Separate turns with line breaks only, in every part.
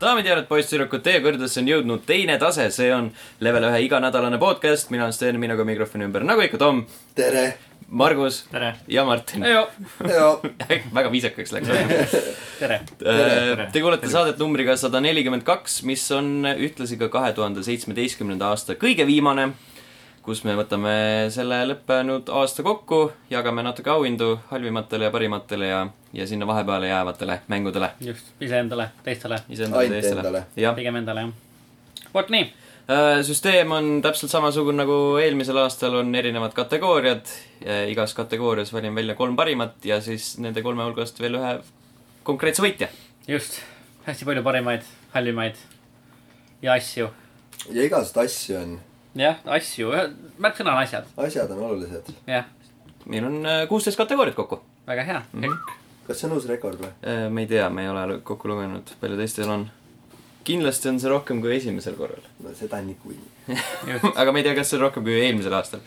daamid ja härrad , poisssüdrukud , teie kõrgedesse on jõudnud teine tase , see on level ühe iganädalane podcast , mina olen Sten , minuga mikrofoni ümber , nagu ikka , Tom ,
tere .
Margus
tere .
ja Martin . väga viisakaks läks .
tere . Tere.
Te kuulete saadet numbriga sada nelikümmend kaks , mis on ühtlasi ka kahe tuhande seitsmeteistkümnenda aasta kõige viimane , kus me võtame selle lõppenud aasta kokku , jagame natuke auhindu halvimatele ja parimatele ja , ja sinna vahepeale jäävatele mängudele .
just , iseendale , teistele ,
iseendale
Ainult
ja teistele
endale. .
jah ,
pigem endale jah . vot nii ,
Äh, süsteem on täpselt samasugune nagu eelmisel aastal , on erinevad kategooriad , igas kategoorias valin välja kolm parimat ja siis nende kolme hulgast veel ühe konkreetse võitja .
just , hästi palju parimaid , hallimaid ja asju .
ja igasuguseid asju on ,
jah , asju , märksõna on asjad ,
asjad on olulised .
jah ,
meil on äh, kuusteist kategooriat kokku
väga hea mm . -hmm.
kas see on uus rekord või ?
Äh, me ei tea , me ei ole lu- kokku lugenud , palju teistel on . kindlasti on see rohkem kui esimesel korral .
no seda niikuinii .
just ,
aga me ei tea , kas see on rohkem kui eelmisel aastal .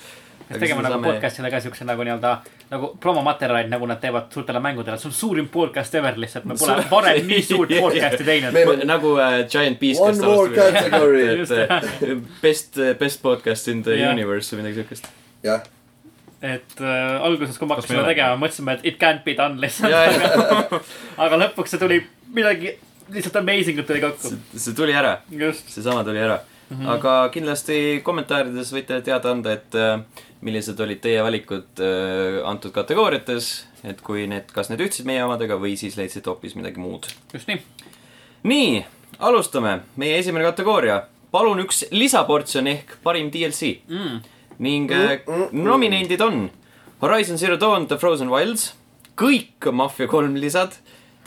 peaks tegema nagu saame... podcast'ile ka siukse nagu nii-öelda nagu promomaterjalid , nagu nad teevad suurtele mängudele , see on suurim podcast ever lihtsalt , me pole
Suur-
varem nii suurt podcast'i teinud .
Meil on-
nagu äh, Giant Beast ,
One more category.
et äh, best , best podcast in the
Jah.
universe või midagi siukest .
jah ,
et äh, alguses , kui me hakkasime seda
meil on-
tegema , mõtlesime , et it can't be done
Ja,
lihtsalt . aga lõpuks see tuli midagi lihtsalt amazing ut tuli kokku ,
see tuli ära ,
just .
seesama tuli ära .
Mhm.
aga kindlasti kommentaarides võite teada anda , et äh, millised olid teie valikud äh, antud kategooriates , et kui need , kas need ühtsid meie omadega või siis leidsid hoopis midagi muud
just nii ,
nii , alustame , meie esimene kategooria , palun üks lisaportsjon ehk parim DLC
Mm. . mm,
ning äh, nominendid on Horizon Zero Dawn , The Frozen Wilds , kõik Mafia kolm lisad ,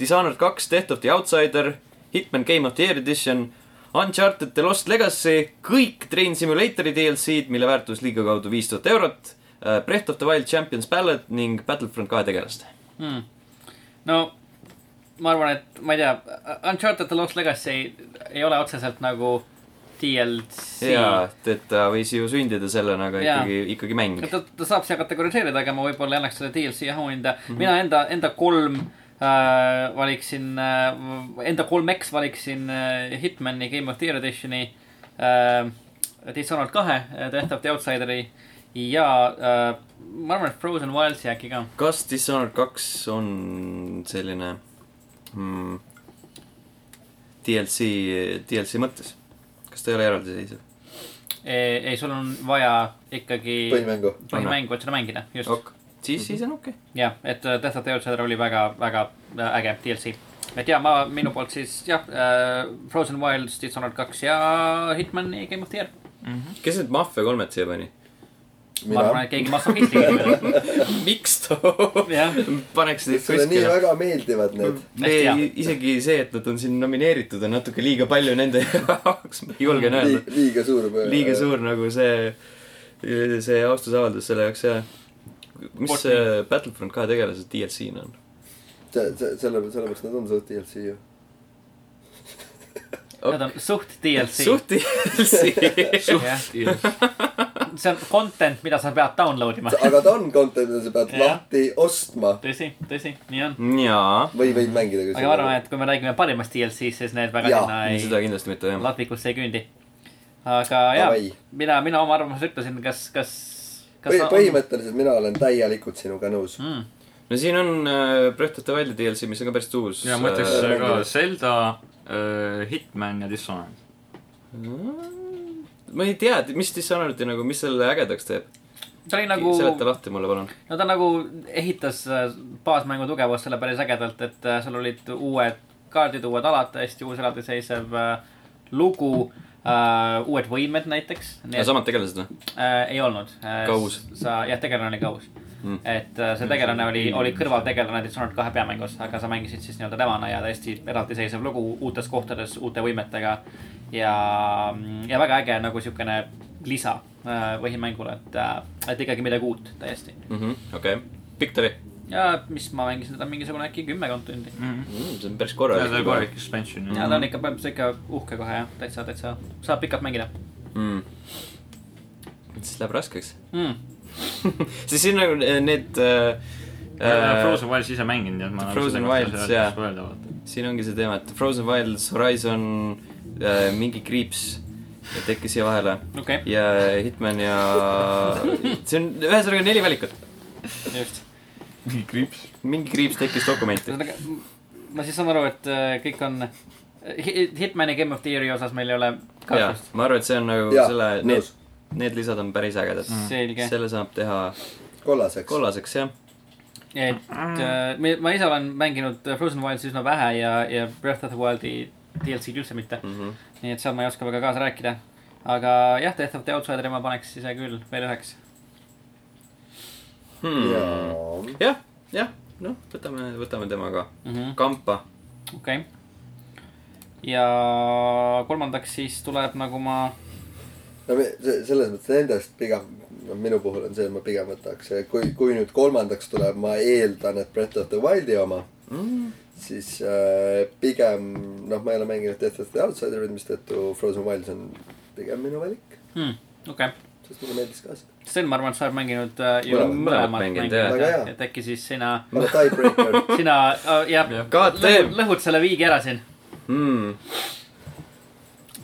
Dishonored kaks , Death of the Outsider , Hitman Game of the Year edition , Uncharted The Lost Legacy , kõik Train Simulatori DLC-d , mille väärtus liiga kaudu viis tuhat eurot , Breath of the Wild Champions Ballad ning Battlefront kahe tegelast .
mm. . no ma arvan , et ma ei tea , Uncharted The Lost Legacy ei, ei ole otseselt nagu DLC .
jaa , et ta võis ju sündida sellena , aga
Jaa.
ikkagi , ikkagi mäng .
ta, ta saab siia kategoriseerida , aga ma võib-olla ei annaks selle DLC auhinda mm . -hmm. mina enda , enda kolm äh, valiksin äh, , enda kolmeks valiksin äh, Hitmani Game of the Year editioni äh, , Dishonored kahe , Death of the Outsideri ja äh, ma arvan , et Frozen Wildsi äkki ka .
kas Dishonored kaks on selline mm, DLC , DLC mõttes ? kas ta ei ole eraldiseisev ?
ei , ei , sul on vaja ikkagi
põhimängu .
põhimängu , et seda mängida , just Mhm. okay. .
ok , siis , siis on okei okay. .
jah , et äh, Death of the Outsider oli väga , väga äh, äge DLC . et ja ma , minu poolt siis jah äh, , Frozen Wilds , Dishonored kaks ja Hitmani Game of the Year .
kes need Mafia kolmed siia pani ?
ma arvan , et keegi massahhistlik .
miks ta
Jah.
paneks neid
sulle nii
kuskile ?
väga meeldivad need .
Hästi hea.
isegi see , et nad on siin nomineeritud , on natuke liiga palju nende jaoks , ma
Mm.
julgen öelda .
liiga suur .
liiga . suur nagu see , see austusavaldus selle jaoks , jah . mis
Port-
see Battlefront kahe tegelase DLC-na on ?
see , see , selle , sellepärast nad on suht DLC ju .
Nad on suht DLC .
suht DLC .
jah , see on content , mida sa pead download ima .
aga ta on content ja sa pead
Jah.
lahti ostma
tõsi , tõsi , nii on .
jaa ,
või võid mängida .
Mm. aga ma arvan , et kui me räägime parimast DLC-st , siis need väga
Jaa,
sinna
seda
ei ,
kindlasti mitte jah .
ladvikusse ei küündi . aga jaa
Davai. ,
mina , mina oma arvamuse ütlesin , kas , kas , kas
Põhi- , põhimõtteliselt mina olen täielikult sinuga nõus .
mm, .
no siin on äh, Breath of the Wildi DLC , mis on ka päris uus .
ja ma ütleks
Äh,
äh, ka Zelda äh, , Hitman ja Dishonored .
ma ei tea , mis Dishonored'i nagu , mis selle ägedaks teeb
ta oli
nagu...
nagu .
seleta lahti mulle , palun .
no ta nagu ehitas äh, baasmängu tugevust selle päris ägedalt , et äh, sul olid uued kaardid , uued alad , täiesti uus eraldiseisev äh, lugu . Uh, uued võimed näiteks .
samad tegelased või ?
äh, ei olnud äh, .
Kaus.
sa , jah , tegelane oli kaus
Mm.
mm. . et äh, see tegelane oli , oli kõrvaltegelane Dishonored kahe peamängus , aga sa mängisid siis nii-öelda temana ja täiesti eraldiseisev lugu uutes kohtades uute võimetega . ja , ja väga äge nagu siukene lisa äh, põhimängule , et äh, , et ikkagi midagi uut täiesti .
Mhm, okei , Victory ,
ja mis ma mängisin seda mingisugune äkki kümmekond tundi .
Mm, see on päris
ja ta oli
korralik .
korralik expansion .
ja ta on ikka , põhimõtteliselt ikka uhke kohe jah , täitsa , täitsa saab pikalt mängida
Mm. siis läheb raskeks .
mm. .
siis siin nagu need äh,
Frozen Wilds ise mänginud , nii et ma .
Frozen Wilds, jaa.
jah .
siin ongi see teema , et Frozen Wilds , Horizon , mingi kriips tekkis siia vahele
okei ,
ja Hitman ja see on ühesõnaga neli valikut .
just .
mingi kriips .
mingi kriips tekkis dokumenti .
ühesõnaga , ma siis saan aru , et äh, kõik on Hi- Hitmani Game of the Year'i osas meil ei ole
jah
kahtlust .,
ma arvan , et see on nagu ja,
Jaa,
selle , need
nõus. ,
need lisad on päris ägedad mm. .
selge .
selle saab teha
kollaseks .
kollaseks , jah .
et äh, me- ma ise olen mänginud äh, Frozen Wildsi üsna vähe ja , ja Breath of the Wildi DLC-d üldse mitte .
Mm. Mhm.
nii et seal ma ei oska väga kaasa rääkida . aga jah , Death of the Outsideri ma paneks ise küll veel üheks . Mm.
jaa .
Hmm. jah , jah , noh , võtame , võtame tema ka .
okei
kampa ,
okay. . ja kolmandaks siis tuleb nagu ma ,
no me- se- selles mõttes nendest pigem , noh minu puhul on see , et ma pigem võtaks , kui , kui nüüd kolmandaks tuleb , ma eeldan , et Breath of the Wildi oma
Mm.
siis äh, pigem , noh , ma ei ole mänginud Death of the Outsiderit , mistõttu Frozen Wilds on pigem minu valik ,
hmm, okei .
sest mulle meeldis ka see .
Sten , ma arvan , et sa oled mänginud äh, ju
Mõlemad-
mõlemad
mõlemat
mänginud,
mänginud
jah.
Väga
jah ,
hea.
et äkki siis sina ,
aga Tiebreaker
sina äh, jah
Jah.
God
lõhu-
damn.
lõhud selle viigi ära siin .
mm. .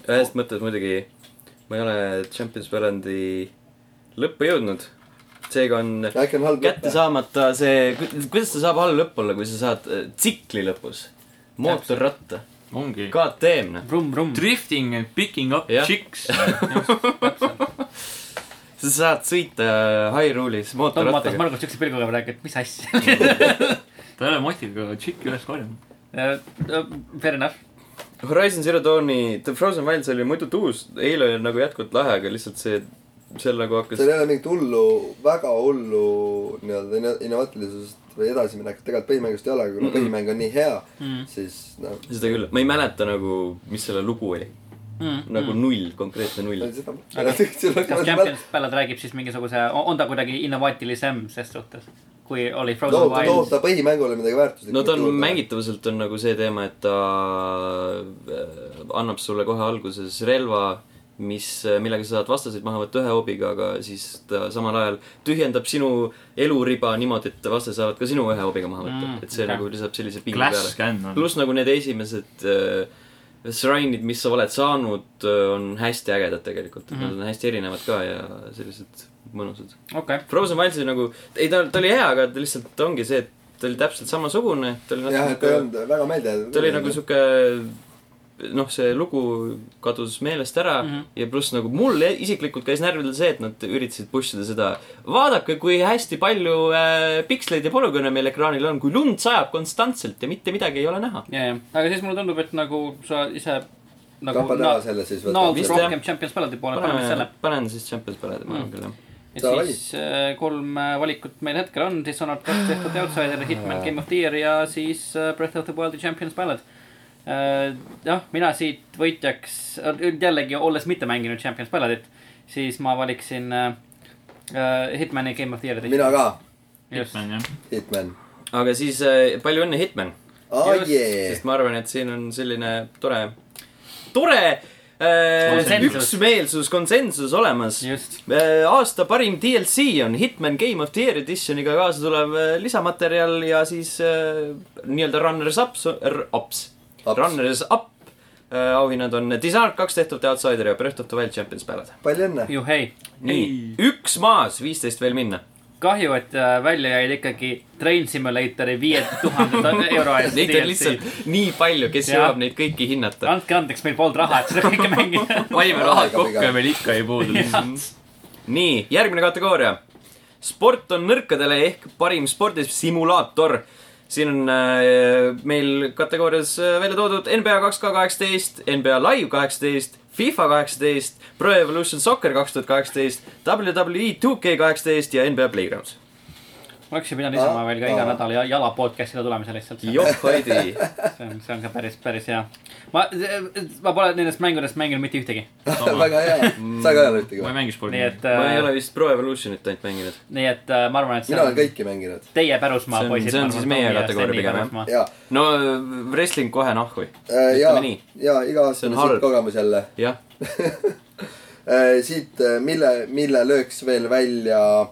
ühest mõttest muidugi ma ei ole Champions Pärandi lõppu jõudnud . seega on
no, , äkki on halb
kätte
lõpe .
saamata see , kuidas ta saab all lõpp olla , kui sa saad äh, tsikli lõpus mootorratta .
ongi .
God damn , noh .
Vrum-vrum .
Drifting and picking up
Jah.
chicks .
sa saad sõita Highrule'is
Tom vaatas
mootorrattaga .
Margus siukse pilguga praegu , et mis asja .
ta ei ole motiga chicki üles korjanud .
Äh, Fair enough .
Horizon Zero Dawni , The Frozen Wilds oli muidu tuus , eile oli nagu jätkuvalt lahe , aga lihtsalt see , seal nagu hakkas
seal ei ole mingit hullu , väga hullu nii-öelda inno- innovaatilisust või edasiminekut tegelikult põhimängust ei ole , aga kuna põhimäng on nii hea
Mm. ,
siis noh ,
seda küll , ma ei mäleta nagu , mis selle lugu oli . nagu mm. null , konkreetne null .
seda .
Aga- kas Champions Ballad räägib siis mingisuguse , on ta kuidagi innovaatilisem ses suhtes , kui oli Frozen
toob , toob
Wilds ?
ta põhimängule midagi väärtuslikku .
no ta on , mängitavuselt on nagu see teema , et ta äh, annab sulle kohe alguses relva , mis , millega sa saad vastaseid maha võtta ühe hoobiga , aga siis ta samal ajal tühjendab sinu eluriba niimoodi , et vastased saavad ka sinu ühe hoobiga maha võtta
Mm,
mm, . et see
okei.
okay. nagu lisab sellise pingi
Glass
peale .
scan on .
pluss nagu need esimesed äh, Shrine'id , mis sa oled saanud , on hästi ägedad tegelikult mm , -hmm.
Mhm.
nad on hästi erinevad ka ja sellised mõnusad .
okei ,
Frozen Wilds'i nagu , ei ta , ta oli hea , aga ta lihtsalt ongi see , et ta oli täpselt samasugune , ta oli
jah , et ta ei
natuke ,
olnud väga meeldejääv .
ta oli nagu sihuke noh , see lugu kadus meelest ära mm
Mhm.
-hmm. ja pluss nagu mul isiklikult käis närvidel see , et nad üritasid push ida seda . vaadake , kui hästi palju äh, piksleid ja polügoone meil ekraanil on , kui lund sajab konstantselt ja mitte midagi ei ole näha .
ja , ja , aga siis mulle tundub , et nagu sa ise nagu
tapad ära selle siis
naabrid
Vist,
võtad .
jah.
rohkem Champions Balladi poole , paneme selle . Mhm.
panen siis Champions Palade'i , ma arvan küll jah .
ja
Davai.
siis äh, kolm äh, valikut meil hetkel on , siis on olnud kaks tehtud The Outsider , Hitman , Game of the Year ja siis äh, Breath of the Wildi Champions Ballad . jah , mina siit võitjaks , jällegi olles mitte mänginud Champions Balladit , siis ma valiksin äh, äh, Hitmani Game of the Year'i .
mina ka ,
just ,
Hitman jah .
Hitman .
aga siis äh, palju õnne , Hitman
aa
Just,
jee
sest , ma arvan , et siin on selline tore , tore äh,
Konsensus.
üksmeelsus , konsensus olemas .
just .
aasta parim DLC on Hitman Game of the Year Editioniga kaasa tulev äh, lisamaterjal ja siis äh, nii-öelda Runners Ups , Ups ,
Ups.
Runners Up äh, auhinnad on Dishonored kaks tehtud The Outsider ja Breath of the Wild Champions päevad .
palju õnne .
juhei ,
nii , üks maas , viisteist veel minna .
kahju , et äh, välja jäid ikkagi Train Simulatori viie tuhande euro eest
Neid on
DLC .
lihtsalt nii palju , kes
Jah.
jõuab neid kõiki hinnata .
andke andeks , meil polnud raha , et seda kõike mängida .
panime rahad
Aega
kokku
pigem.
ja meil ikka ei puudu .
nii , järgmine kategooria . sport on nõrkadele ehk parim spordisimulaator . siin on äh, meil kategoorias äh, välja toodud NBA 2K18 , NBA Live kaheksateist , FIFA kaheksateist , Pro Evolution Soccer kaks tuhat kaheksateist , WWE 2K kaheksateist ja NBA Playgrounds .
oleks ju pidanud lisama veel ka iga
Aa.
nädal ja- jala podcast'ile tulemise lihtsalt . see
jopaidi .
on , see on ka päris , päris hea . ma , ma pole nendest mängudest mänginud mitte ühtegi .
väga hea ,
Mm.
sa ka ei ole ühtegi
ma ei
või ?
mängi
nii
spordi .
et
ma ei
äh,
ole , vist Pro Evolutionit ainult mänginud .
nii et äh, ma arvan , et see
mina
on
olen kõiki mänginud .
teie pärusmaa
See on-
poisid .
see on siis meie kategooria pigem, jah.
ja ,
no äh, wrestling kohe nahku .
ja
Ah. ütleme nii ,,
ja iga
See
aasta
on
on siit
halb.
kogemus jälle .
jah .
Äh, siit , mille , mille lööks veel välja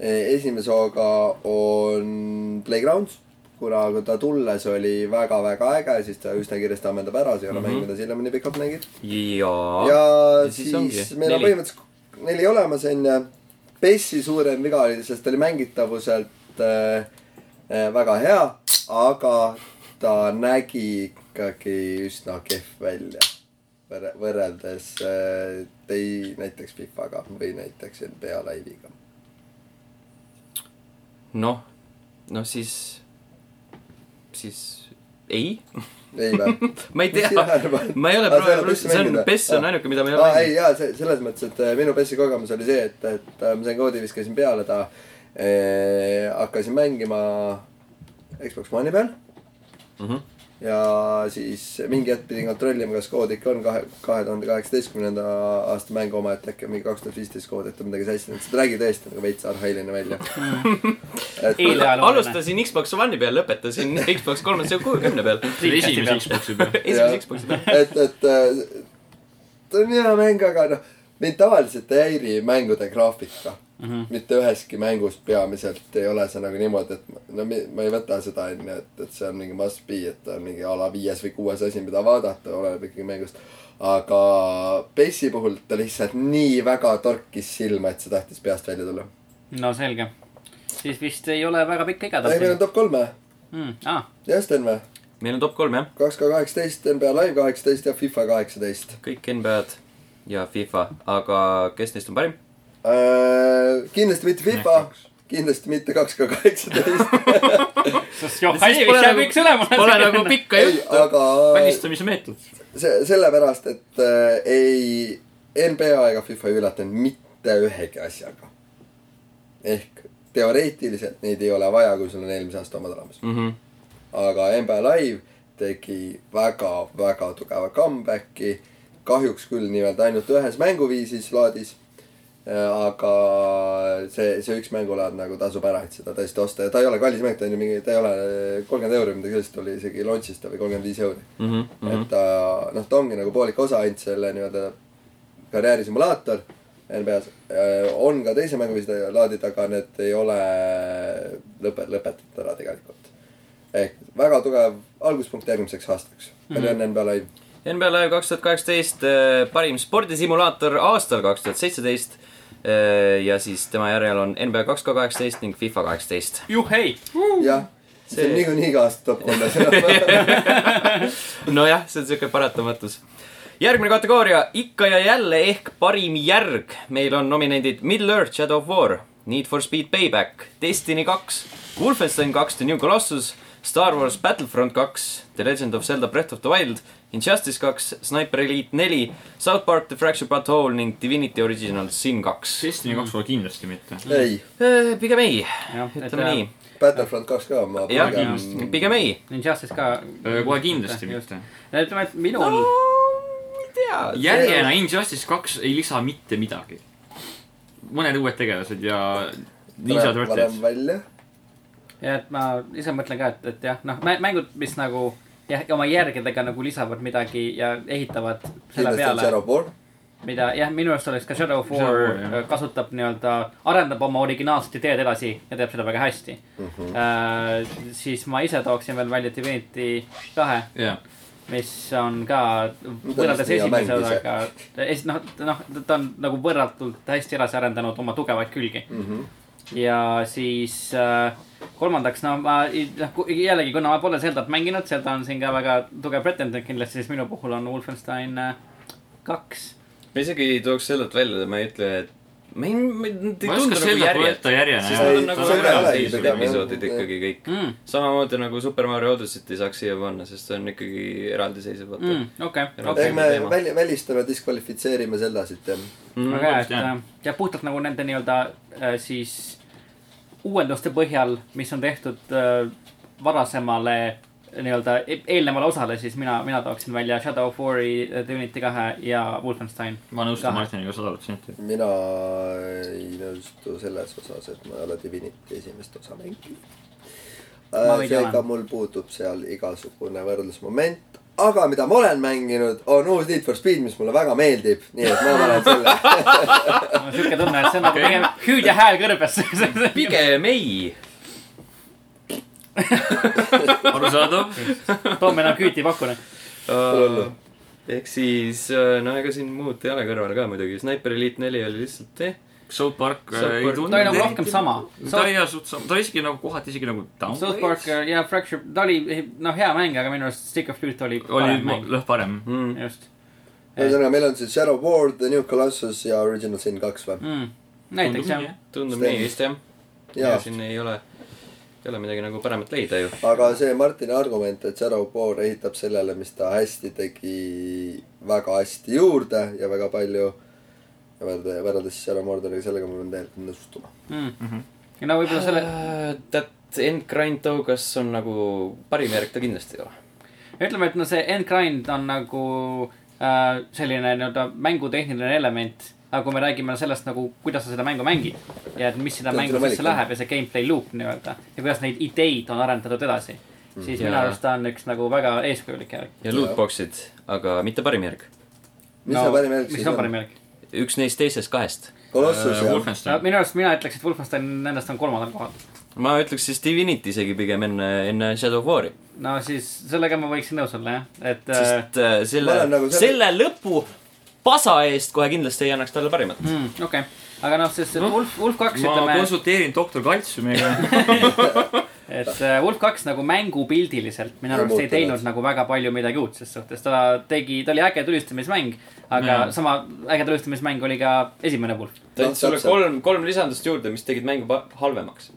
äh, esimese hooga on Playgrounds , kuna kui ta tulles oli väga-väga äge , siis ta üsna kiiresti ammendab ära , sa ei ole mm -hmm. mänginud sinnamaani nii pikalt mängid .
jaa .
ja
ja siis
siis,
ongi.
siis meil on
Neli.
põhimõtteliselt neli olemas onju . PES-i äh, suurem viga oli , sest ta oli mängitavuselt äh, äh, väga hea , aga ta nägi ikkagi üsna kehv välja . Võrre- , võrreldes äh, tei- , näiteks Fifaga või näiteks NBA laiviga .
noh , no siis , siis ei ,
ei või ?
ma ei tea , ma ei ole
Aga sa Ah, ei ole
proovinud ,
PES-i
see on
mänginud või? ,
PES on
Aa.
ainuke , mida ma ei ole
aa ei
mänginud .
jaa , see selles mõttes , et äh, minu PES-i kogemus oli see , et , et äh, ma sain koodi , viskasin peale ta eh, . hakkasin mängima Xbox One'i peal
Mhm.
ja siis mingi hetk pidin kontrollima , kas kood ikka on kahe , kahe tuhande kaheksateistkümnenda aasta mängu oma , et äkki on mingi kaks tuhat viisteist kood , et on midagi sassi , sest ta nägi tõesti nagu veits arhailine välja .
Eile- Peale oleme.
alustasin Xbox One'i peal , lõpetasin Xbox kolmesaja kuuekümne peal .
esimese Xbox'i peal .
Jah.
esimese Xbox'i peal .
et , et äh, ta on hea mäng , aga noh , mind tavaliselt ei häiri mängude graafika mm . -hmm. mitte üheski mängus peamiselt ei ole see nagu niimoodi , et ma- no mi- ma ei võta seda onju , et , et see on mingi must be , et ta on mingi a la viies või kuues asi , mida vaadata , oleneb ikkagi mängust . aga PES-i puhul ta lihtsalt nii väga torkis silma , et see tahtis peast välja tulla .
no selge . siis vist ei ole väga pikk iga
ei , meil on
tahtmine .
top kolm või ?
aa ,
jah , Sten või ?
meil on top kolm jah ,
kaks K kaheksateist , NBA Live kaheksateist ja FIFA kaheksateist .
kõik NBA-d ja FIFA , aga kes neist on parim ?
Äh, kindlasti mitte FIFA , kindlasti mitte kaks K kaheksateist ,
sest joh , hästi pole nagu üks ülemus .
Pole nagu . pikka
ei ,
juttu .
aga
välistamise meetod .
see sellepärast , et äh, ei NBA ega FIFA ei üllatanud mitte ühegi asjaga . ehk teoreetiliselt neid ei ole vaja , kui sul on eelmise aasta omad olemas , aga NBA Live tegi väga-väga tugeva comeback'i , kahjuks küll nii-öelda ainult ühes mänguviisis laadis . Äh, aga see , see üks mängulaad nagu tasub ära , et seda tõesti osta ja ta ei ole kallis mäng , ta on ju mingi , ta ei ole äh, kolmkümmend euri , midagi sellist oli isegi launch'is ta või kolmkümmend viis euri . et ta , noh , ta ongi nagu poolik osa ainult selle nii-öelda karjäärisimulaator NBA-s . Äh, on ka teise mänguviisi laadid , aga need ei ole lõpe- , lõpetatud ära tegelikult . ehk väga tugev alguspunkt järgmiseks aastaks . palju õnne NBA live .
NBA Live kaks tuhat kaheksateist , parim spordisimulaator aastal kaks tuhat seitseteist . ja siis tema järel on NBA kaks K kaheksateist ning FIFA kaheksateist .
juhhei .
jah , see on
See-
niikuinii iga aasta top kolmes .
nojah , see on siuke paratamatus . järgmine kategooria , ikka ja jälle ehk parim järg . meil on nominendid Middle-earth , Shadow of War , Need for Speed Payback , Destiny kaks , Wolfenstein kaks , The New Colossus , Star Wars Battlefront kaks , The Legend of Zelda Breath of the Wild , Injustice kaks , Sniper Elite neli , South Park The Fractured But Whole ning Divinity Original Sin kaks .
Destiny kaks pole kindlasti mitte .
ei ,
pigem ei ,
Jah, et,
ütleme
äh,
nii .
Battlefront kaks ka ma
jah
pigem ,,
pigem ei .
Ninjasis ka .
Äh,
kohe kindlasti mitte .
ütleme , et minul
no
no. ,
ma ei tea .
järjena Injustice kaks ei lisa mitte midagi . mõned uued tegelased ja Ninja
tuleb varem
Turtles .
välja .
ja et ma ise mõtlen ka , et , et jah , noh , mängud , mis nagu jah , oma järgedega nagu lisavad midagi ja ehitavad selle
kindlasti on
peale ,
Shadow of War .
mida jah , minu arust oleks ka Shadow of
Shadow
War äh,
of War, jah.
kasutab nii-öelda , arendab oma originaalset ideed edasi ja teeb seda väga hästi mm .
Mhm.
-hmm. Äh, siis ma ise tooksin veel välja Divinity kahe
jah ,
mis on ka võrreldes
nii hea mäng
esimese
ise.
osaga , es- , noh , noh , ta on nagu võrratult hästi edasi arendanud oma tugevaid külgi mm .
Mhm.
-hmm. ja siis äh, kolmandaks , no ma , noh ku- jällegi , kuna ma pole Zeldat mänginud , Zelda on siin ka väga tugev pretendent kindlasti , siis minu puhul on Wolfenstein äh, kaks .
ma isegi ei tooks sellelt välja , ma ei ütle , et ma ei , ma ei , nad ei
Ma ei
tundu
oska
nagu
sellelt
järjed .
võtta järjena,
sest
jah.
nad
Ei,
on nagu
seda ei olegi
eraldiseisvad
pigem, jah.
episoodid ikkagi kõik .
Mm.
samamoodi nagu Super Mario Odyssey't ei saaks siia panna , sest see on ikkagi eraldiseisev , vaata mm. .
okei ,
ei ,
Okei,
me
teema.
väli- , välistame , diskvalifitseerime seldasid jah .
väga hea , et
Mhm, jah.
äh, jah , puhtalt nagu nende nii-öelda äh, siis uuenduste põhjal , mis on tehtud äh, varasemale nii-öelda e- eelnevale osale , siis mina , mina tooksin välja Shadow of War'i , Divinity kahe ja Wolfenstein .
ma nõustun
Kahe.
Martiniga sada protsenti .
mina ei nõustu selles osas , et ma ei ole Divinity esimest osa mänginud
Ma veidi
seega
olen.
mul puudub seal igasugune võrdlusmoment , aga mida ma olen mänginud , on uus Need for Speed , mis mulle väga meeldib , nii et ma panen selle .
mul on siuke tunne , et see on nagu pigem hüüdja hääl kõrbes .
pigem ei .
arusaadav .
Tom enam küüti ei paku , noh .
Hullu.
Äh, ehk siis , no ega siin muud ei ole kõrval ka muidugi , Sniper Elite neli oli lihtsalt eh. .
South Park
South
äh, ei
Park-
tundu .
ta oli nagu rohkem sama .
ta oli jah , suht sama , ta oli isegi nagu kohati isegi nagu down .
South Park äh, ja Fracture , ta oli noh , hea mäng , aga minu arust Stick of Truth oli
oli
parem mäng .
lõh parem .
mm. .
just
ühesõnaga , meil on siis Shadow of War , The New Colossus ja Original Sin kaks või ?
mm. . näiteks jah .
tundub
Sten.
nii vist jah . ja
jaa ,
siin ei ole , ei ole midagi nagu paremat leida ju .
aga see Martini argument , et Shadow of War ehitab sellele , mis ta hästi tegi , väga hästi juurde ja väga palju . ja võrreldes võrreldes Shadow Mordoriga , sellega ma pean täielikult nõustuma .
Mhm.
mm. . no võib-olla selle ,
Äh, That End Grind Togas on nagu parim järg ta kindlasti ei ole .
ütleme , et no see end grind on nagu äh, selline nii-öelda mängutehniline element . aga kui me räägime sellest nagu , kuidas sa seda mängu mängid ja et mis sinna
See on
mängu
sulle
sisse
valik,
läheb ja see gameplay loop nii-öelda ja kuidas neid ideid on arendatud edasi mm. , siis minu
Jaa.
arust ta on üks nagu väga eeskujulik järg .
ja lootbox'id , aga mitte parim järg .
mis no, see parim järg
mis
siis
on
on ?
parim järg ?
üks neist teisest kahest .
Colossus ja
Äh, Wolfenstein .
minu arust mina ütleks , et Wolfenstein nendest on kolmandal kohal .
ma ütleks siis Divinity isegi pigem enne , enne Shadow of War'i .
no siis sellega ma võiksin nõus olla jah , et äh,
sest äh, selle
ma olen , nagu selle-
selle lõpu pasa eest kohe kindlasti ei annaks talle parimat .
mm, okei okay. , aga noh , sest see Wolf , Wolf kaks
ma
ütleme ,
konsulteerin doktor Kaltsiumiga .
et äh, Wolf kaks nagu mängupildiliselt minu
Ei
arust ei
muutunud.
teinud nagu väga palju midagi uut ses suhtes , ta tegi , ta oli äge tulistamismäng , aga
Mm.
mm. sama äge tulistamismäng oli ka esimene Wolf .
ta
Noh,
andis sulle
täpselt.
kolm , kolm lisandust juurde , mis tegid mängu pa- halvemaks .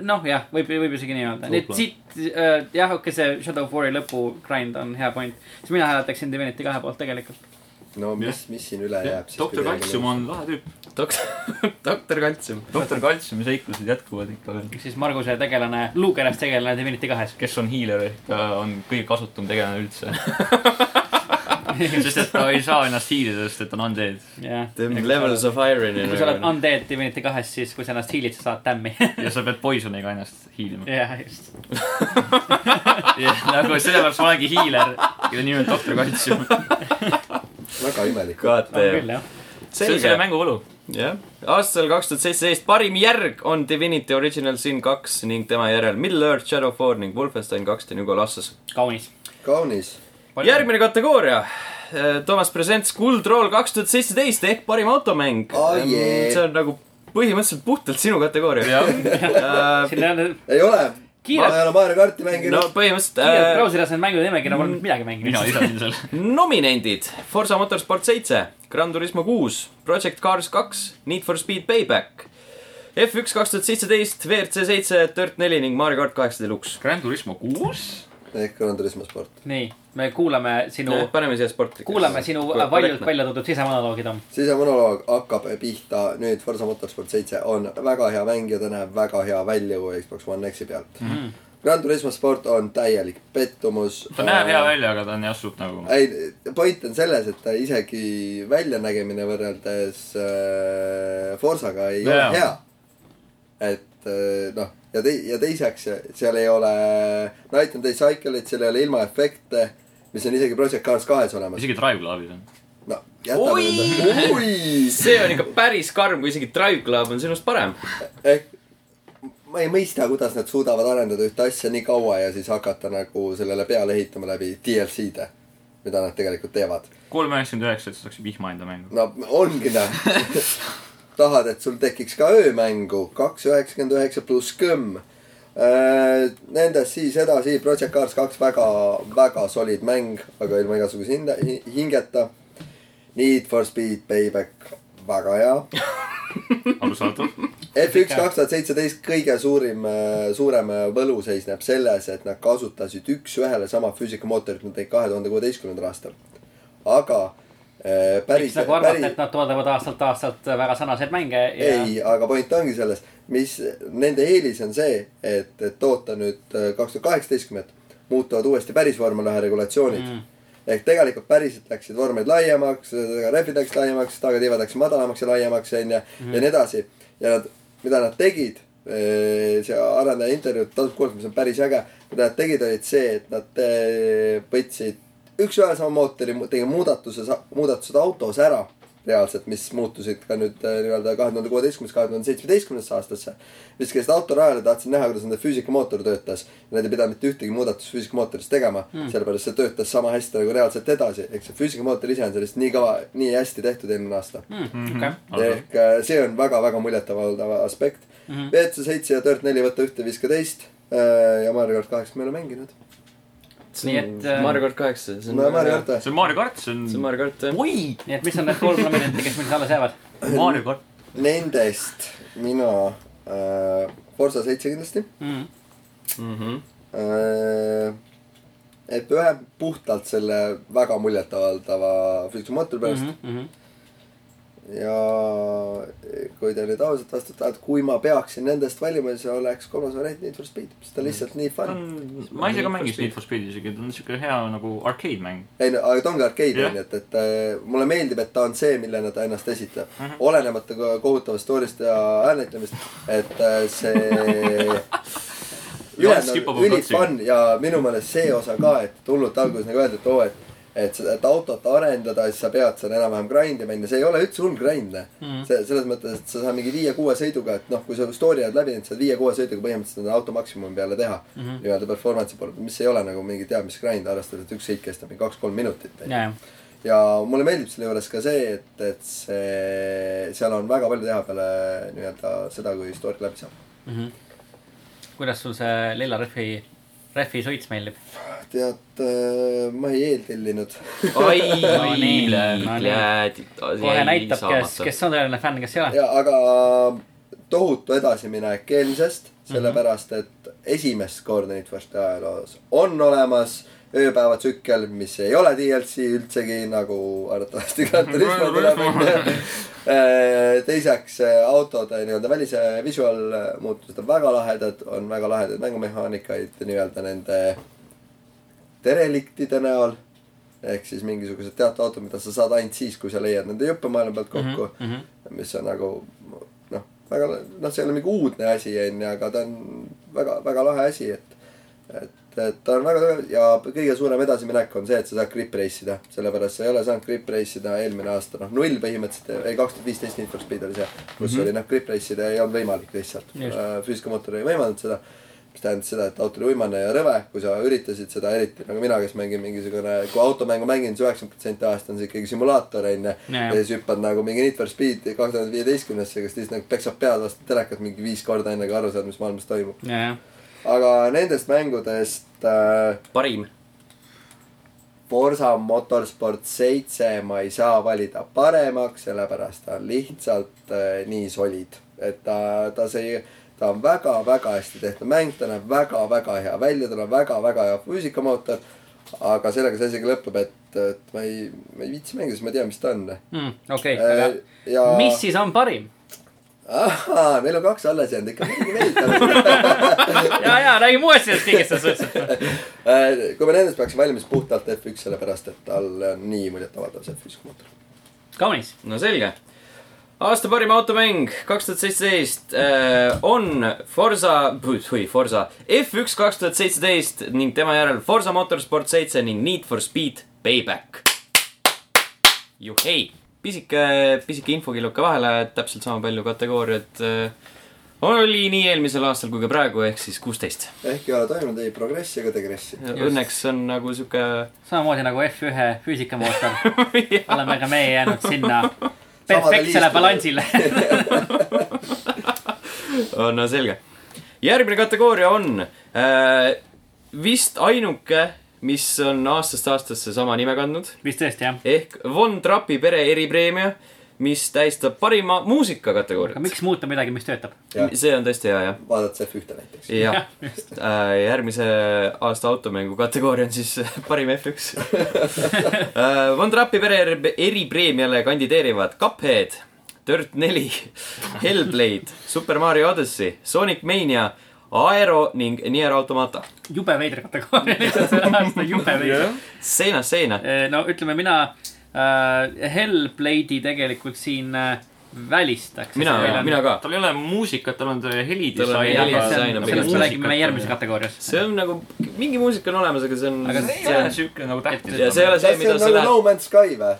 noh , jah , võib , võib isegi nii öelda , nii et
Võib-olla.
siit äh, jah , okei , see Shadow of War'i lõpu grind on hea point , siis mina hääletaksin Divinity kahe poolt tegelikult .
no mis , mis siin üle jääb siis ?
doktor Kaltsium . on lahe tüüp .
doktor , doktor Kaltsium .
doktor Kaltsiumi seiklused jätkuvad ikka veel .
siis Marguse tegelane , luukeres tegelane Divinity kahes .
kes on hiiler ehk ta on kõige kasutum tegelane üldse . sest et ta ei saa ennast hiilida , sest et ta on undead .
jah .
The levels of irony .
kui sa oled undead Divinity kahes , siis kui sa ennast hiilid , sa saad tämmi .
ja sa pead poisoniga ennast hiilima .
jah , just .
nagu sellepärast ma olengi hiiler , kelle nimi on doktor Kaltsium .
väga imelik .
God
on
damn .
küll jah .
see on selle
selge ,
mängu võlu .
jah . aastal kaks tuhat seitseteist parim järg on Divinity Original Sin kaks ning tema järel Middle-earth , Shadow of War ning Wolfenstein kaks The New Colossus .
kaunis .
kaunis .
järgmine kategooria . Toomas Presents Kuld Roll kaks tuhat seitseteist ehk parim automäng Äh,
Oh, yeah.
see on nagu põhimõtteliselt puhtalt sinu kategooria .
siin ei ole
ei ole . ma
kiirelt ,
ei ole Mario karti
no
mänginud .
kiirelt
põhimõtteliselt äh,
brauseris on mängude nimekirja , ma olen mitte midagi
mina
mänginud .
lisasin selle .
nominendid Forsa Motorsport seitse , Gran Turismo kuus , Project Cars kaks , Need for Speed Payback , F1 kaks tuhat seitseteist , WRC seitse , Dirt neli ning Mario kart kaheksa deluks .
Grand Turismo kuus .
ehk Gran Turismo sport .
nii , me kuulame sinu ,
Äh, paneme siia sportlikku .
kuulame sinu valjult . välja toodud sisemonoloogi , Tom .
sisemonoloog hakkab pihta nüüd Forza Motorsport seitse on väga hea mäng ja ta näeb väga hea välja kui Xbox One X-i pealt mm . -hmm. Gran Turismo sport on täielik pettumus .
Mhm. ta näeb hea . välja , aga ta on jah suht nagu .
ei , point on selles , et ta isegi väljanägemine võrreldes äh, Forzaga ei yeah.
Jaa.
ole hea . et äh, noh , ja tei- , ja teiseks seal ei ole Night and Day Cycle'it , seal ei ole ilma efekte , mis on isegi Project Cars kahes olemas .
isegi Drive Clubis on .
no
Oi!
jätame . oi ,
see on ikka päris karm , kui isegi Drive Club on sinust parem .
ehk ma ei mõista , kuidas nad suudavad arendada ühte asja nii kaua ja siis hakata nagu sellele peale ehitama läbi DLC-de , mida nad tegelikult teevad .
kolm üheksakümmend üheksa , et saaks vihma enda mängu .
no ongi noh . tahad , et sul tekiks ka öömängu , kaks üheksakümmend üheksa pluss kõmm . Nendest siis edasi Project Cars kaks väga , väga solid mäng , aga ilma igasuguse hinda , hingeta . Need for Speed Payback , väga hea
arusaadav .
F1 kaks tuhat seitseteist kõige suurim , suurem äh, võlu seisneb selles , et nad kasutasid üks-ühele sama füüsikamootorit , mida tegid kahe tuhande kuueteistkümnendal aastal . aga äh, päris ,
võiks nagu arvata ,
päris
et , nad toodavad aastalt aastalt väga sarnaseid mänge ja
ei , aga point ongi selles , mis nende eelis on see , et , et toota nüüd kaks tuhat kaheksateistkümmet , muutuvad uuesti päris vormel ühe regulatsioonid mm. . ehk tegelikult päriselt läksid vormeid laiemaks , rehvid läksid laiemaks , tagatiivad läksid madalamaks ja laiemaks onju ja nii edasi . ja nad , mida nad tegid , see arendaja intervjuud tasuks kuulata , mis on päris äge . mida nad tegid , olid see , et nad eh, võtsid üks-ühe sama mootori , tegid muudatuse , muudatused autos ära reaalselt , mis muutusid ka nüüd eh, nii-öelda kahe tuhande kuueteistkümnest , kahe tuhande seitsmeteistkümnendasse aastasse . viskasid auto rajale , tahtsid näha , kuidas nende füüsikamootor töötas . Nad ei pidanud mitte ühtegi muudatust füüsikamootoris tegema mm. , sellepärast see töötas sama hästi nagu reaalselt edasi . ehk see füüsikamootor ise on sellest nii kõva , nii hästi tehtud eelmine aasta
Hmm, okei ,
ehk äh, see on väga-väga muljetavaldav aspekt mm -hmm. . WC seitse ja Dirt neli võta ühte viska teist äh, ja Mario kart kaheksa me ei ole mänginud .
Nii et, äh,
Mario kart kaheksa , see on
no Mario kart .
see on Mario kart , see
see on
on .
Mario kart jah .
oi ,
nii et mis on need kolm nominenti , kes meil siis alles jäävad ?
Mario kart .
Nendest mina äh, Forsa seitse kindlasti
Hmm, Mhm.
äh, . et ühe puhtalt selle väga muljetavaldava füüsikamootori pärast mm .
mhm,
Mhm.
-hmm. ja kui te nüüd ausalt vastate , et kui ma peaksin nendest valima , siis oleks kolmas variant Need for Speed , sest ta
Mhm.
on lihtsalt nii
ta
fun .
on , ma ise ka mängisin Need for Speedi isegi , ta on siuke hea nagu arcademäng .
ei no , aga ta ongi arcade
Jah.
onju , et , et äh, mulle meeldib , et ta on see , millena ta ennast esitab mm .
Mhm.
-hmm. olenemata ko- kohutavast story'st ja äänetlemist , et äh, see nagu
Lats kipub oma platsi.
ülifun ja minu meelest see osa ka , et hullult alguses nagu öeldi , et oo , et et seda , et autot arendada , siis sa pead seal enam-vähem grind ima , onju , see ei ole üldse hull grind mm . see , selles mõttes , et sa saad mingi viie-kuue sõiduga , et noh , kui sa story oled läbi teinud , saad viie-kuue sõiduga põhimõtteliselt seda auto maksimumi peale teha mm -hmm. nii-öelda performance'i poole pealt , mis ei ole nagu mingi teab mis grind , arvestades , et üks sõit kestab mingi kaks-kolm minutit .
ja , ja ,
ja mulle meeldib selle juures ka see , et , et see , seal on väga palju teha peale nii-öelda seda , kui story läbi saab .
kuidas sul see lilla rehvi , rehvi suits meeldib ?
tead , ma ei eeltellinud
ai
No , nii, no nii.
läbi ,
kohe näitab , kes , kes on tõeline fänn , kes ei ole .
ja aga tohutu edasiminek eelmisest , sellepärast et esimest korda Need for Speed ajaloos on olemas ööpäevatsükkel , mis ei ole DLC üldsegi nagu arvatavasti Gran Turismo tuleb onju . teiseks äh, autode nii-öelda välise visual muutused on väga lahedad , on väga lahedaid mängumehaanikaid nii-öelda nende dereliktide näol . ehk siis mingisugused teatud autod , mida sa saad ainult siis , kui sa leiad nende jõppemaailma pealt kokku mm .
mhm.
-hmm. mis on nagu noh , väga , noh , see ei ole mingi uudne asi , onju , aga ta on väga , väga lahe asi , et , et , et ta on väga ja kõige suurem edasiminek on see , et sa saad grip race ida , sellepärast sa ei ole saanud grip race ida eelmine aasta , noh , null põhimõtteliselt , ei kaks tuhat viisteist Need for Speed oli see , kus mm -hmm. oli noh , grip race ida ei olnud võimalik lihtsalt ,
Mhm. Just.
füüsikamootor ei võimaldanud seda mis tähendas seda , et auto oli uimane ja rõve , kui sa üritasid seda , eriti nagu mina , kes mängin mingisugune , kui automängu mängin , siis üheksakümmend protsenti ajast on see ikkagi simulaator onju . ja
Nojah.
siis hüppad nagu mingi Need for Speed kahe tuhande viieteistkümnesse , kes siis nagu peksab pead vastu telekat mingi viis korda , enne kui aru saad , mis maailmas toimub .
ja , ja ,
aga nendest mängudest äh,
parim .
Forsa Motorsport seitse ma ei saa valida paremaks , sellepärast ta on lihtsalt äh, nii solid , et ta , ta see , ta on väga-väga hästi tehtud mäng , ta näeb väga-väga hea välja , tal on väga-väga hea füüsikamootor . aga sellega see isegi lõpeb , et , et ma ei , ma ei viitsi mängida , sest ma tean , mis ta on .
Hmm, okei , aga
Äh, ja
mis siis on parim ?
ahhaa , meil on kaks alles jäänud , ikka mingi meelitav .
ja , ja räägime uuesti sellest kõigest , selles suhtes .
Äh, kui me nendest peaksime valmis puhtalt F1 sellepärast , et tal on nii muljetavaldav see füüsikamootor .
kaunis .
no selge . aasta parim automäng kaks tuhat seitseteist äh, on Forsa , või Forsa , F1 kaks tuhat seitseteist ning tema järel Forsa Motorsport seitse ning Need for Speed Payback . juhei , pisike , pisike infokilluke vahele , täpselt sama palju kategooriaid äh, oli nii eelmisel aastal kui ka praegu , ehk siis kuusteist .
ehk ei ole toimunud ei progressi ega degressi .
Õnneks on nagu sihuke
samamoodi nagu F1 füüsikamootor oleme ka meie jäänud sinna
liistule.
perfektsele balansile .
Oh, no selge . järgmine kategooria on äh, vist ainuke , mis on aastast aastasse sama nime kandnud
vist tõesti jah .
ehk Von Trappi pere eripreemia , mis tähistab parima muusika
aga
kategooriat .
miks muuta midagi , mis töötab ?
see on tõesti hea jah .
vaadates F1-te näiteks .
jah äh, , järgmise aasta automängu kategooria on siis parim F1 äh, . Von Trappi pere eri- eripreemiale kandideerivad Cuphead , Dirt neli , Hellblade , Super Mario Odyssey , Sonic Mania , Aero ning Nier Automata .
jube veider kategooria lihtsalt selle aasta , jube veider . E,
seinast seina .
no ütleme mina äh, , Hellblade'i tegelikult siin äh, välistaks .
mina , mina ka .
tal ei ole muusikat , tal on see
Tal on helidisain,
helidisain .
aga
sellest me räägime meie järgmises kategoorias .
see on nagu , mingi muusika on olemas , aga see on .
Aga
see ei ole siuke nagu tähtis .
ja see ei ole see ,
kas see
mida
on
sa
nagu
lähed
No , Man's Sky või ?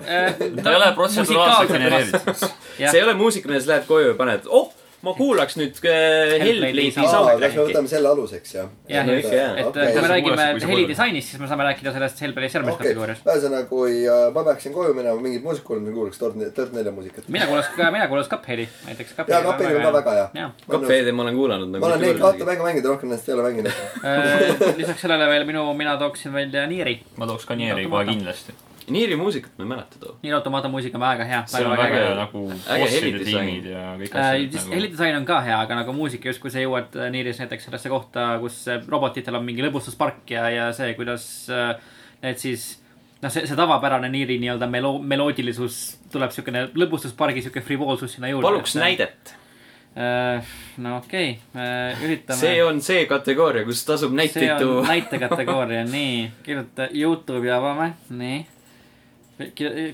E,
ta ei ole protseduuraalselt genereeritud .
see ei ole muusika , mida sa lähed koju ja paned , oh , ma kuulaks nüüd äh, Hellblade'i
aa , kas
Aa,
me
soundtrack'i .
võtame selle aluseks , jah ?
jah ,
No
et
ikka, jaa.
et
Okei.
äh, kui me
Kuidas-
räägime
kuidas-
helidisainist , siis me saame rääkida sellest Hellbergis järgmises
okei ,
kategoorias .
ühesõnaga , kui äh, ma peaksin koju minema mingit muusikat kuulama , siis kuulaks Tord- , Tord nelja muusikat .
mina kuulas ka , mina kuulas Cupheadi näiteks .
jaa , Cuphead'i on ka väga hea .
jah ,
Cuphead'i ma olen kuulanud . nagu
ma olen neid kahte mänge mänginud , rohkem nendest ei ole mänginud .
Äh, lisaks sellele veel minu , mina tooksin välja Nieri .
ma tooks ka Nieri kohe kindlasti .
Niiri muusikat ma ei mäleta too .
Nier Automata muusika on väga hea .
seal on väga hea nagu bosside
helidisain.
tiimid ja kõik
Äh,
asjad . nagu-
helidisain on ka hea , aga nagu muusika justkui sa jõuad äh, Niiris näiteks sellesse kohta , kus äh, robotitel on mingi lõbustuspark ja , ja see , kuidas äh, need siis . noh , see , see tavapärane Niiri nii-öelda melo- , meloodilisus tuleb siukene lõbustuspargi siuke frivoolsus sinna juurde .
paluks . näidet .
no okei okay. , üritame .
see on see kategooria , kus tasub
see
näiteid
on
tuua .
näitekategooria , nii , kirjuta Youtube'i avame , nii .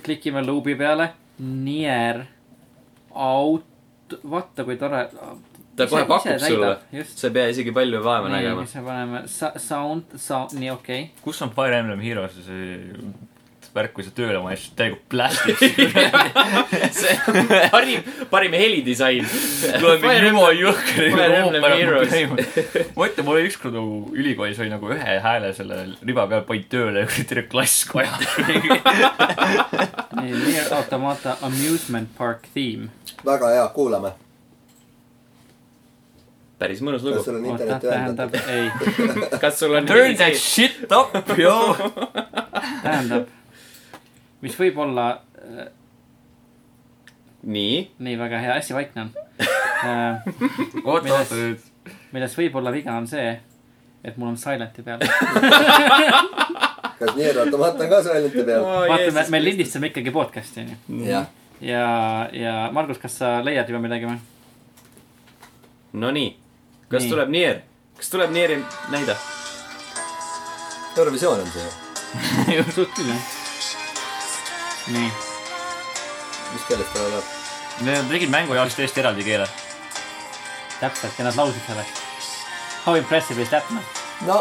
klikime luubi peale , Nier , aut- , vaata kui tore .
ta kohe pakub sulle .
just ,
sa ei pea isegi palju vaeva
nii ,
nägema
mis . me paneme , sa- , sound , sound , nii okei okay. .
kus on Fire Emblem Heroes ja see värk , kui sa tööle paned , siis täiega plastik .
see parim , parim helidisain .
tuleb mingi Jumo Jõhkri
Fire Emblem Heroes.
ma ütlen , mul oli ükskord nagu ülikoolis oli nagu ühe hääle selle riba peal panid tööle ja terve klass kojas .
nii , Nier Automata Amusement Park Theme .
väga hea , kuulame .
päris mõnus
kas
lugu .
sul on
oota ,
internet ühendatud ?
tähendab , ei ,
kas sul on
Turn that shit up , yo .
tähendab , mis võib olla äh,
nii ,
nii väga hea , hästi vaikne on .
oota , oota nüüd .
milles võib olla viga , on see , et mul on silent'i peal .
kas Nier Automata on ka Silenti peal ?
Oh,
vaata , me
Jeesus ,
me lindistame ikkagi podcast'i , onju .
jah .
ja , ja Margus , kas sa leiad juba midagi või ?
Nonii , kas
Nii.
nii. tuleb Nier , kas tuleb Nieri näide ?
Eurovisioon on see ju .
suht küll , jah . nii ,
mis keeles ta läheb ?
Nad tegid mängu jaoks täiesti eraldi keele .
täpselt ja nad laulsid sellest . How impressive is that , noh
no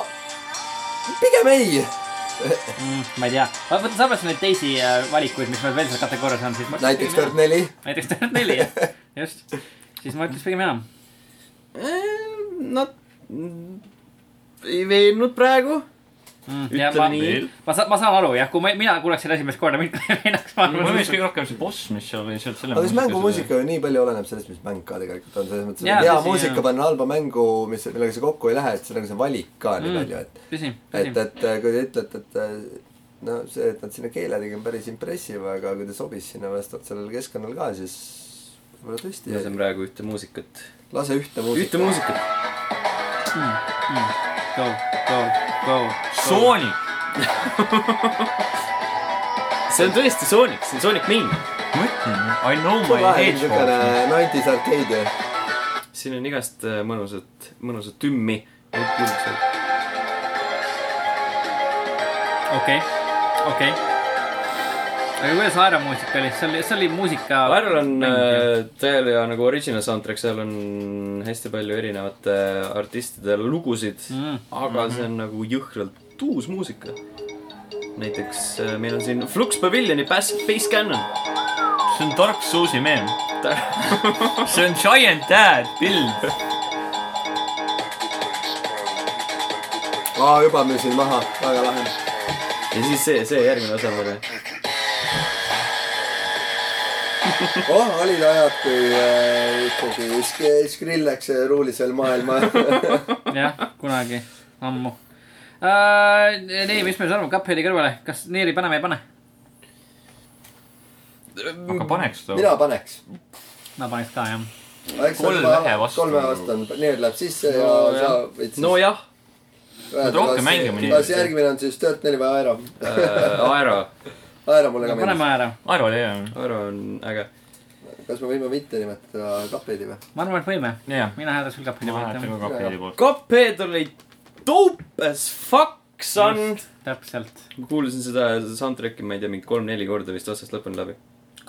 pigem ei .
mm, . ma ei tea , vaata , sa arvestad neid teisi äh, valikuid , mis meil veel seal kategoorias on , siis ma
näiteks Tord . neli .
näiteks Tord neli , jah , just . siis ma ütleks pigem enam .
Nad ei veennud praegu .
Mm, ja
Ütle
ma
nii. ,
ma saan , ma saan aru , jah , kui ma , mina kuuleks selle esimest korda , mind ei meenaks , ma
mulle
arvan .
meeldis kõige rohkem see boss , mis seal oli , see oli selle .
aga siis mängumuusika ju nii palju oleneb sellest , mis mäng ka tegelikult on , selles mõttes ,
Jaa,
et hea
tõsi,
muusika
jaa.
panna halba mängu , mis , millega see kokku ei lähe , et see nagu see valik ka nii
Mm.
palju , et
tõsi ,
et ,
tõsi .
et äh, kui te ütlete , et äh, no see , et nad sinna keele tegid , on päris impressive , aga kui ta sobis sinna vastavalt sellele keskkonnale ka , siis võib-olla
ma saan
tõesti .
praegu ühte muusikat ,
lase ühte muusikat .
ühte . muusikat .
Go , go , go .
Sonic ,
see on tõesti Sonic , see on Sonic Ming .
ma ütlen , I know my
lahe , niisugune
hedgehog .
nineties arcade .
siin on igast äh, mõnusat , mõnusat tümmi .
okei , okei . aga kuidas Aero muusika oli , see oli , see oli muusika .
Aerol on , tal ja nagu original soundtrack , seal on hästi palju erinevate äh, artistide lugusid
Mm.
mm. , aga see on nagu jõhkralt uus muusika . näiteks äh, meil on siin Flux Paviljoni Bass , Bass Cannon .
see on Dark Souls'i meem . see on Giant Dad , Bill .
aa , juba müüsin maha , väga lahe .
ja siis see , see järgmine osa on väga hea .
oh , olid ajad , kui äh, ikkagi Sk- Skrillex ruulis veel maailma .
jah , kunagi , ammu uh, . nii , mis me siis arvame , Cupheadi kõrvale , kas Neeri paneme , ei pane ?
aga paneks too .
mina paneks .
ma paneks ka , jah .
Kolm vähe vastu.
kolme vastu on , need läheb sisse ja
No
sa
jah.
võid siis .
nojah ,
rohkem mängima nii-
kas järgmine on siis Dirt neli või Aero ?
äh, Aero ,
Aero mulle ka meeldis
paneme . ära .
Aero oli hea .
Aero on äge .
kas me võime mitte nimetada Cuphead'i või ?
ma arvan , et võime .
jah ,
mina hääldaks küll Cupheadi
ma mäletan
poolt ,
ka Cupheadi poolt .
Cuphead oli dope as fuck , son .
jah . täpselt .
ma kuulasin seda soundtrack'i , ma ei tea , mingi kolm-neli korda vist otsast lõpuni läbi .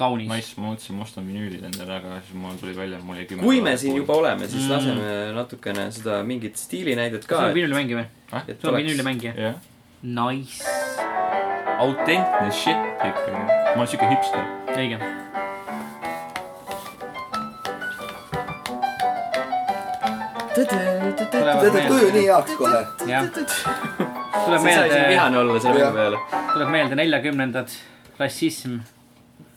kaunis
ma siis , ma mõtlesin , ma ostan vinüülid endale , aga siis mul tuli välja , et mul jäi kümme .
kui me siin juba oleme , siis
Mm.
laseme natukene seda mingit stiilinäidet
sul
ka
on . vinüülimängija või ?
et
sul on
oleks
vinüülimängija ?
jah ,
Nice ,
autentne shit ikkagi . ma olen siuke hipster .
õige .
tead , et tuju nii heaks kohe .
jah ,
sa ei saa
tuleb
isegi
meelde ,
vihane olla selle
Jah.
mängu peale .
tuleb meelde neljakümnendad , rassism .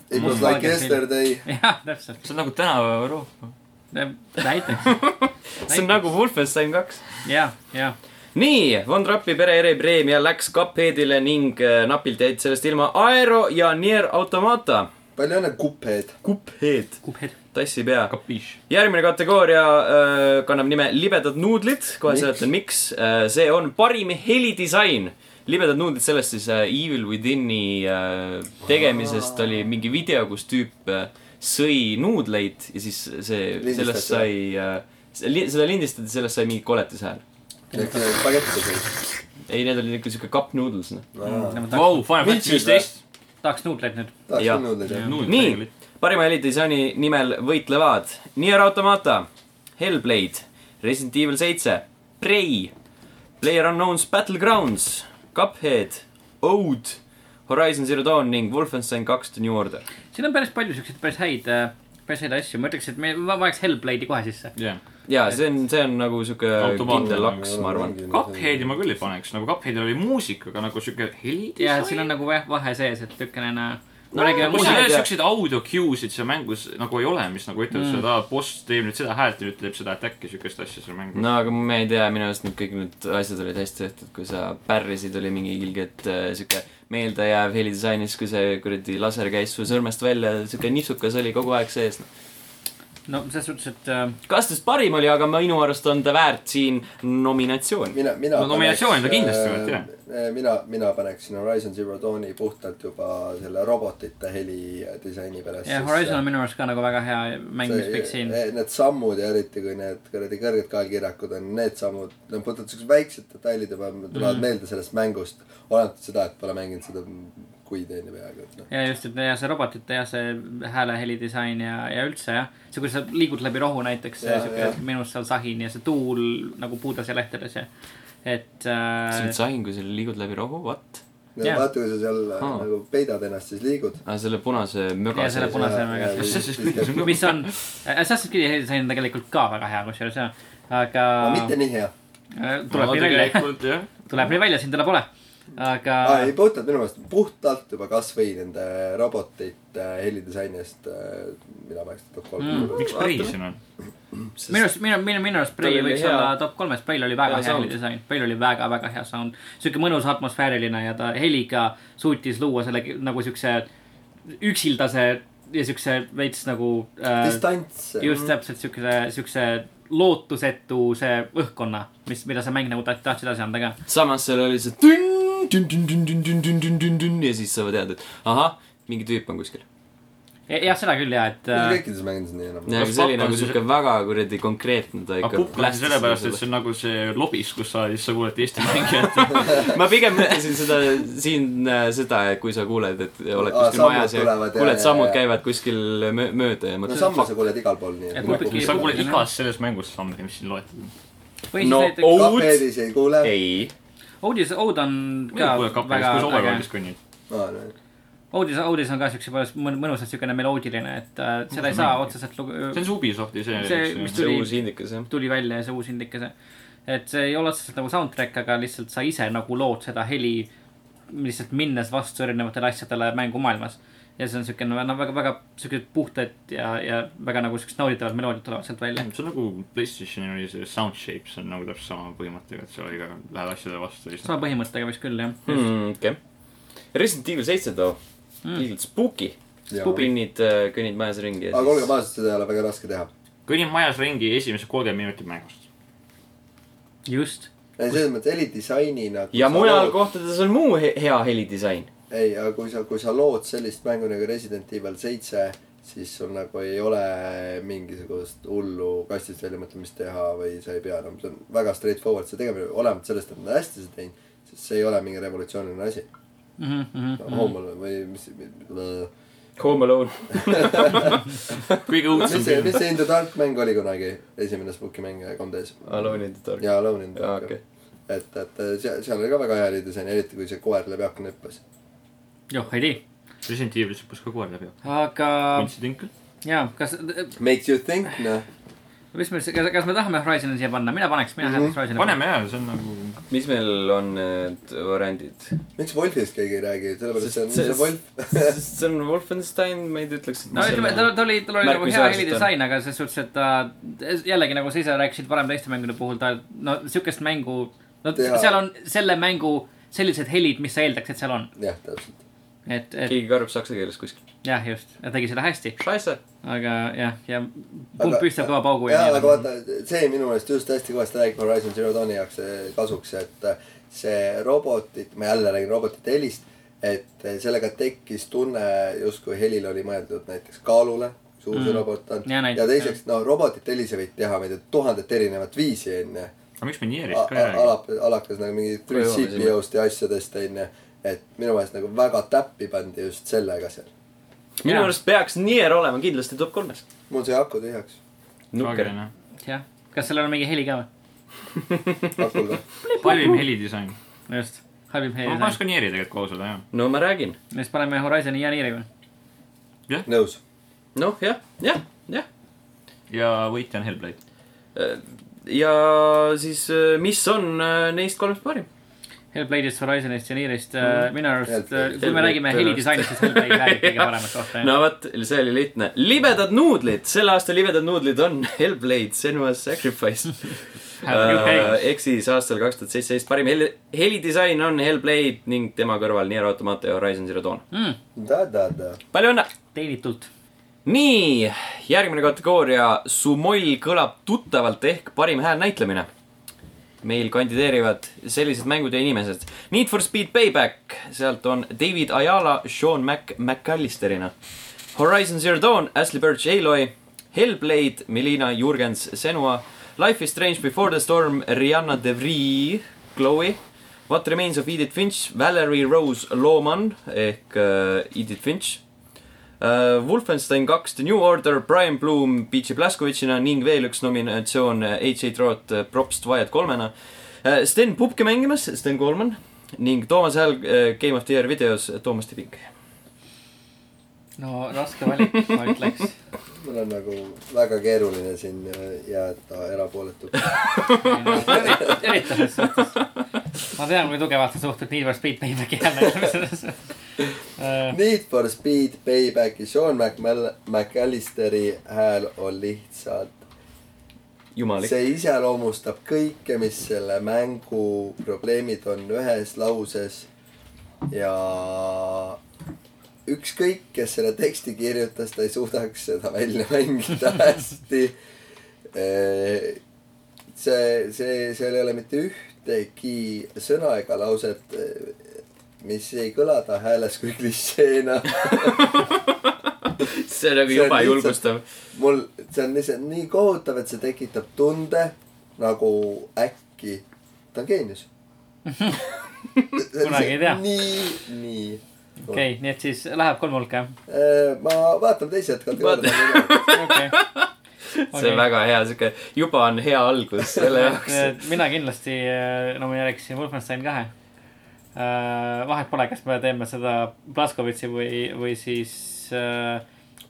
It was
Must
like
valge film.
yesterday .
jah , täpselt ,
see on nagu tänapäeva Euroopa .
näiteks .
see on nagu Wolfenstein kaks .
jah , jah ,
nii , Von Trappi pere eripreemia läks Cupheadile ning äh, napilt jäid sellest ilma Aero ja Nier Automata .
palju õnne , kupeed .
Cuphead ,
kubhed .
tassi pea .
kapiš .
järgmine kategooria äh, kannab nime libedad nuudlid , kohe
Miks?
seletan , miks . see on parim helidisain . libedad nuudlid , sellest siis äh, Evil Withini äh, tegemisest oli mingi video , kus tüüp äh, sõi nuudleid ja siis see ,
Lindistati
sellest sai äh, , seda lindistati , sellest sai mingi koletis hääl .
spagetti sõid .
ei , need olid ikka siuke cup noodles , noh .
Vau , Final Fantasy
Mitsid või?
viisteist .
tahaks nuudleid nüüd .
tahaks
Jah.
küll nuudleid jah .
nii , parima helidisaini nimel võitlevad Nier Automata , Hellblade , Resident Evil seitse , Prey , PlayerUnknown's Battlegrounds , Cuphead , Ode , Horizon Zero Dawn ning Wolfenstein kaks The New Order .
siin on päris palju siukseid päris häid , päris häid asju , ma ütleks , et me va- vajaks Hellblade'i kohe sisse .
jah .
ja see on , see on nagu siuke
Automaatne
kindel laks ,
nagu
ma arvan .
Cupheadi ma küll ei paneks , nagu Cupheadil oli muusika , aga nagu siuke heli .
ja siin on nagu jah , vahe sees , et niisugune no,
No,
no räägime
mul
Mina
siin
ei
ei ole
tea.
siukseid audio cue'sid seal mängus nagu ei ole , mis nagu ütlevad
Mm.
seda , boss teeb nüüd seda häält ja nüüd teeb seda attack'i , siukest asja seal mängus .
no aga me ei tea , minu arust need kõik need asjad olid hästi tehtud , kui sa pärrisid , oli mingi ilgelt äh, siuke meeldejääv helidisainis , kui see kuradi laser käis su sõrmest välja , siuke nipsukas oli kogu aeg sees .
no selles suhtes , et äh,
kas tast parim oli , aga minu arust on ta väärt siin nominatsiooni .
mina , mina .
No nominatsiooni ta kindlasti võeti, jah. .
mina , mina paneksin Horizon Zero Dawni puhtalt juba selle robotite heli disaini pärast .
jah , Horizon on minu arust ka nagu väga hea mäng , mis võiks siin .
eh, Need sammud ja eriti , kui need kuradi kõrged kaelkirjakud on need sammud , need on puhtalt siuksed väiksed detailid juba ,
Mhm.
tulevad mm. meelde sellest mängust . olenemata seda , et pole mänginud seda kuid enne peaaegu , et noh .
ja just , et ja see robotite ja see hääle helidisain ja , ja üldse jah . see , kuidas sa liigud läbi rohu näiteks , see
Jaa,
siuke
jah.
minus seal sahin ja see tuul nagu puudes ja lehtedes ja , et
see on
äh, .
sahin , kui sa liigud läbi rohu , what ?
Jah.
vaata , kui sa seal
Aa.
nagu peidad ennast , siis liigud .
aa , selle punase
ja
möga
selle
sees .
punase
Jaa,
väga
jaa,
kas see siis
Siis
kõik on ka
mis on , Assassin's Creed'i helidisain on tegelikult ka väga hea kusjuures jah , aga
aga mitte nii hea .
äh, tuleb nii välja ,
jah .
tuleb nii välja , siin teda pole , aga
aa , ei puhtalt minu meelest , puhtalt juba kasvõi nende robotite eh, helidisaini eest , mina paneks ta top kolm
Mm.
mm. .
miks Prei siin on ?
minu arust , minu , minu , minu arust
Tal
Prei
oli
võiks
hea-
olla top kolmes , Preil oli väga
hea
hea
sound.
helidisain , Preil oli väga-väga hea sound . sihuke mõnus atmosfääriline ja ta heliga suutis luua selle ki- nagu siukse üksildase ja siukse veits nagu äh, .
distants .
just täpselt siukse , siukse lootusetu see õhkkonna , mis , mida see mäng nagu ta- tahtis edasi anda ka .
samas seal oli see tünn , tünn , tünn , tünn , tünn , tünn , tünn , tünn , tünn , tünn ja siis sa tead , et ahah , mingi tüüp on kuskil .
E-, jah , seda küll ja , et äh,
kõikides mängides on nii enam .
ja
Kas
see oli
Papa on
nagu
siis-
siuke väga kuradi konkreetne , ta
aga
ikka .
Pukk on siis sellepärast , et see on nagu see lobis , kus sa , siis sa kuuled Eesti mängijat .
ma pigem mõtlesin seda siin äh, seda , kui sa kuuled , et oled
Aa,
kuskil
sammud
majas ja
tulevad ja-
kuuled ,
ja-
sammud
ja-
käivad kuskil mö- mööda ja
no
mõtled
samme
no,
sa . kuuled igal pool nii . nagu-
Ja kumbki-
sa kuuled igas selles mängus samme , mis siin loetud on .
või siis
no
näiteks
Oud ,
Cupheadis ei kuule .
ei .
Oudis , Oud on
mina
ka
kuulen kapis ,
väga
kus
äge
overworldis kõnnid .
Oudis , Oudis on ka siukse päris mõn- mõnusalt siukene meloodiline , et äh, seda ei saa otseselt lugu-
see on see Ubisofti see .
See, mis
see
Tuli-
uus indikas jah .
tuli välja ja see uus indikese . et see ei ole otseselt nagu soundtrack , aga lihtsalt sa ise nagu lood seda heli lihtsalt minnes vastu erinevatele asjadele mängumaailmas . ja see on siukene , noh , väga , väga siuksed puhtad ja , ja väga nagu siuksed nauditavad meloodiad tulevad sealt välja .
see on nagu Playstationi oli see Soundshape , see on nagu täpselt sama põhimõttega , et seal oli ka , lähed asjadele vastu ja siis .
sama põhimõttega vist küll ,
Hmm.
jah .
Mm, okei . Resident Evil seitse too , ilgelt spooky . kõnnid , kõnnid majas ringi ja
aga olgem
siis .
ausad , seda ei ole väga raske teha .
kõnnin majas ringi esimese kolmkümmend minutit mängust .
just .
ei , selles mõttes helidisaini nagu .
ja mujal . kohtades on muu he- hea helidisain .
ei , aga kui sa , kui sa lood sellist mängu nagu Resident Evil seitse , siis sul nagu ei ole mingisugust hullu kastist väljamõtlemist teha või sa ei pea enam , see on väga straightforward , see tegemine , olenemata sellest , et nad on hästi seda teinud ,
Mhm,
Mhm.
siis see ei ole mingi revolutsiooniline asi . Hommel või mis ,
Home Alone .
kõige õudsem
mis see ,
film .
mis see In the Dark mäng oli kunagi , esimene Spooki mäng kolmteis ?
Alone in the Dark .
jaa , Alone in the
Aa,
Dark
okei. .
et , et eh, seal , seal oli ka väga hea helidisain , eriti kui see koer läbi akna hüppas .
joh , ei tea .
Resident Evilis hüppas ka koer läbi .
aga
kunstitink .
jaa , kas ,
Makes you think , noh .
mis meil , kas me tahame Horizon'i siia panna , mina paneks , mina hääletaks Horizon'i .
paneme jaa , see on nagu .
mis meil on need variandid ?
miks Wolfist keegi ei räägi , sellepärast see on ,
Sest-
see on Wolf .
see on Wolfenstein , ma ei ütleks , et
no ütleme , tal , tal oli , tal oli nagu hea
märkimisväärselt on.
helidisain , aga selles suhtes , et ta jällegi nagu sa ise rääkisid varem teiste mängude puhul , ta no siukest mängu , no
Teha.
seal on selle mängu sellised helid , mis sa eeldaks , et seal on .
jah , täpselt .
et , et
keegi karjub saksa keeles kuskil .
jah , just , ta tegi seda hästi ,
Scheisse .
aga jah , ja pump püstab kõva paugu
ja . jaa , aga
ja
vaata , see minu meelest just hästi kõvasti räägib Horizon Zero Dawni jaoks eh, kasuks , et eh, see robotit , ma jälle räägin robotite helist , et eh, sellega tekkis tunne , justkui helil oli mõeldud näiteks kaalule , see uus
Mm.
mm. robot on .
Ja näiteks,
ja teiseks , no robotite helise võid teha , ma ei tea , tuhandet erinevat viisi , onju .
aga miks me Nierist ka ei räägi ?
alakas , alakas nagu mingi
Kui jõuame sinna.
CPO-st ja asjadest , onju . et minu meelest nagu väga täppi pandi just sellega seal .
minu
Jaa.
arust peaks Nier olema kindlasti top kolmes .
mul sai aku tühjaks .
nukker .
jah , kas sellel on mingi heli ka või ?
akul või ?
halvim helidisain .
just , halvim
ma paneks
heli .
ka Nieri tegelikult koos olla , jah .
no ma räägin .
siis paneme Horizon'i ja Nieri või ?
nõus .
noh , jah , jah , jah .
ja võitja on Hellblade .
ja siis , mis on äh, neist kolmest parim ?
Hellblade'ist , Horizon'ist ja Nierist mm. , minu arust ,
Hellblade.
kui me räägime
Hellblade
helidisainist , siis Hellblade läheb kõige paremat kohta .
no vot , see oli lihtne . libedad nuudlid , selle aasta libedad nuudlid on Hellblade , Senua's Sacrifice . ehk siis aastal kaks tuhat seitseteist parim heli , helidisain on Hellblade ning tema kõrval Nier Automata ja Horizon Zero Dawn .
mm, .
da-da-da .
palju õnne!
teenitult .
nii , järgmine kategooria , su moll kõlab tuttavalt ehk parim hääl näitlemine . meil kandideerivad sellised mängud ja inimesed . Need for Speed Payback , sealt on David Ayala , Sean Mac , McAllisterina . Horizon Zero Dawn , Ashley Birch , Aloy . Hellblade , Melina Jurgens , Senua . Life is Strange Before the Storm , Rihanna DeVree , Chloe . What Remains of Edith Finch , Valerie Rose Looman ehk äh, Edith Finch Uh, Wolfenstein kaks , The New Order , Brian Bloom , Peachy Blaskovitšina ning veel üks nominatsioon uh, H.A. Trot uh, Propst Wyatt kolmena uh, . Sten Pupke mängimas , Sten Kolman ning Toomas Hääl uh, Game of the Year videos Toomas Tibing .
no raske valik , ma ütleks .
mul on nagu väga keeruline siin äh, jääda erapooletuks .
eriti selles suhtes . ma tean , kui tugevalt sa suhtud Need for Speed Paybacki hääletusesse . Äh,
Need for Speed Paybacki Sean McMal- , McAllisteri hääl on lihtsalt ,
jumalik See... .
see iseloomustab kõike , mis selle mängu probleemid on ühes lauses . ja ükskõik , kes selle teksti kirjutas , ta ei suudaks seda välja mängida hästi . see , see , seal ei ole mitte ühtegi sõna ega lauset , mis ei kõla ta hääles kui noh. klišeena
see on nagu
See on
jube
lihtsalt-
julgustav .
mul , see on lihtsalt nii kohutav , et see tekitab tunde nagu äkki ta on geenius .
Kunagi ei tea.
nii , nii .
okei , nii et siis läheb kolm hulka ,
ma vaatan teised kategooriad .
jah ? okei .
see on väga hea , sihuke , juba on hea algus selle jaoks .
mina kindlasti äh, nomineeriksin Wolfenstein kahe . vahet pole , kas me teeme seda Blaskovitši või , või siis äh,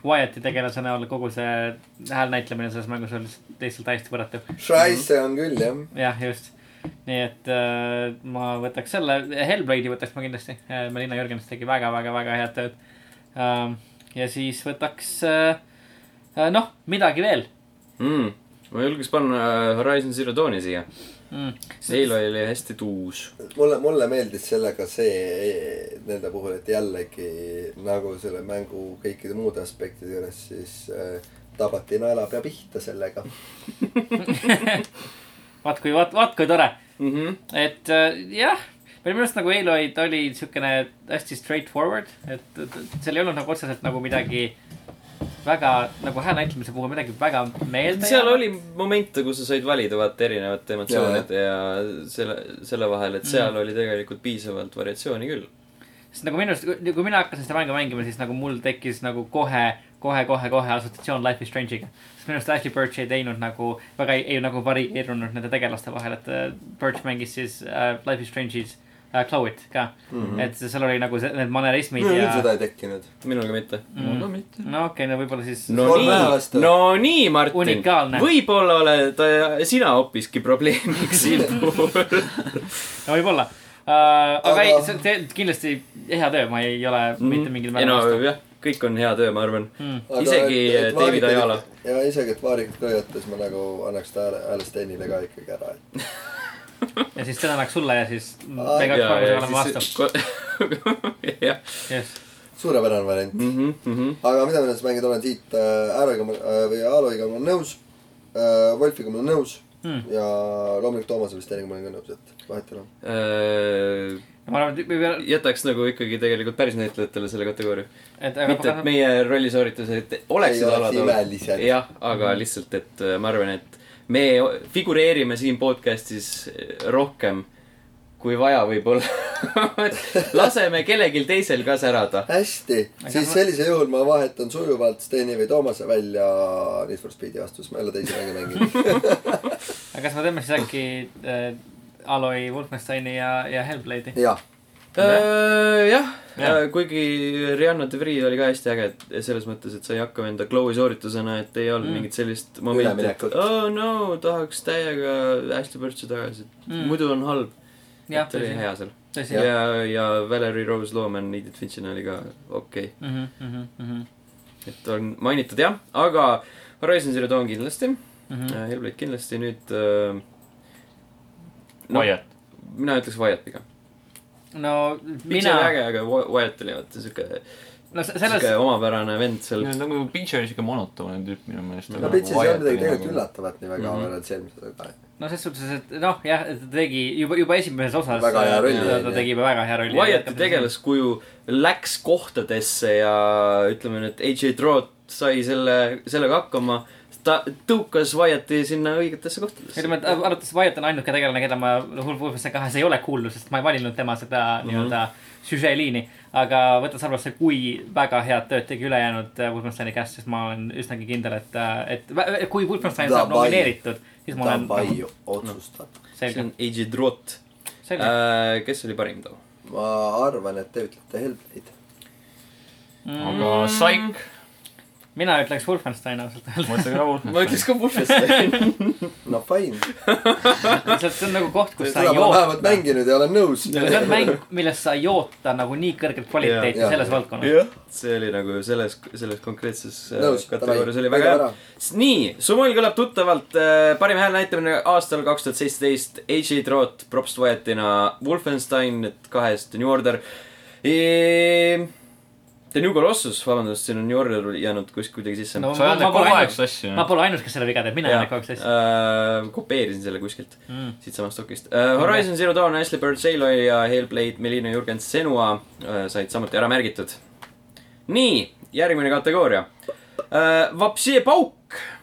Wyatti tegelase näol kogu see hääl näitlemine selles mängus on lihtsalt- lihtsalt täiesti võrratu .
Shrice on küll jah .
jah , just . nii et äh, ma võtaks selle , Hellblade'i võtaks ma kindlasti . Melina Jürgens tegi väga , väga , väga head tööd ähm, . ja siis võtaks äh, , äh, noh , midagi veel
Mm. ma julgeks panna äh, Horizon Zero Dawni siia .
mm. .
Aloy oli hästi tuus .
mulle , mulle meeldis sellega see nende puhul , et jällegi nagu selle mängu kõikide muude aspektide juures , siis äh, tabati naelapea pihta sellega .
vaat kui , vaat , vaat kui tore
mm . -hmm.
et äh, jah , või minu arust nagu Aloy , ta oli siukene hästi straightforward , et et- et seal ei olnud nagu otseselt nagu midagi väga nagu hääle näitlemise puhul midagi väga meelde .
seal oli momente , kus sa said valida vaata erinevate
Mm.
emotsioonide ja selle , selle vahel , et seal oli tegelikult piisavalt variatsiooni küll .
sest nagu minu arust , kui mina hakkasin seda mängu mängima , siis nagu mul tekkis nagu kohe , kohe , kohe , kohe assotsiatsioon Life is Strange'iga . sest minu arust Ashley Birch ei teinud nagu , väga ei, ei nagu varieerunud nende tegelaste vahel , et äh, Birch mängis siis äh, Life is Strange'is äh, Chloe't ka mm .
Mhm.
-hmm. et seal oli nagu see, need manerismid
minul
ja .
seda ei tekkinud .
minul ka mitte
Mm.
no mitte
no okei okay, , no võib-olla siis
no
Kolm päevast
nii
või? ,
no nii , Martin
Unikaalne. ,
võib-olla oled äh, sina hoopiski probleemiks siin puhul .
no võib-olla uh, . aga, aga...
Aga-
ei , see on te- kindlasti hea töö , ma ei ole mm. mitte mingil
Mhm. ei no
määral vastu .
jah , kõik on hea töö , ma arvan .
Mm.
Isegi äh, David Ayala. .
ja isegi , et Vaarikat lõigates ma nagu annaks ta hääle , hääle Stenile ka ikkagi ära , et
ja siis seda annaks sulle ja siis
Aa,
me kaks korda oleme vastu .
jah , Mhm,
just ,
suurepärane variant .
Mm.
aga mida ma nüüd mängida olen , Tiit äh, Ääroga ma- äh, või Aaroga ma olen nõus äh, , Wolfiga ma olen nõus
Mm.
ja loomulikult Toomase vist teiega ma olen ka nõus , et vahet ei ole .
Äh,
ma arvan , et me peame ,
jätaks nagu ikkagi tegelikult päris näitlejatele selle kategooria .
et
mitte , et
aga .
meie rollisooritused
Ei
oleksid
oleks
alad
imelised.
jah , aga
Mhm.
lihtsalt , et äh, ma arvan , et me figureerime siin podcast'is äh, rohkem kui vaja võib-olla . laseme kellelgi teisel ka särada .
hästi , siis
ma-
sellisel juhul ma vahetan sujuvalt Steni või Toomase välja Need for Speedi vastu , siis ma jälle teisi mänge mängin .
aga kas me teeme siis äkki äh, Aloi , Wolfensteini ja , ja Hellblade'i ?
jah ,
Äh, jah
Jah. ,
kuigi Rihanna De Vries oli ka hästi äge , et selles mõttes , et sai hakkama enda Chloe sooritusena , et ei olnud
Mm.
mm. mingit sellist momenti , et
Üleminekut.
oh no , tahaks täiega Ashley Birchi tagasi
Mm.
mm. , muidu on halb .
Jah,
et oli
tõsi.
hea seal .
tõsi
ja , ja Valerie Rose Looman , Edith Finchina oli ka okei okay. ,
mhm , mhm , mhm ,
et on mainitud jah , aga Horizon Zero Dawn kindlasti mm. ,
mhm .
Hellblade kindlasti , nüüd äh, No.
Wyatt .
mina ütleks Wyatt pigem .
no
Mina... oli
mina ,
äge , aga Wy- Wyatt oli vaata siuke ,
no se- selles
siuke , omapärane vend seal
No, . nagu Pitcher oli siuke monotoonne tüüp minu meelest .
no Pitsis ei olnud midagi tegelikult . üllatavat nii väga
Nagu Mhm.
võrreldes eelmisele ajale .
no ses suhtes , et noh , jah , et ta tegi juba , juba esimeses osas .
Väga hea rolli
ta,
oli,
ta
jah.
tegi juba väga hea rolli .
Wyatti tegelaskuju läks kohtadesse ja ütleme nüüd , AJ Trot sai selle , sellega hakkama . ta tõukas Wyatti sinna õigetesse kohtadesse .
ütleme , et arvates Wyatt on ainuke tegelane , keda ma Wolfenstein kahes ei ole kuulnud , sest ma ei valinud tema
Mhm.
seda mm -hmm. nii-öelda süžeeliini . aga võttes arvesse , kui väga head tööd tegi ülejäänud äh, Wolfensteini käest , siis ma olen üsnagi kindel , et , et vä- kui Wolfenstein saab
Davai.
nomineeritud , siis ma olen
Davai , otsustab .
see
selge
on , AJ Trot . Äh.
selge .
kes oli parim too ?
ma arvan , et te ütlete Hellblade .
aga Saik ,
mina ütleks Wolfenstein ausalt öeldes .
ma ütlen ka
ma
Wolfenstein .
ütleks ka Wolfenstein .
no fine ,
see on nagu koht , kus sa
seda
ei
ma vähemalt
oota .
mänginud ja olen nõus .
see on mäng , millest sa ei oota nagu nii kõrget kvaliteeti
Jaa, jaa.
selles valdkonnas .
jah , see oli nagu selles , selles konkreetses äh,
Nõus,
kategoorias
davai,
oli väga
võidame
hea . nii , Sumul kõlab tuttavalt äh, , parim hääl näitamine aastal kaks tuhat seitseteist , AJ Trot , Props Wyatina , Wolfenstein , et kahest New Order e... . The New Colossus , vabandust , siin on New Order jäänud kuskilt kuidagi sisse
No
sa
Ma-
ajad
ma
kogu
pole
aeg
ainult-
seda asja .
ma pole ainus , kes selle viga teeb , mina olen kogu aeg selles .
äh, kopeerisin selle kuskilt
Mm.
siitsamast dokist äh, . Horizon Zero Dawn , Ashley Bird , Aloy ja Hellblade , Melina Jürgens , Senua äh, said samuti ära märgitud . nii , järgmine kategooria äh, . Vapsi pauk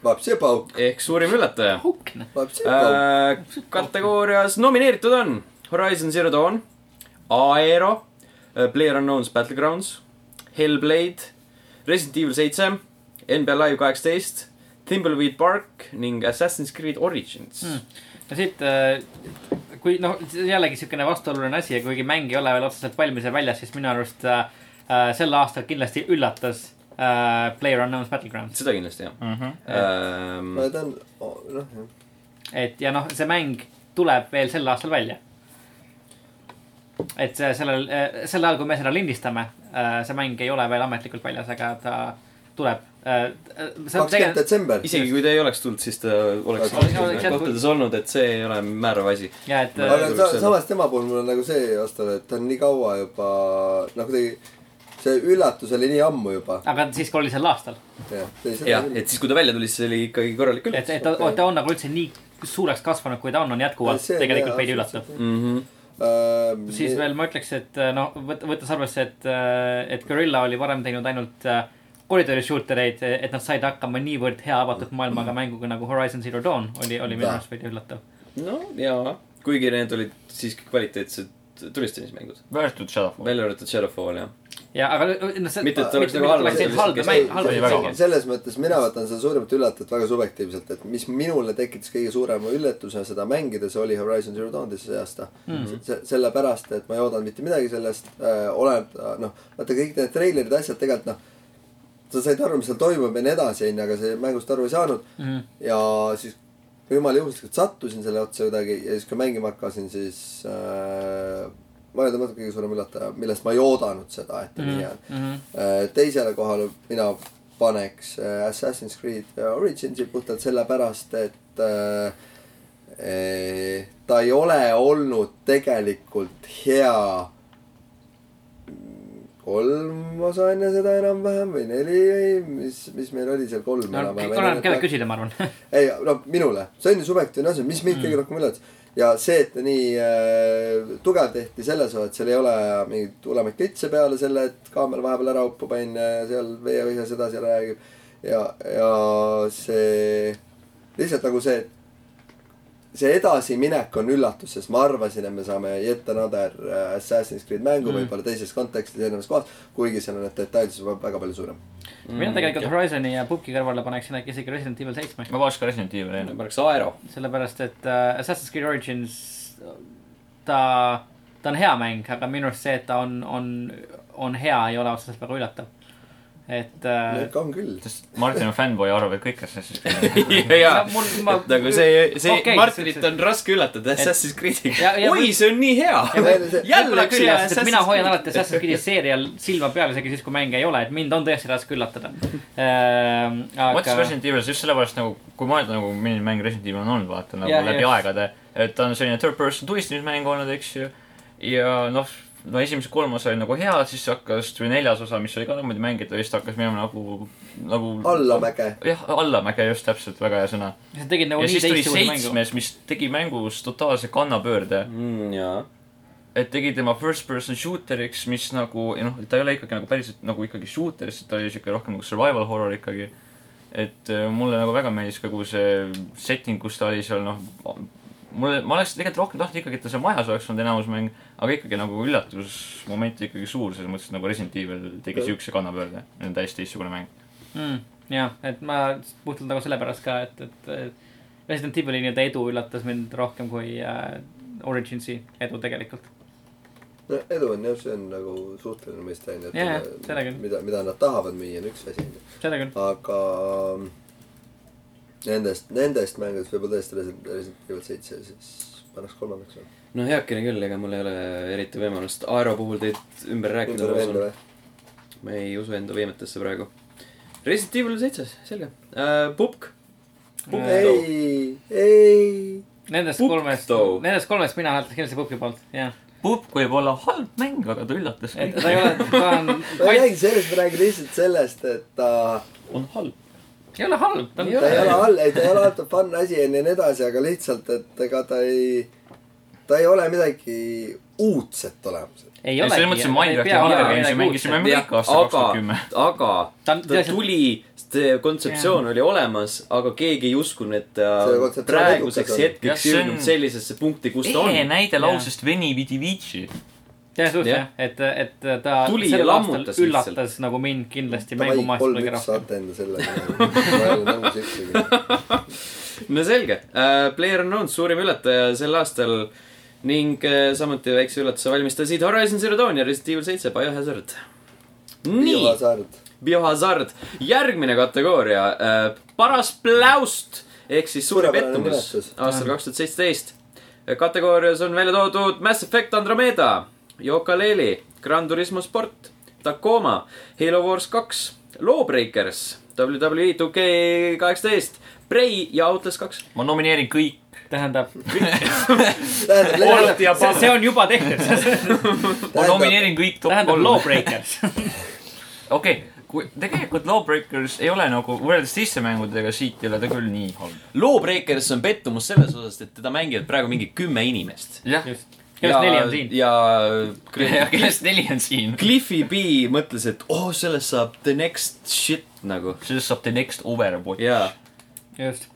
Vapsi pauk ,
ehk suurim üllataja
Haukne .
vapsi pauk .
äh, . kategoorias nomineeritud on Horizon Zero Dawn , Aero äh, , Player Unknown's Battlegrounds , Hellblade , Resident Evil seitse , NBA Live kaheksateist , Thimbleweed Park ning Assassin's Creed Origins
Mm. no siit , kui noh , jällegi siukene vastuoluline asi ja kuigi mäng ei ole veel otseselt valmis ja väljas , siis minu arust äh, äh, sel aastal kindlasti üllatas äh, Player Unknown's Battlegrounds .
seda kindlasti jah ähm,
no ta on , noh jah .
et ja noh , see mäng tuleb veel sel aastal välja . et see sellel , sel ajal , kui me seda lindistame , see mäng ei ole veel ametlikult väljas , aga ta tuleb . äh,
kakskümmend
jah ,
detsember .
isegi kui ta ei oleks tulnud , siis ta oleks
Aga-
okay. kohtades olnud , et see ei ole määrav asi .
et äh,
Ma-
aga
Tuleb
sa,
seda.
samas tema puhul mul on nagu see vastav , et ta on nii kaua juba noh , kuidagi see üllatus oli nii ammu juba .
aga siis , kui oli sel aastal ,
jah , et siis , kui ta välja tuli , siis oli ikkagi korralik küll
et , et ta, ta on nagu üldse nii suureks kasvanud , kui ta on , on jätkuvalt tegelikult veidi üllatav .
mm . -hmm.
Ähm,
siis veel ma ütleks , et äh, no võt- võttes arvesse , et , et Gorilla oli varem teinud ainult äh, koridori shooter eid , et nad said hakkama niivõrd hea avatud maailmaga mänguga nagu Horizon Zero Dawn oli , oli minu
Da.
arust veidi üllatav .
no jaa , kuigi need olid siiski kvaliteetsed tulistamismängud ,
välja arvatud Shadowfall .
välja arvatud Shadowfall jah .
ja , aga noh , see .
Mitte, et oleks nagu halvasti,
halb
lihtsalt-
mäng ,
see oli
halb
väga
mäng .
selles mõttes mina võtan seda suuremat üllatajat väga subjektiivselt , et mis minule tekitas kõige suurema üllatuse seda mängides oli Horizon Zero Dawn'is see aasta
Mhm.
mm -hmm. . sellepärast , et ma ei oodanud mitte midagi sellest äh, , olen noh , vaata kõik need treilerid , asjad tegelikult noh , sa said aru , mis seal toimub ja nii edasi , onju , aga sa mängust aru ei saanud mm .
Mhm.
ja siis jumala juhuslikult sattusin selle otsa kuidagi ja siis kui mängima hakkasin , siis äh, vaieldamatult kõige suurem üllataja , millest ma ei oodanud seda , et ta
Mhm.
mm -hmm. nii on . Äh, teisele kohale mina paneks äh, Assassin's Creed Originsi puhtalt sellepärast , et äh, eh, ta ei ole olnud tegelikult hea kolm osa enne seda enam-vähem või neli või mis , mis meil oli seal kolm
no kõik oleneb , keda
enam-vähem .
küsida , ma arvan .
ei , no minule , see on ju subjektiivne asi , mis mind kõige rohkem üllatas ja see , et ta nii äh, tugev tehti selles osas , et seal ei ole mingeid ulemaid klitse peale selle , et kaamel vahepeal ära uppub onju ja seal veevõisas edasi räägib . ja , ja see lihtsalt nagu see , see edasiminek on üllatus , sest ma arvasin , et me saame Yet Another äh, Assassin's Creed mängu mm. võib-olla teises kontekstis , erinevas kohas , kuigi seal on need detailsus väga palju suurem .
mina tegelikult Horizon'i ja Puki kõrvale paneksin äkki isegi Resident Evil seitsme .
ma vaatasin ka Resident Evil'i enne .
ma oleks Aero .
sellepärast , et äh, Assassin's Creed Origins , ta , ta on hea mäng , aga minu arust see , et ta on , on , on hea , ei ole otseselt väga üllatav . et äh,
ikka on küll .
sest Martin on fännboi , arvab , et kõik Assassin's Creed on .
jaa
No , mul- ma-
et nagu see , see
Okei,
okay, Martinit
see-
on raske üllatada Assassin's Creed'iga
Ja- ja .
oi ,
või-
see on nii hea . jälle
võib-olla
üks
küll
hea
jah , sest et mina
Assassin's
hoian alati
Creed .
Assassin's Creed'i seerial silma peal , isegi siis , kui mänge ei ole , et mind on tõesti raske üllatada ähm, .
ma mõtlesin
aga ,
Resident Evil'is just sellepärast nagu , kui mõelda nagu milline mäng Resident Evil on olnud , vaata nagu
Jah,
läbi
jah.
aegade . et ta on selline third person tulistamismäng olnud , eks ju . ja noh , no esimesed kolm osa oli nagu hea , siis hakkas , tuli neljas osa , mis oli ka nagu niimoodi mängitav , siis ta hakkas minema nagu , nagu .
allamäge .
jah , allamäge just täpselt , väga hea sõna .
sa tegid nagu
ja
nii
siis tuli
teistsuguse mängu .
seitsmes , mis tegi mängus totaalse kannapöörde .
Mm, jaa .
et tegi tema first person shooter'iks , mis nagu , noh , ta ei ole ikkagi nagu päriselt nagu ikkagi shooter , sest ta oli siuke rohkem nagu survival horror ikkagi . et äh, mulle nagu väga meeldis kogu see setting , kus ta oli seal , noh . mulle , ma oleks tegelikult rohkem tahtnud ikkagi , et ta seal majas oleks olnud enamus mäng , aga ikkagi nagu üllatusmoment ikkagi suur , selles mõttes et nagu Resident Evil tegi siukse kannapöörde , täiesti teistsugune mäng .
Mm, jah , et ma puhtalt nagu sellepärast ka , et , et äh, Resident Evil'i nii-öelda edu üllatas mind rohkem kui äh, Originsi edu tegelikult .
no edu on jah , see on nagu suhteline mõiste onju , et
Jaa, jaa,
mida-
seda küll.
mida , mida nad tahavad müüa , on üks asi onju ,
seda küll .
aga mm, nendest , nendest mängudest võib-olla tõesti Resident Resident Evil seitse siis pannaks kolmandaks või ?
no heakene küll , ega mul ei ole eriti võimalust Aero puhul teid ümber rääkida ,
ümber
ma
veenda
usun .
või ?
ma ei usu enda võimetesse praegu . Resident Evil seitses , selge uh, . Pupk .
ei , ei .
Nendest
Pukk
kolmest
too. ,
nendest kolmest mina hääletan kindlasti Pukki poolt , jah .
Pupk võib olla halb mäng , aga ta üllatas
et
kõik .
ta ei ole , ta on ,
ma ei räägi sellest , ma räägin lihtsalt sellest , et ta ,
on halb .
ei ole halb , ta on
ta ei
hea .
ole all , ei ta ei ole alt fun asi onju ja nii edasi , aga lihtsalt , et ega ta ei , ta ei ole midagi uudset olemas .
ei
selles mõttes on Minecraft ja Hunger Games'i mängisime me
Jah,
kõik aastal kaks tuhat
aga
kümme .,
aga
Ta
ta,
on-
ta tuli , see kontseptsioon oli olemas , aga keegi ei uskunud , et
See
ta
kontseptsioon
praeguseks
edukas on.
hetkeks
Jah, see on-
jõudnud sellisesse punkti , kus ta
ehe
on .
näide
Jaa.
lausest Veni Vidi Vici .
jah , suht
Jah.
jah , et , et ta
Tuli
sellel
ja
aastal
lammutas
üllatas
lihtsalt.
nagu mind kindlasti
Davai ,
mängumaastikul kõige
kolm-üks
rohkem .
saate enda selle . ma ei ole nagu nõus üksegi .
no selge uh, , Player Unknown's suurim ületaja sel aastal ning uh, samuti väikse üllatuse valmistasid Horizon Zero Dawn ja Resident Evil seitse Biohazard . nii
Viiva , Saard .
Biohazard , järgmine kategooria uh, , paras pläust ehk siis suure
Suurepärane
pettumus
nimetus.
aastal kaks tuhat seitseteist . kategoorias on välja toodud Mass Effect Andromeda , Yooka-Laylee , Gran Turismo Sport , Tacoma , Halo Wars kaks , Lawbreakers , E WWE 2K18 , Prey ja Outlast kaks .
ma nomineerin kõik
tähendab ,
tähendab , Lennart ,
see see on juba tehtud ,
ma
Tähendab-
nomineerin kõik top
tähendab
kolm .
Lawbreakers .
okei , kui tegelikult Lawbreakers ei ole nagu võrreldes teiste mängudega , siit ei ole ta küll nii halb .
Lawbreakers on pettumus selles osas , et teda mängivad praegu mingi kümme inimest .
jah ,
kellest neli on siin ?
ja äh,
ja
Cliff-
kellest neli on siin ?
Cliffi B mõtles , et oh , sellest saab the next shit nagu .
sellest saab the next overboard .
jaa ,
just ,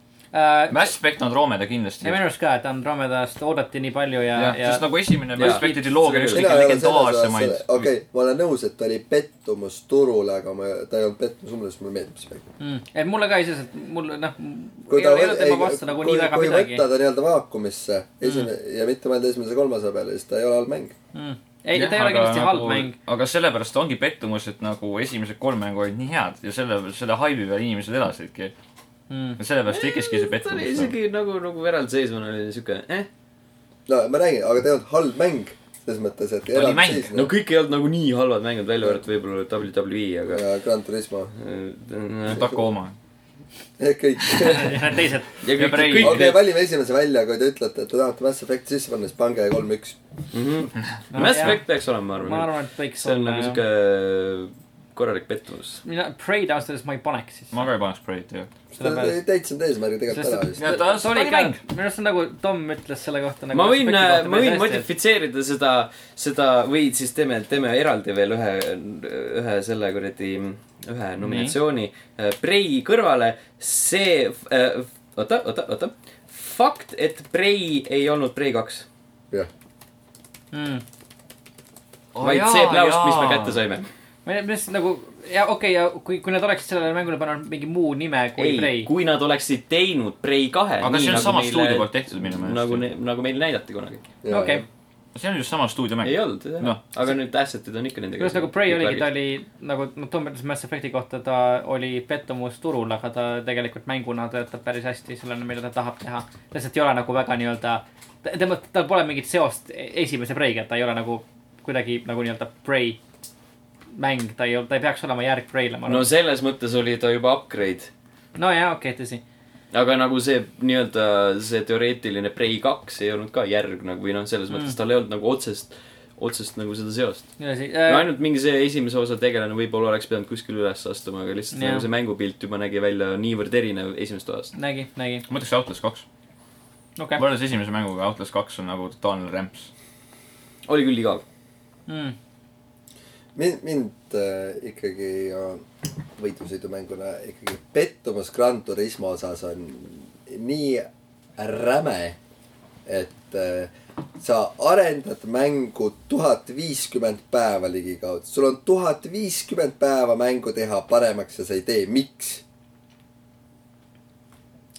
Mass Effect Andromeda kindlasti .
ja minu arust ka , et Andromedast oodati nii palju ja ,
jah ,
ja
sest nagu esimene
Jaa.
Mass Effect'i triloogia oli üks
mina
kõige
ei ole selles
legendaarsemaid
osas , okei , ma olen nõus , et ta oli pettumus turule , aga ma , ta ei olnud pettumus mulle , sest mulle meeldib see mäng .
mm, et mulle ka iseenesest , mul noh ,
kui
ei
ta ,
ole ei ole
ei ,
tema
kui,
vastu nagu
kui
nii väga midagi
võtta . ta nii-öelda vaakumisse esimene mm. ja mitte mõelda esimese ja kolmase peale , siis ta ei ole halb mäng .
Hmm. ei , ta ei ole
nagu
kindlasti halb mäng ..
nagu aga sellepärast ongi pettumus , et nagu esimesed kolm mängu olid nii head ja selle , selle haibi peal inimesed elasidki .
Mm.
sellepärast tekkiski see
ta oli
pettumus .
isegi nagu , nagu eraldiseisvana oli siuke , eh .
no ma räägin , aga ta ei olnud halb mäng selles mõttes , et .
oli mäng.
no kõik ei olnud nagu nii halvad mängud , välja arvatud võib-olla WWE , aga . äh,
ja Gran Turismo ,
Taku oma .
kõik .
Need teised ,
ja kõik ,
Brave.
kõik
okei ,
need ,
valime esimese välja , kui te ütlete , et te tahate Mass Effect'i sisse panna , siis pange kolm , üks .
No
Mhm. Mass
jah.
Effect peaks olema , ma
ma
arvan .
arvan , et võiks
see on
olla
nagu
jah.
siuke äh, korralik pettumus .
mina Prey'd ausalt öeldes ma ei paneks siis .
ma ka ei paneks Braid'i ju .
Sellepärast-
täitsa need eesmärgid tegelikult
sest
ära
et
vist .
Ja ta-
see
see
oli
oli
ka ,
mäng.
minu arust on nagu Tom ütles selle kohta nagu .
ma võin , ma võin modifitseerida seda , seda või siis teeme , teeme eraldi veel ühe , ühe selle kuradi , ühe nominatsiooni äh, Prei kõrvale . see , oota , oota , oota . fakt , et Prei ei olnud Prei kaks ,
jah ,
mm. .
vaid see pläust , mis me kätte . saime .
ma ei tea , mis nagu ja okei okay, , ja kui , kui nad oleksid sellele mängule pannud mingi muu nime kui
ei
Prey ,.
kui nad oleksid teinud Prei kahe .
aga see on sama stuudio poolt tehtud minu
nagu
meelest .,
nagu meile näidati kunagi .
okei ,
see on ju sama stuudio mäng
ei . olnud jah
Noh. ,
aga need asset'id on ikka nendega .
kuidas nagu Prey oligi , ta oli nagu no, Tom ütles Mass Effect'i kohta , ta oli pettumus turul , aga ta tegelikult mänguna töötab päris hästi sellena , mida ta tahab teha . ta lihtsalt ei ole nagu väga nii-öelda , tema , tal pole mingit seost e-, esimese Prey'ga , ta ei ole nagu kuidagi nagu nii-öelda Prey mäng , ta ei , ta ei peaks olema järg Prey'le , ma
no
arvan .
selles mõttes oli ta juba upgrade
no jaa , okei okay, , tõsi .
aga nagu see nii-öelda see teoreetiline Prei kaks ei olnud ka järg nagu või noh , selles mõttes mm. tal ei olnud nagu otsest , otsest nagu seda seost .
edasi
no
äh, .
ainult mingi see esimese osa tegelane võib-olla oleks pidanud kuskil üles astuma , aga lihtsalt
Jah.
yeah. nagu see mängupilt juba nägi välja niivõrd erinev esimesest osast .
nägi , nägi ,
ma ütleks Outlast kaks .
okei okay.
võrreldes esimese mänguga Outlast kaks on nagu totaalne rämps .
oli küll igav .
mm. .
mind , mind äh, ikkagi äh, võitlusõidumänguna ikkagi pettumus Gran Turismo osas on nii räme , et äh, sa arendad mängu tuhat viiskümmend päeva ligikaudu , sul on tuhat viiskümmend päeva mängu teha paremaks ja sa ei tee , miks ?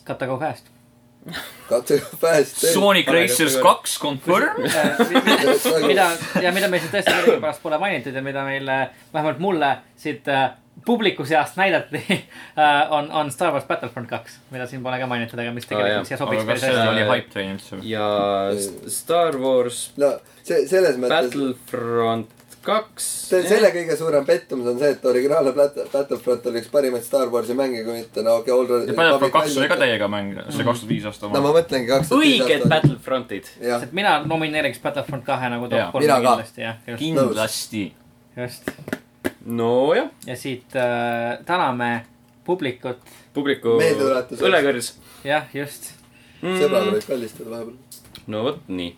Gotta go fast .
katse päästa .
Sonic Racers kaks confirm .
Äh,
nagu-
mida ja mida meil siin tõesti millegipärast pole mainitud ja mida meile , vähemalt mulle siit äh, publiku seast näidati äh, , on , on Star wars Battlefront kaks , mida siin pole ka mainitud , aga mis
jah.
tegelikult siia sobiks
aga kas
päris
see
seda-
hästi .
oli hype train üldse või ?
ja S- Star Wars
no see , selles mõttes ,
Battlefront kaks .
selle kõige suurem pettumus on see , et originaalne Bat- Battlefront oli üks parimaid Star Warsi mänge , kui mitte no okei okay, ,
ja
Old
Battlefront kaks oli ka täiega mäng , see kaks tuhat viis aasta
no ma
oma .
mõtlengi kaks
õiged . Battlefrontid .
jah ,
et mina nomineeriks Battlefront kahe nagu
Jaa.
top kolme
Mina ka.
kindlasti jah , just ,
kindlasti .
just .
nojah ,
ja siit äh, täname publikut ,
publiku
Meeldetuletuseks.
õlekõrs .
jah , just .
sõbrale võib kallistada vahepeal .
no vot nii .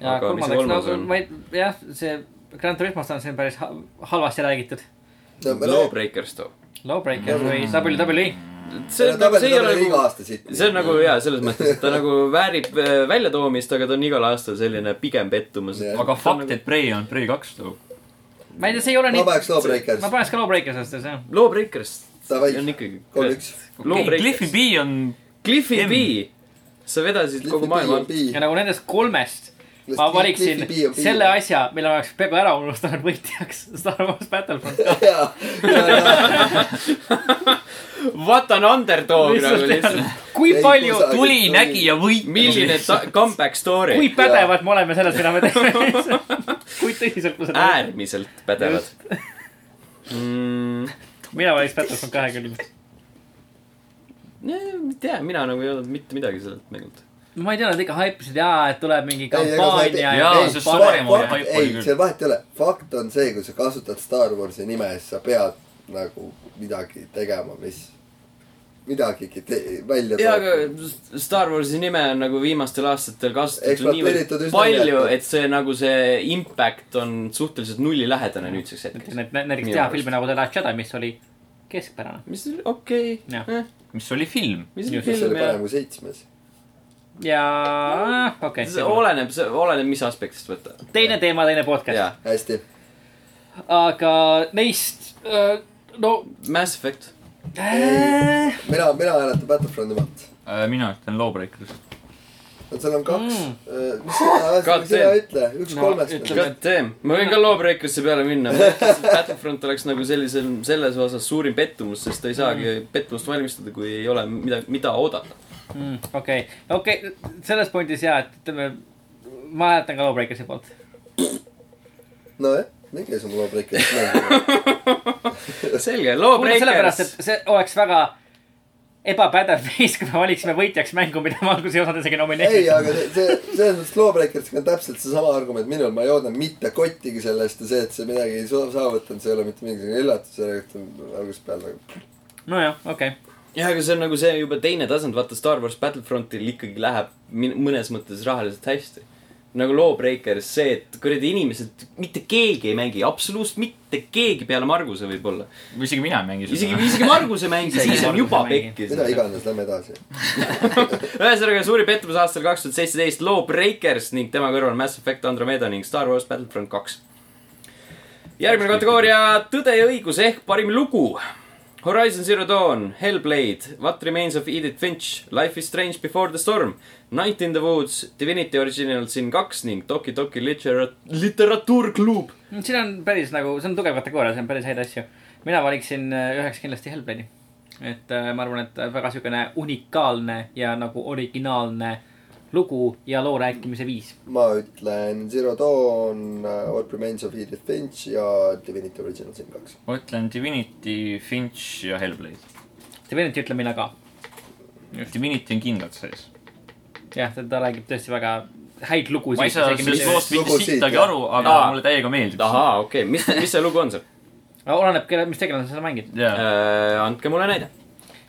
ja
Aga mis see kolmas
kolmandaks , no
on?
ma ei , jah , see Grand Turismost on siin päris ha- halvasti räägitud .
Mm.
no me loob .
Lawbreakers too .
Lowbreaker või E. WWE .
see ,
tabel ,
see ei ole
tabel on
nagu
iga aasta siit .
see on nagu hea selles mõttes , et ta nagu väärib äh, väljatoomist , aga ta on igal aastal selline pigem pettumus .
Jah.
aga fakt , et Prey on Prey kaks too .
ma ei tea , see ei ole
ma
nii ,
paneks
ma
Lawbreakers ,
paneks ka Lowbreaker sellest , jah .
Lawbreakers
Davai.
on ikkagi .
kolm , üks .
Cliffy B on ,
Cliffi
M.
B , sa vedasid kogu maailma .
ja nagu nendest kolmest ma valiksin selle . asja , mille ma oleks peaaegu ära unustanud võitjaks Star Wars Battlefront .
Oh,
jaa ,
What an underdog nagu lihtsalt .
kui
Ei,
palju ,
kui sa-
tuli , nägi ja võitis .
milline ta- comeback story
kui . pädevad me oleme selles , mida me teeme . kui tõsiselt me seda võtame .
äärmiselt pädevad . Mm,
mina valiks Battlefront kahe küll .
ei tea , mina nagu ei olnud mitte midagi sellelt mängult .
ma ei tea , nad ikka haipisid jaa , et tuleb mingi
Ei, ega sa ei tea-
kampaania
Jaa,
ja
ei,
see
fakt-
story mode
fakt-
hype oli
ei ,
küll.
seal vahet ei ole , fakt on see , kui sa kasutad Star Warsi nime , siis sa pead nagu midagi tegema , mis midagigi te- välja
jaa , aga Star Warsi nime on nagu viimastel aastatel kasutatud
Ekspluateeritud
niivõrd
üsna
palju ,
viljalt.
et see nagu see impact on suhteliselt nullilähedane nüüdseks hetkeks .
näiteks
Minu
teha
arust.
filmi nagu The Last Jedi , mis oli keskpärane .
mis , okei Eh,
Jah. ,
mis oli film .
mis
Just.
mis
film
oli
ja
parem kui seitsmes ?
ja okei
see
okay, ,
oleneb , see oleneb , mis aspektist võtta .
teine teema , teine podcast ,
jaa ,
hästi ,
aga neist äh, no
Mass Effect .
äh, .
mina , mina hääletan Battlefronti maalt .
Äh,
mina ütlen Lawbreakers .
vot seal on kaks
Mm.
mm. , mis sina ,
God
sina
damn.
ütle , üks
No,
kolmest
ütleme-
on .
God damn , ma võin ka Lawbreakerisse peale minna , Battlefront oleks nagu sellisel , selles osas suurim pettumus , sest ta ei saagi
Mm.
pettumust valmistada , kui ei ole midagi , mida oodata .
Mm, okei , okei , selles pointis ja , et ütleme , ma hääletan ka Lawbreakersi poolt .
nojah , minge siis oma loobrikest mängima .
selge ,
kuule , sellepärast ,
Lawbreakers ,
et see oleks väga ebapädev viis , kui me valiksime võitjaks mängu , mida ma alguses ei osanud isegi
ei ,
nomineerida .
aga see , see , selles mõttes Lawbreakersiga on täpselt seesama argument minul , ma ei oodanud mitte kottigi sellest ja see , et see midagi ei su- saavutanud , see ei ole mitte mingisugune üllatus , see oli algusest peale nagu .
nojah , okei okay. .
jah , aga see on nagu see juba teine tasand , vaata Star Wars Battlefrontil ikkagi läheb min- mõnes mõttes rahaliselt hästi . nagu Lawbreakers see , et kuradi inimesed , mitte keegi ei mängi , absoluutselt mitte keegi peale Marguse võib-olla .
või isegi mina ei mängi seda .
isegi , isegi Marguse mängi ,
Isegi
siis on
Marguse
juba
mängi.
pekkis .
mida iganes , lähme edasi .
ühesõnaga , suuri pettumus aastal kaks tuhat seitseteist loo Breakers ning tema kõrval Mass Effect Andromeda ning Star Wars Battlefront kaks . järgmine kategooria Tõde ja õigus ehk parim lugu . Horizon Zero Dawn , Hellblade , What Remains of Edith Finch , Life is Strange Before the Storm , Night in the Woods , Divinity Original Sin kaks ning Toki Toki Literat- , literatuurklub .
siin on päris nagu , see on tugev kategooria , siin on päris häid asju . mina valiksin äh, üheks kindlasti Hellblade'i . et äh, ma arvan , et väga siukene unikaalne ja nagu originaalne lugu ja loo rääkimise viis .
ma ütlen Zero Dawn , What Remains of Edith Finch ja Divinity Original Sin kaks .
ma ütlen Divinity , Finch ja Hellblade .
Divinity ütlen mina ka .
Divinity on kindlalt sees .
jah , ta räägib tõesti väga häid
ma ei
lugusid .
saa sellest loost mitte
lugusid,
sittagi
jah.
aru , aga
Aa.
mulle täiega meeldib .
ahaa , okei okay. , mis , mis see lugu on seal ?
oleneb , kelle , mis tegelane sa seal mängid .
jaa .
andke mulle näide .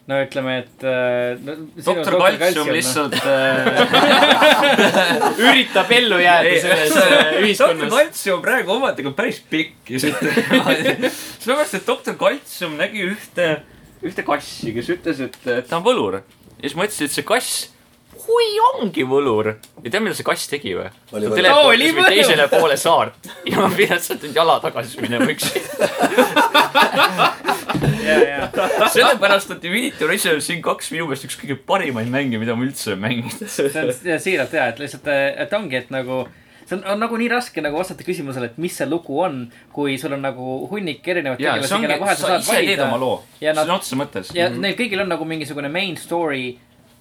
no ütleme , et äh, no, .
doktor
noh.
Kaltsium . lihtsalt äh, .
üritab ellu jääda selles äh,
doktor
ühiskonnas .
Kaltsium praegu omadega on päris pikk ja siit . sellepärast , et doktor Kaltsium nägi ühte , ühte kassi , kes ütles , et äh, ta on võlur . ja siis mõtles , et see kass , hui ongi võlur . ja tead , mida see kass tegi või ? ta
Oli võlur.
Oli
teleportis mind
võlur.
teisele poole saart ja ma pidin sealt nüüd jala tagasi minema üksi .
ja , ja ,
sellepärast on Divinity Original Sin kaks minu meelest üks kõige parimaid mänge , mida ma üldse mänginud .
see on ja, siiralt hea , et lihtsalt , et ongi , et nagu see on, on nagu nii raske nagu vastata küsimusele , et mis see lugu on , kui sul on nagu hunnik erinevaid
jaa , see
tegelasi ,
ongi
kelle , vahel sa
sa
saad
ise teed oma
valida .
loo . Mhm.
Ja nad-
sõna otseses mõttes .
ja neil kõigil on nagu mingisugune main story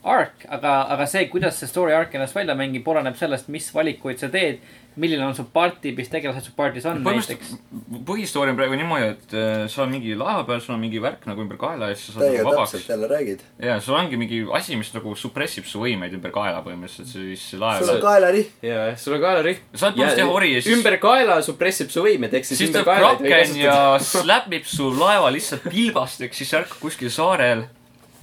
arc , aga , aga see , kuidas see story arc ennast välja mängib , oleneb sellest , mis valikuid sa teed , milline on su party , mis tegelased su party's on näiteks .
põhimõtteliselt põhistoori on praegu niimoodi , et äh, sa oled mingi laeva peal , sul on mingi värk nagu ümber kaela ja siis sa saad
täiega
nagu
täpselt
vabaks .
jälle räägid .
ja sul ongi mingi asi , mis nagu supressib su võimeid ümber kaela põhimõtteliselt , siis see
sul on
laev .
kaelarihm .
jaa , sul on kaelarihm .
Sa oled põhimõtteliselt jah ori ja siis-
ümber kaela su pressib su võimed , ehk siis
siis ta
ümber kaela
kraken ja . slapib su laeva lihtsalt pilbast , eks siis sa ärkad kuskil saarel .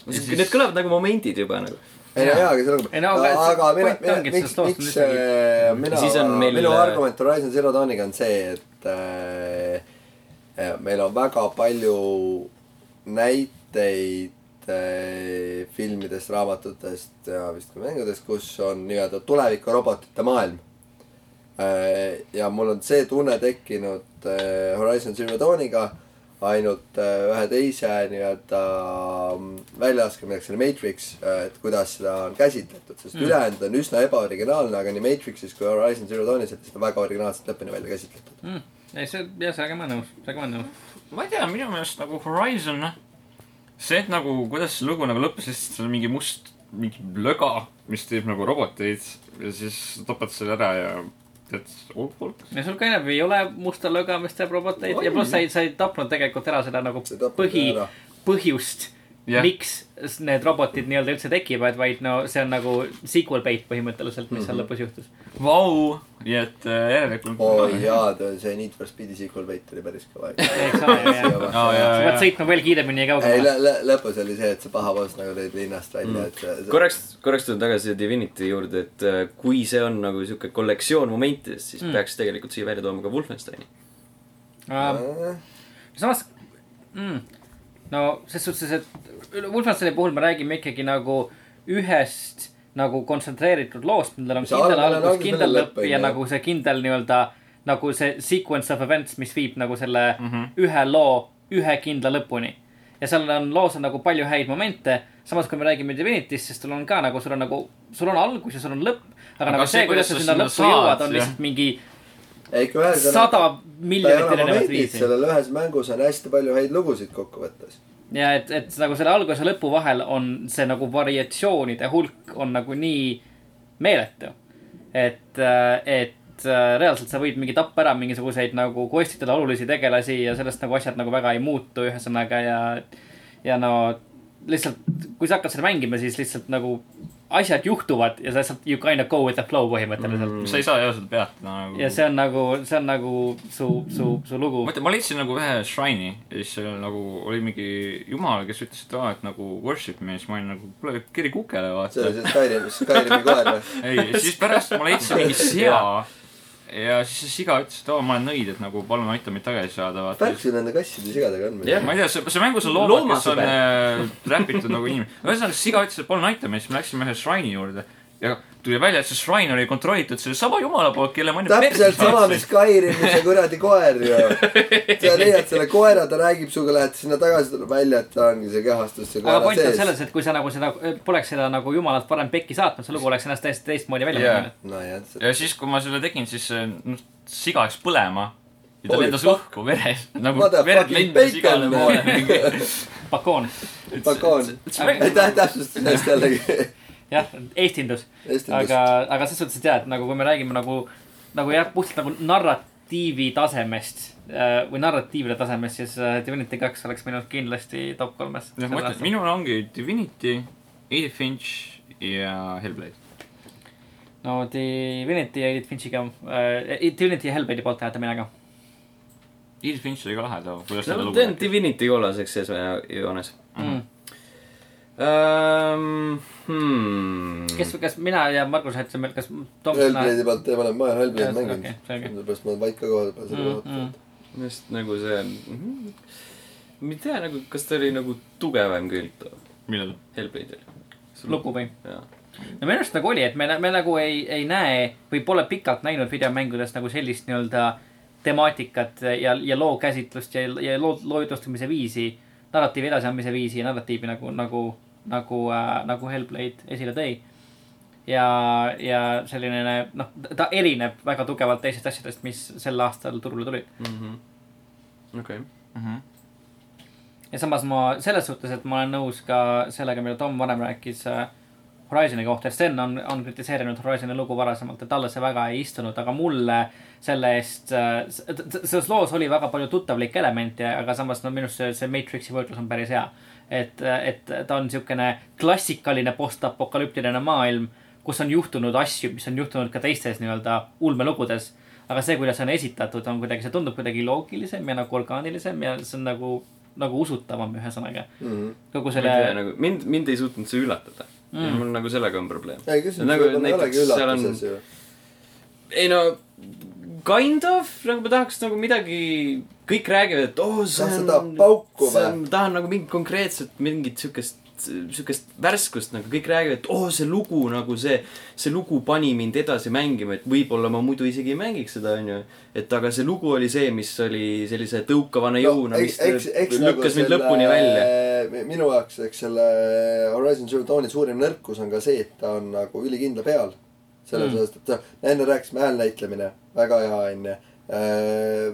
siis-
Need kõlavad nagu momendid juba nagu .
ei no jaa , aga see on
Ei no aga see
aga mina ,
point
mina ,
ongi, et
miks
sellest , loost on
miks
lihtsalt
äh, mina
Ja siis on , meil-
minu argument Horizon Zero Dawniga on see , et äh, äh, meil on väga palju näiteid äh, filmidest , raamatutest ja vist ka mängudest , kus on nii-öelda tulevikurobotite maailm äh, . ja mul on see tunne tekkinud äh, Horizon Zero Dawniga ainult äh, ühe teise nii-öelda mm, väljalaskamiseks , selle Matrix , et kuidas seda on käsitletud , sest mm. ülejäänud on üsna ebaoriginaalne , aga nii Matrixis kui Horizon Zero Dawnis on seda väga originaalselt lõpuni välja käsitletud .
ei , see , jah , sellega ma olen nõus , sellega ma olen nõus .
ma ei tea , minu meelest nagu Horizon , noh . see , et nagu , kuidas see lugu nagu lõppes , sest see on mingi must , mingi löga , mis teeb nagu roboteid ja siis tapad selle ära ja tead , olukord .
ja sul ka enam ei ole musta löga , mis teeb roboteid ja pluss sa ei , sa ei tapnud tegelikult ära seda nagu
See tapab
põhi
ära. ,
põhjust yeah. ,
Jah.
miks s- need robotid nii-öelda üldse tekivad , vaid no see on nagu sequel bait põhimõtteliselt ,
Mhm.
mis seal lõpus juhtus .
Vau , nii et äh, järelikult
oi oh, . jaa , see Need for Speed'i sequel veit oli päris kõva .
eks ole , jah . sa pead sõitma veel kiiremini ja
ei ,
kaugemale .
lõpus oli see , et see paha boss nagu lõid linnast välja , et see, see... .
korraks , korraks tulen tagasi Divinity juurde , et äh, kui see on nagu sihuke kollektsioon momentidest , siis mm. peaks tegelikult siia
Äh,
välja tooma ka Wolfensteini .
samas mm, , no ses suhtes , et üle- Wolfensteini puhul me räägime ikkagi nagu ühest nagu kontsentreeritud loost , millel on
See
kindel
algmine on algus,
algus , kindel
millel
lõpp
lõpp on,
ja
jah.
nagu see kindel nii-öelda nagu see sequence of events , mis viib nagu selle mm -hmm. ühe loo ühe kindla lõpuni . ja seal on loos on nagu palju häid momente , samas kui me räägime Divinity'st , siis sul on ka nagu , sul on nagu , sul on algus ja sul on lõpp , aga nagu see , kuidas sa sinna lõppu
saad,
jõuad , on
jah.
lihtsalt mingi
ikka ühesõnaga ,
sada
ta ei
miljonit
ole
erinevat
momendid ,
viisi .
sellel ühes mängus on hästi palju häid lugusid kokkuvõttes .
ja et , et nagu selle alguse ja lõpu vahel on see nagu variatsioonide hulk on nagu nii meeletu . et , et äh, reaalselt sa võid mingi tappa ära mingisuguseid nagu quest'idele olulisi tegelasi ja sellest nagu asjad nagu väga ei muutu , ühesõnaga ja , ja no lihtsalt , kui sa hakkad seda mängima , siis lihtsalt nagu asjad juhtuvad ja sa lihtsalt you kind of go with the flow põhimõtteliselt mm. .
sa ei saa jah seda peatada nagu .
ja see on nagu , see on nagu su , su , su lugu .
mõtle , ma leidsin nagu ühe shrine'i ja siis seal nagu oli mingi jumal , kes ütles , et aa , et nagu worship me ja siis ma olin nagu , kuule , kiri kukele
see
vaata
oli . see Skyrimi , Skyrimi koer või ?
ei , siis pärast ma leidsin mingi sea ja siis see siga ütles , et oo , ma olen nõid , et nagu palun aita mind tagasi saada , vaata .
värk siin nende kasside sigadega on
Jah.
meil .
ma ei tea , see , see mängus on loomad , kes on
Loomasõber.
äh, räpitud nagu inimene . ühesõnaga , siis siga ütles , et palun aita meid , siis me läksime ühe shrine'i juurde ja tuli välja , et see shrine oli kontrollitud sellesama jumala poolt , kelle ma enne
täpselt sama , mis Skyrimis see kuradi koer ju . sa leiad selle koera , ta räägib sinuga , lähed sinna tagasi , tuleb välja , et ta ongi see kehastus , see
aga
koera
point on selles
sees .,
et kui sa nagu seda , poleks seda nagu jumalalt varem pekki saatnud , see lugu oleks ennast täiesti teistmoodi välja
Jaa.
yeah. mõelnud .
nojah , see
ja siis , kui ma selle tegin , siis äh, noh , siga läks põlema ja ta
Holy
lendas
fuck.
õhku veres . nagu
What the
verd
fucking
lendas
bacon,
igale poole .
Bakoon ,
pakoon . aitäh täpsustuse eest jällegi .
jah , eestindus .
Eestindust
aga , aga selles suhtes , et jah , et nagu kui me räägime nagu , nagu jah , puhtalt nagu narratiivi tasemest äh, või narratiivide tasemest , siis äh, Divinity kaks oleks minu arust kindlasti top kolmes .
noh , ma ütlen , minul ongi Divinity , Edith Finch ja Hellblade .
no Divinity ja Edith Finchiga äh, , Divinity ja Hellblade'i poolt hääletan mina ka .
Edith Finch oli ka lahe too , kuidas seda
no
lugu
teen Divinity kollaseks sees äh, joones .
Mhm.
Mm.
Ehm,
kes
kes ,
kas mina ja Margus hääletasime , kas Tomson
Hellblade'i pealt ei pane , ma olen Hellblade'i
Ühesõnaga,
mänginud
okei, . selge.
sellepärast ma olen vait ka koha peal seda
Mm, mm.
ootanud .
minu arust nagu see , ma ei tea nagu , kas ta oli nagu tugevam külg too
millal ?
Hellblade'il .
lugu või ?
jah ,
no minu arust nagu oli , et me , me nagu ei , ei näe või pole pikalt näinud videomängudes nagu sellist nii-öelda temaatikat ja , ja loo käsitlust ja , ja loo , loo jutlustamise viisi , narratiivi edasiandmise viisi ja narratiivi nagu , nagu , nagu äh, , nagu Hellblade esile tõi . ja , ja selline noh , ta erineb väga tugevalt teistest asjadest , mis sel aastal turule tulid .
Mhm. okei .
ja samas ma selles suhtes , et ma olen nõus ka sellega , mida Tom varem rääkis äh, Horizon'i kohta . Sten on , on kritiseerinud Horizon'i lugu varasemalt , et talle see väga ei istunud , aga mulle selle eest äh, , selles loos oli väga palju tuttavlikke elemente , aga samas no minu arust see , see Matrixi võrdlus on päris hea . et , et ta on niisugune klassikaline postapokalüptiline maailm , kus on juhtunud asju , mis on juhtunud ka teistes nii-öelda ulmelugudes aga see , kuidas see on esitatud , on kuidagi , see tundub kuidagi loogilisem ja nagu orgaanilisem ja see on nagu , nagu usutavam , ühesõnaga mm . -hmm. kogu
ma ei tea
selle ,
nagu mind , mind ei suutnud see üllatada mm. . mul nagu sellega on probleem .
ei , küsimus
nagu,
ei olegi
näiteks seal on
üllatuses , ju .
ei no kind of , nagu ma tahaks nagu midagi , kõik räägivad , et oh see
Tahad
on .
seda pauku või?
ma tahan nagu mingit konkreetset , mingit siukest , siukest värskust nagu kõik räägivad , et oh see lugu nagu see , see lugu pani mind edasi mängima , et võib-olla ma muidu isegi ei mängiks seda , onju . et aga see lugu oli see , mis oli sellise tõukavana jõuna no, , mis
nagu
lükkas mind lõpuni välja .
välja . minu jaoks , eks selle Horizon Zero Dawni suurim nõrkus on ka see , et ta on nagu ülikindla peal . selles osas mm. , et ta- enne rääkisime häälnäitlemine , väga hea onju .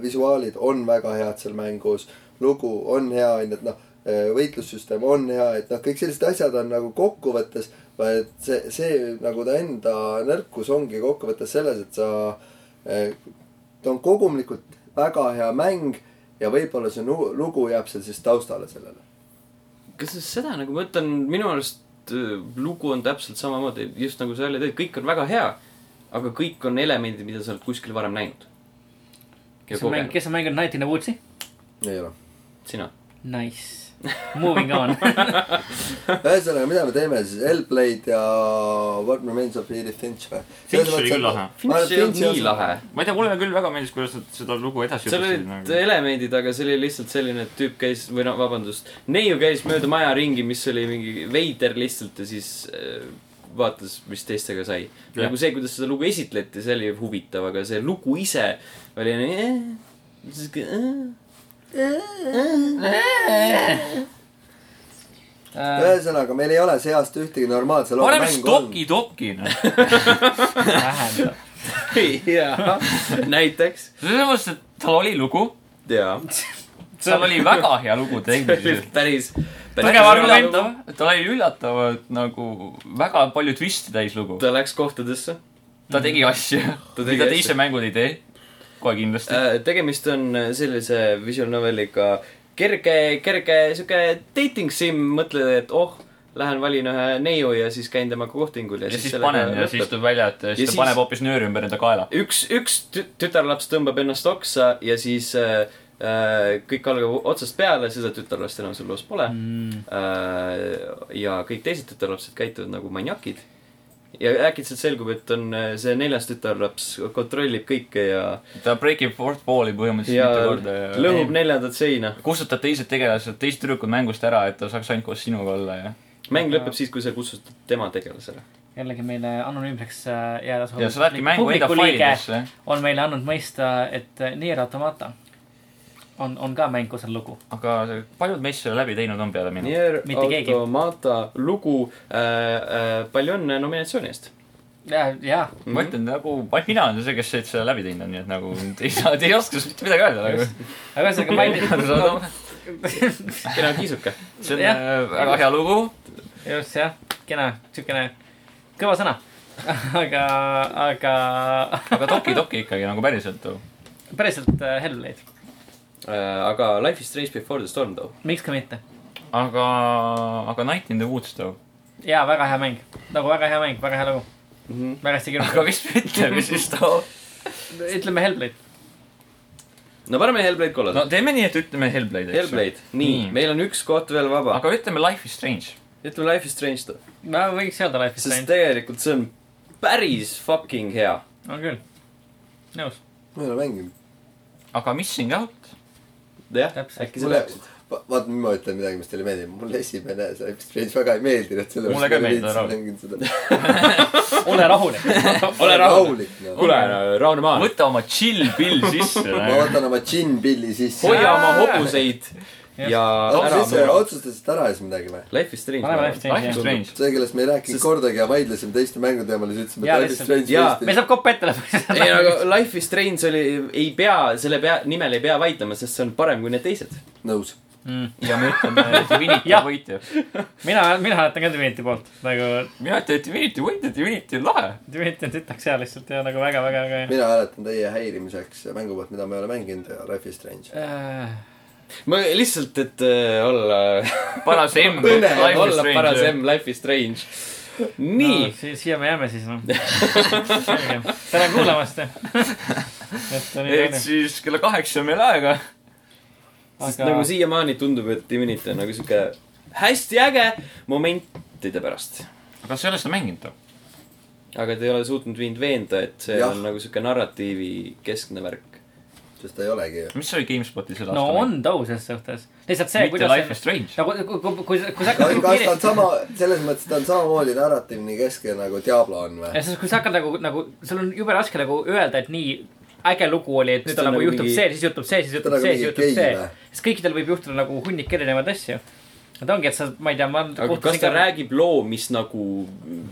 visuaalid on väga head seal mängus , lugu on hea onju , et noh , võitlussüsteem on hea , et noh , kõik sellised asjad on nagu kokkuvõttes , et see , see nagu ta enda nõrkus ongi kokkuvõttes selles , et sa eh, ta on kogumlikult väga hea mäng ja võib-olla see nu- lugu jääb seal siis taustale sellele .
kas sa seda nagu ma ütlen , minu arust öö, lugu on täpselt samamoodi , just nagu sa välja tõid , kõik on väga hea , aga kõik on elemendid , mida sa oled kuskil varem näinud . ja
kes on mäng- ,
kogenud ,
kes on mänginud Night in the Woods'i ?
ei ole .
sina .
Nice . Moving on .
ühesõnaga , mida me teeme siis , Hellblade ja What Remains of Edith Finch või ?
Finch oli küll lahe .
Finch ei olnud nii lahe .
ma ei tea , mulle küll väga meeldis , kuidas nad seda lugu edasi
seal olid
nagu. .
elemendid , aga see oli lihtsalt selline , et tüüp käis või noh , vabandust , neiu käis mööda maja ringi , mis oli mingi veider lihtsalt ja siis äh, vaatas , mis teistega sai .
Jah.
nagu see , kuidas seda lugu esitleti , see oli huvitav , aga see lugu ise oli nii eh, . sihuke eh. äh,
ühesõnaga , meil ei ole see aasta ühtegi normaalse loo
paneme
mängu olnud .
Stoki Doki , noh .
vähendab .
jaa , näiteks .
sellepärast , et tal oli lugu ,
jaa .
seal oli väga hea lugu
päris
tehniliselt .,
päris .
tugev argument , noh. tal oli üllatavalt nagu väga palju twisti täis lugu .
ta läks kohtadesse
ta tegi asju ,
tegi
mida
asju.
teised mängud ei tee . kohe kindlasti .
Äh, tegemist on sellise visual noveliga kerge , kerge sihuke dating sim , mõtled , et oh , lähen valin ühe neiu ja siis käin temaga kohtingul ja,
ja siis
sellega
panen ja
lõpeb.
siis tuleb välja , et siis
siis-
ta paneb hoopis nööri ümber enda kaela .
üks , üks tü- tütarlaps tõmbab ennast oksa ja siis äh, äh, kõik algab otsast peale , seda tütarlast enam seal loos pole mm. . Äh, ja kõik teised tütarlapsed käituvad nagu maniakid . ja äkitselt selgub , et on äh, see neljas tütarlaps kontrollib kõike ja ,
ta break ib fourth wall'i
ja
põhimõtteliselt mitu korda ja
lõhub neljandat seina .
kustutad teised tegelased , teised tüdrukud mängust ära , et ta saaks ainult koos sinuga olla ja .
mäng lõpeb siis , kui sa kutsud tema tegelasele .
jällegi meile anonüümseks äh, jääda
ja sa lähedki mängu enda failidesse .
on meile andnud mõista , et äh, Nier Automata on , on ka mäng , kus on lugu .
aga paljud meist selle läbi teinud on peale minu .
Nier
Mitte keegi.
Automata lugu äh, , äh, palju õnne nominatsiooni eest .
ja , ja ,
ma ütlen nagu , vaid mina olen see , kes selle läbi teinud on , nii et nagu ei saa , ei oska mitte midagi öelda
aga ühesõnaga ma ei tea ,
nagu .
kena kiisuke .
see on
Jah.
äh, väga hea lugu .
just jah , kena , siukene kõva sõna . aga , aga
aga Toki Toki ikkagi nagu päriselt ju .
päriselt äh, Hellblade ,
Äh, aga Life is strange before the storm though .
miks ka mitte .
aga , aga Night in the Woods too .
ja väga hea mäng , nagu väga hea mäng , väga hea lugu mm .
Mhm.
-hmm. väga hästi kirjutatud ,
aga mis me ütleme siis too ?
ütleme Hellblade ,
no paneme Hellblade
no
kollase no, .
teeme nii , et ütleme Hellblade , eks ju .
Hellblade , nii
Nii.
mm. , meil on üks koht veel vaba aga... .
aga ütleme Life is Strange .
ütleme Life is strange though ,
ma võiks öelda Life is
sest
Strange ,
tegelikult see on päris fucking hea .
on küll , nõus .
ma ei ole mänginud .
aga Missing Out ,
jah ,
Täpselt.
äkki sa
mulle
peaksid .,
vaata , nüüd ma ütlen midagi , mis teile meeldib . mulle esimene see Life is Strange väga ei meeldinud .
Mulle ka ei meeldinud, Raul.
rahulik .
ole rahulik .
ole rahul .
rahulik no. .
kuule , Rauno Maan ,
võta oma chill pill sisse .
ma võtan oma džinnpilli sisse .
hoia oma hobuseid ja ära
siis
mure .
otsustasite ära siis midagi või ?
Life is strange .
paneme Life is
Life
Strange'i
is
jah.
Strange .
see , kellest me ei rääkinud
Sest-
Sest... kordagi ja vaidlesime teiste mängude teemal ja siis ütlesime ,
Jaa,
et Life is
lihtsalt-
Strange
jaa.
tõesti-
meil saab kopp ette lõpuks .
ei , aga Life is Strange oli , ei pea , selle pea , nimel ei pea vaidlema , sest see on parem kui need teised .
nõus .
ja me ütleme Divinity
Jah.
on võitja .
mina , mina hääletan ka Divinity poolt , nagu
mina ütlen , et Divinity on võitja , Divinity on lahe .
Divinity on tütaks ja lihtsalt ja nagu väga-väga , väga
mina hääletan teie häirimiseks mängu pealt , mida ma ei ole mänginud ja Life is Strange .
hea .
ma lihtsalt , et äh, olla ,
paras M .
olla parasem . Life is Strange . nii
no, , si . siia me jääme siis noh . tänan kuulamast . et oli
et
tore .
siis kella kaheksa on meil aega .
sest
aga
nagu siiamaani tundub , et Divinity on nagu sihuke hästi äge momentide pärast .
aga sa ei ole seda mänginud või ?
aga te ei ole suutnud mind veenda , et see
Jah.
on nagu sihuke narratiivi keskne värk .
sest ta ei olegi ju .
mis oli GameSpotis selle
no
aasta mäng?
on tõus selles suhtes . lihtsalt see ,
mitte Life is
kuidas .
Strange .
nagu kui , kui , kui sa , kui sa
kas
hakkad nagu
ta on
kiiresti .
sama , selles mõttes ta on samamoodi narratiivne keskel nagu Diablo on või ?
ja siis , kui sa hakkad nagu , nagu sul on jube raske nagu öelda , et nii äge lugu oli , et
Siis
nüüd
ta
on
on
nagu
nagu
juhtub
mingi-
see , siis juhtub see , siis
ta
juhtub
nagu
see ,
mingi
siis juhtub see
game, või? .
sest kõikidel võib juhtuda nagu hunnik erinevaid asju . et ongi , et sa , ma ei tea , ma
aga kas ta räägib loo , mis nagu ,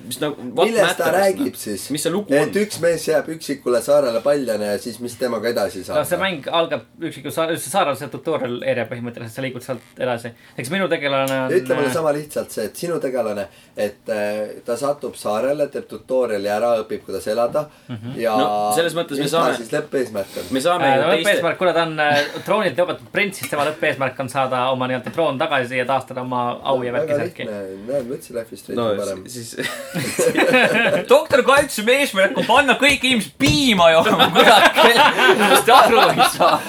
mis nagu .
millest ta räägib siis ?
noh? mis see lugu on
et ? üks mees jääb üksikule saarele paljana ja siis , mis temaga edasi
no
Noh,
see
saab ? noh?
mäng algab üksiku saar , see saar on see tutorial area põhimõtteliselt , sa liigud sealt edasi . eks minu tegelane on .
ütle mulle sama lihtsalt see , et sinu tegelane , et äh, ta satub saarele , teeb tutorial'i ära , õpib , kuidas elada mm -hmm. ja
Mhm. No selles mõttes me
mis
saame-
ta siis lõppeesmärk on ?
me saame
tema
ju teiste ,
lõppeesmärk , kuna ta on äh, troonilt tõmmatud prints , siis tema lõppeesmärk on saada oma nii-öelda troon tagasi ja taastada oma au ja värki
väga
särki .
lihtne , näed , ma ütlesin Life is Strange
no
on parem .
siis
doktor Kaltsumi eesmärk on panna kõik inimesed piima jooma , kurat . kas te aru ei saa ?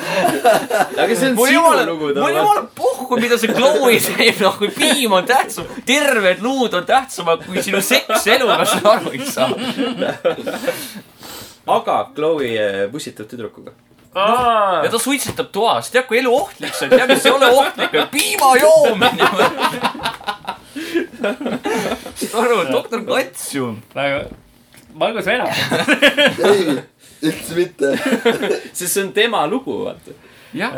aga see on
mul
sinu
jumala ,
lugu ,
mul jumala puhk
kokku , mida see Chloe teeb , noh , kui piim on tähtsam , terved luud on tähtsamad kui sinu seks eluga , sa aru ei saa .
aga Chloe eh, pussitab tüdrukuga .
ja ta suitsetab toas , tead kui eluohtlik see on , tead mis ei ole ohtlik , piima joomine . saad aru , doktor Katsium .
väga , Margus Äh, Venab ,
ei , üldse mitte .
sest see on tema lugu , vaata .
jah ,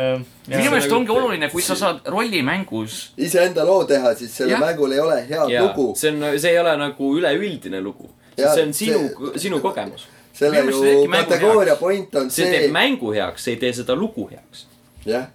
minu meelest ongi oluline , kui sa saad rolli mängus .
iseenda loo teha , siis sellel
Jah.
mängul ei ole head lugu .
see on , see ei ole nagu üleüldine lugu .
Jaa,
see on sinu
see- ,
sinu kogemus .
selle
minu meelest see teebki mängu
ju kategooria
heaks.
point on
see teeb
see ,
mängu heaks , see ei tee seda lugu heaks .
jah ,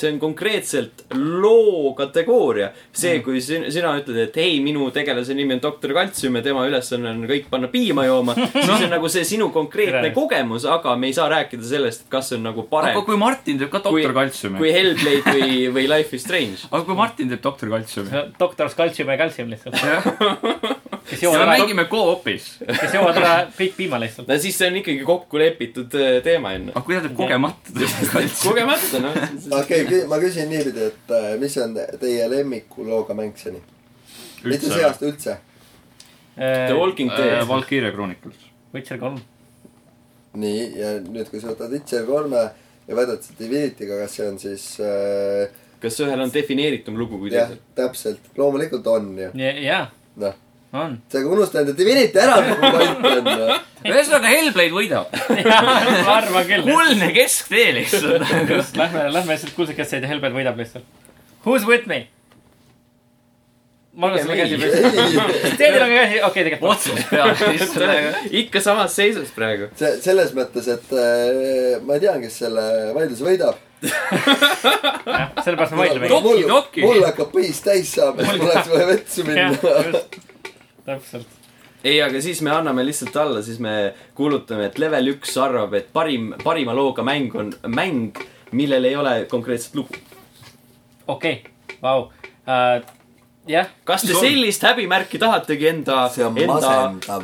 see on konkreetselt loo kategooria . see ,
Mm.
kui sin- , sina ütled , et ei , minu tegelase nimi on doktor Kaltsium ja tema ülesanne on kõik panna piima jooma , siis on nagu see sinu konkreetne
Tere.
kogemus , aga me ei saa rääkida sellest , et kas see on nagu
aga
parem
kui Martin teeb ka
kui
doktor ,
kui
Katsiumi .
Hellblade või , või Life is Strange .
aga kui Martin teeb doktor Katsiumi .
doktor Skaltsium ja Kaltsium lihtsalt ,
ja me
kes joovad ära ,
mängime co-op'is .
kes joovad ära kõik piima lihtsalt .
no siis see on ikkagi kokku lepitud äh, teema enne .
aga kui ta teeb kogemata doktor Katsiumi .
kogemata , noh .
okei okay, , ma küsin niipidi , et äh, mis on teie lemmikulooga mäng seni ? mitte see aasta üldse .
The Walking Dead .
Äh, Valkyria Chronicles .
Äh, Witcher kolm ,
nii , ja nüüd , kui sa võtad Witcher kolme ja võtad seda Divinity'ga , kas see on siis äh,
kas ühel on defineeritum lugu kui
jah
teisel ?,
täpselt , loomulikult on ju ,
jaa ,
noh .
on .
sa unustad enda Divinity ära , nagu point on .
ühesõnaga Hellblade võidab .
ma arvan küll .
kuldne kesktee lihtsalt .
just , lähme , lähme lihtsalt kuldsekesed ja Helbel võidab lihtsalt . Who's with me ? Margus , sul on käsi püsti .
ei ,
Teedil on ka käsi , okei , tegelikult .
otsast peale lihtsalt .
ikka samas seisus praegu .
see , selles mõttes , et äh, ma ei tea , kes selle vaidluse võidab .
sellepärast me vaidleme .
mul
Doki.
mul hakkab põis täis saama , siis mul oleks vaja vetsu minna .
täpselt .
ei , aga siis me anname lihtsalt alla , siis me kuulutame , et level üks arvab , et parim , parima looga mäng on mäng , millel ei ole konkreetset lugu .
okei , vau . jah ,
kas te sellist häbimärki tahategi enda ,
See on
enda äh,
masendav. ,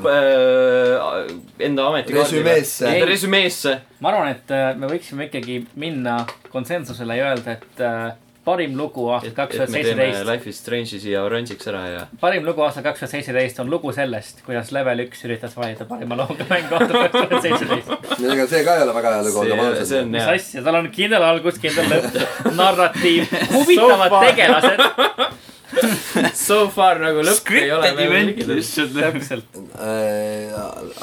enda ametikaardile ?
Resümeesse.
resümeesse .
ma arvan , et äh, me võiksime ikkagi minna konsensusele ja öelda , et äh, parim lugu aastal
et ,
kaks
et
tuhat
me teeme
seitseteist ,
Life is Strange'i siia oranžiks ära ja .
parim lugu aastal kaks tuhat seitseteist on lugu sellest , kuidas level üks üritas valida parima looga mängu aastal kaks tuhat seitseteist .
ega see ka ei ole väga hea lugu , olgem
see see
ausad .
on
mis
hea .
asja , tal on kindel algus , kindel lõpp , narratiiv , huvitavad
So far.
tegelased ,
So far nagu lõpp ei ole
Scripted
veel
event
mingi .
lihtsalt .
täpselt .
Äh,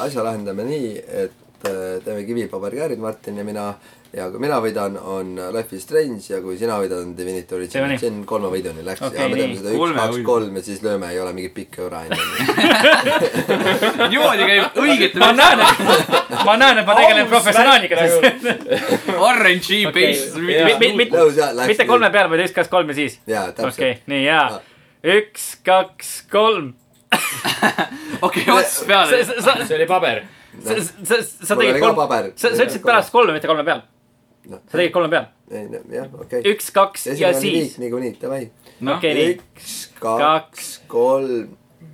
asja lahendame nii , et äh, teeme kivipaberkäärid , Martin ja mina . ja kui mina võidan , on Life is Strange ja kui sina võidad , on Divinity
Teeme
Original
nii. .
see on kolme võiduni läks
Okei,
ja me teeme
nii.
seda üks ,
Kolme
kaks
võidu. ,
kolm ja siis lööme , ei ole mingit pikka jura onju .
niimoodi käib õigete
ma näen , ma näen , et ma tegelen professionaaliga siis .
RNG based
Okei, jaa.
okay, .
Mit-
nõus jah , läks .
mitte kolme . peale , vaid üks , kaks , kolm ja siis .
jaa ,
okei
täpselt .,
nii hea
Ah. .
üks , kaks , kolm .
okei , ots
sa ,
peale .
sa ,
see oli paber .
sa , sa , sa
mul
tegid
oli ka
kolm ,
paber .
sa , sa ütlesid pärast kolme , mitte kolme peal . sa tegid kolme peal .
kolm . jah , okei .
üks , kaks ja siis .
niikuinii , davai .
noh ,
okei , nii .
üks , kaks , kolm .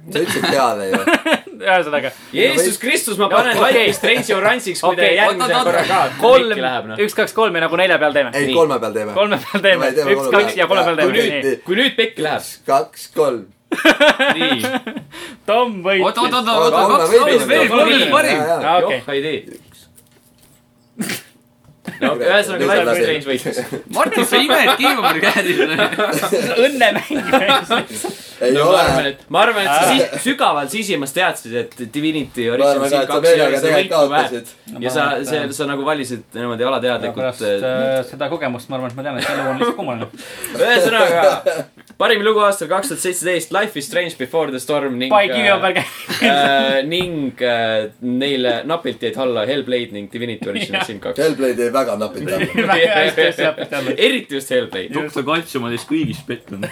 sa ütlesid peale ju .
ühesõnaga ,
Jeesus Kristus , ma panen
okei.
Life is Strange'i oranžiks , kui te
Okei,
järgmise
oot, oot,
korra
oot.
ka .
kolm
läheb , noh .
üks , kaks , kolm ja nagu nelja peal teeme .
ei , kolme peal teeme .
kolme peal teeme
Davai, , teeme
üks ,
kolme
kaks
peal.
ja kolme peal
Ja, kui .
teeme nii ,
nüüd-
kui nüüd pekki läheb ,
kaks , kolm .
nii .
Tom
oot , oot ,
võitis .
oot , oot ,
Kolme
kaks
võidu.
lauset veel ,
Kolm
kolm
veel.
parim .
jaa.
okei.
joh , ei tee . no ühesõnaga
Nüüd
Life
läheb
is
see.
Strange võitis .
Martin , sa imed kiivamari käes .
õnnemäng .
ei
ma arvan ,
ole .
et , ma arvan , et sa si- sügaval sisimas teadsid , et Divinity Original
arvan ka,
siin
et sa
kaks ei ole
meelega
seda
tegelikult
võitu väärt
kaotasid. .
ja sa , see , sa nagu valisid niimoodi alateadlikult
pärast . äh, seda kogemust ma arvan , et ma tean , et see lugu on lihtsalt kummaline .
ühesõnaga , parim lugu aastal kaks tuhat seitseteist , Life is Strange Before the Storm ning .
pai kivi on pärge .
Äh, ning äh, neile napilt jäid alla Hellblade ning Divinity Original Sin kaks .
Hellblade jäi väga napilt alla .
väga hästi asja jätta jälle .
eriti just Hellblade .
doktor Kaltsum on teist kõigist pettunud .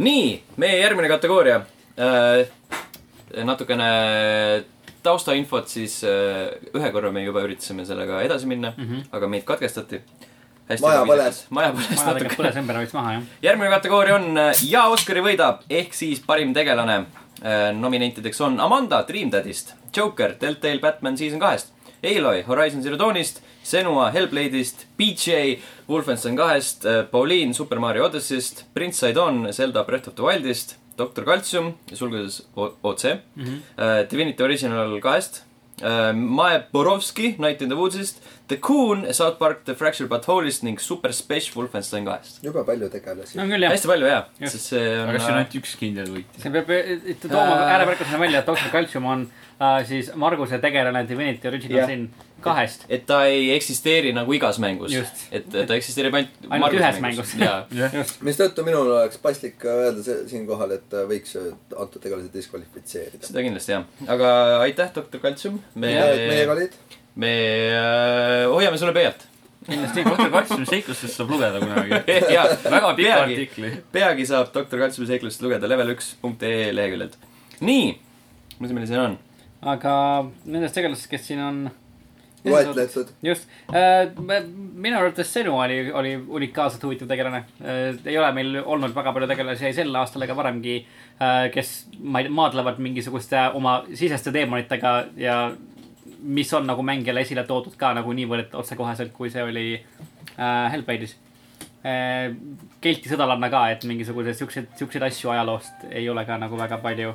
nii , meie järgmine kategooria äh, . natukene taustainfot , siis äh, ühe korra me juba üritasime sellega edasi minna mm ,
Mhm.
-hmm. aga meid katkestati .
Maja põles. .
maja põles
maja tegelikult
natuke .
põles ümber , võiks maha jah .
järgmine kategooria on äh, ja Oscari võidab ehk siis parim äh, tegelane . nominentideks on Amanda Dream Daddy'st , Joker , Telltale Batman Season kahest , Aloy Horizon Zero Dawnist , Senua Hellblade'ist , BJ Wolfenstein kahest , Pauliin Super Mario Odyssey'st , Prince Saidon Zelda Breath of the Wildist , Doktor Kaltsium , sulgudes O- OC mm , -hmm. Divinity Original kahest , Mae Borovski Night in the Woodsist , The Coon , South Park The Fractured But Whole'ist ning Super Space Wolfenstein kahest .
jube palju tegelasi .
on küll jah ,
hästi palju jaa ,
Just.
sest see on
aga kas siin on ainult üks kindel võitja ?
see peab eh, eh, tooma
Äh.
ääremärkusena välja , et Doctor Calcium on äh, siis Marguse tegelane Divinity Original
Jah.
Sin kahest .
et ta ei eksisteeri nagu igas mängus
Just. .
et ta eksisteerib ainult .
Ainult ühes mängus.
jaa ,
mistõttu minul oleks paslik öelda see- siinkohal , et äh, võiks äh, antud tegelasi diskvalifitseerida .
seda kindlasti jah , aga aitäh , doktor Kaltsium , me
ja , et , meiega olid .
me äh, hoiame sulle pealt .
Dr. Katsumi seiklustest saab lugeda kunagi .
jaa ,
väga pika
peagi ,
artikli .
peagi saab doktor Kaltsiumi seiklust lugeda level1.ee leheküljelt . nii , mis meil siin on ?
aga nendest tegelastest , kes siin on .
loetletud .
just , minu arvates Senu oli , oli unikaalselt huvitav tegelane . ei ole meil olnud väga palju tegelasi ei sel aastal ega varemgi , kes ma ei tea , maadlevad mingisuguste oma siseste teemonitega ja mis on nagu mängijale esile toodud ka nagu niivõrd otsekoheselt , kui see oli äh, Hellblade'is . Kelti sõdalanna ka , et mingisuguseid siukseid , siukseid asju ajaloost ei ole ka nagu väga palju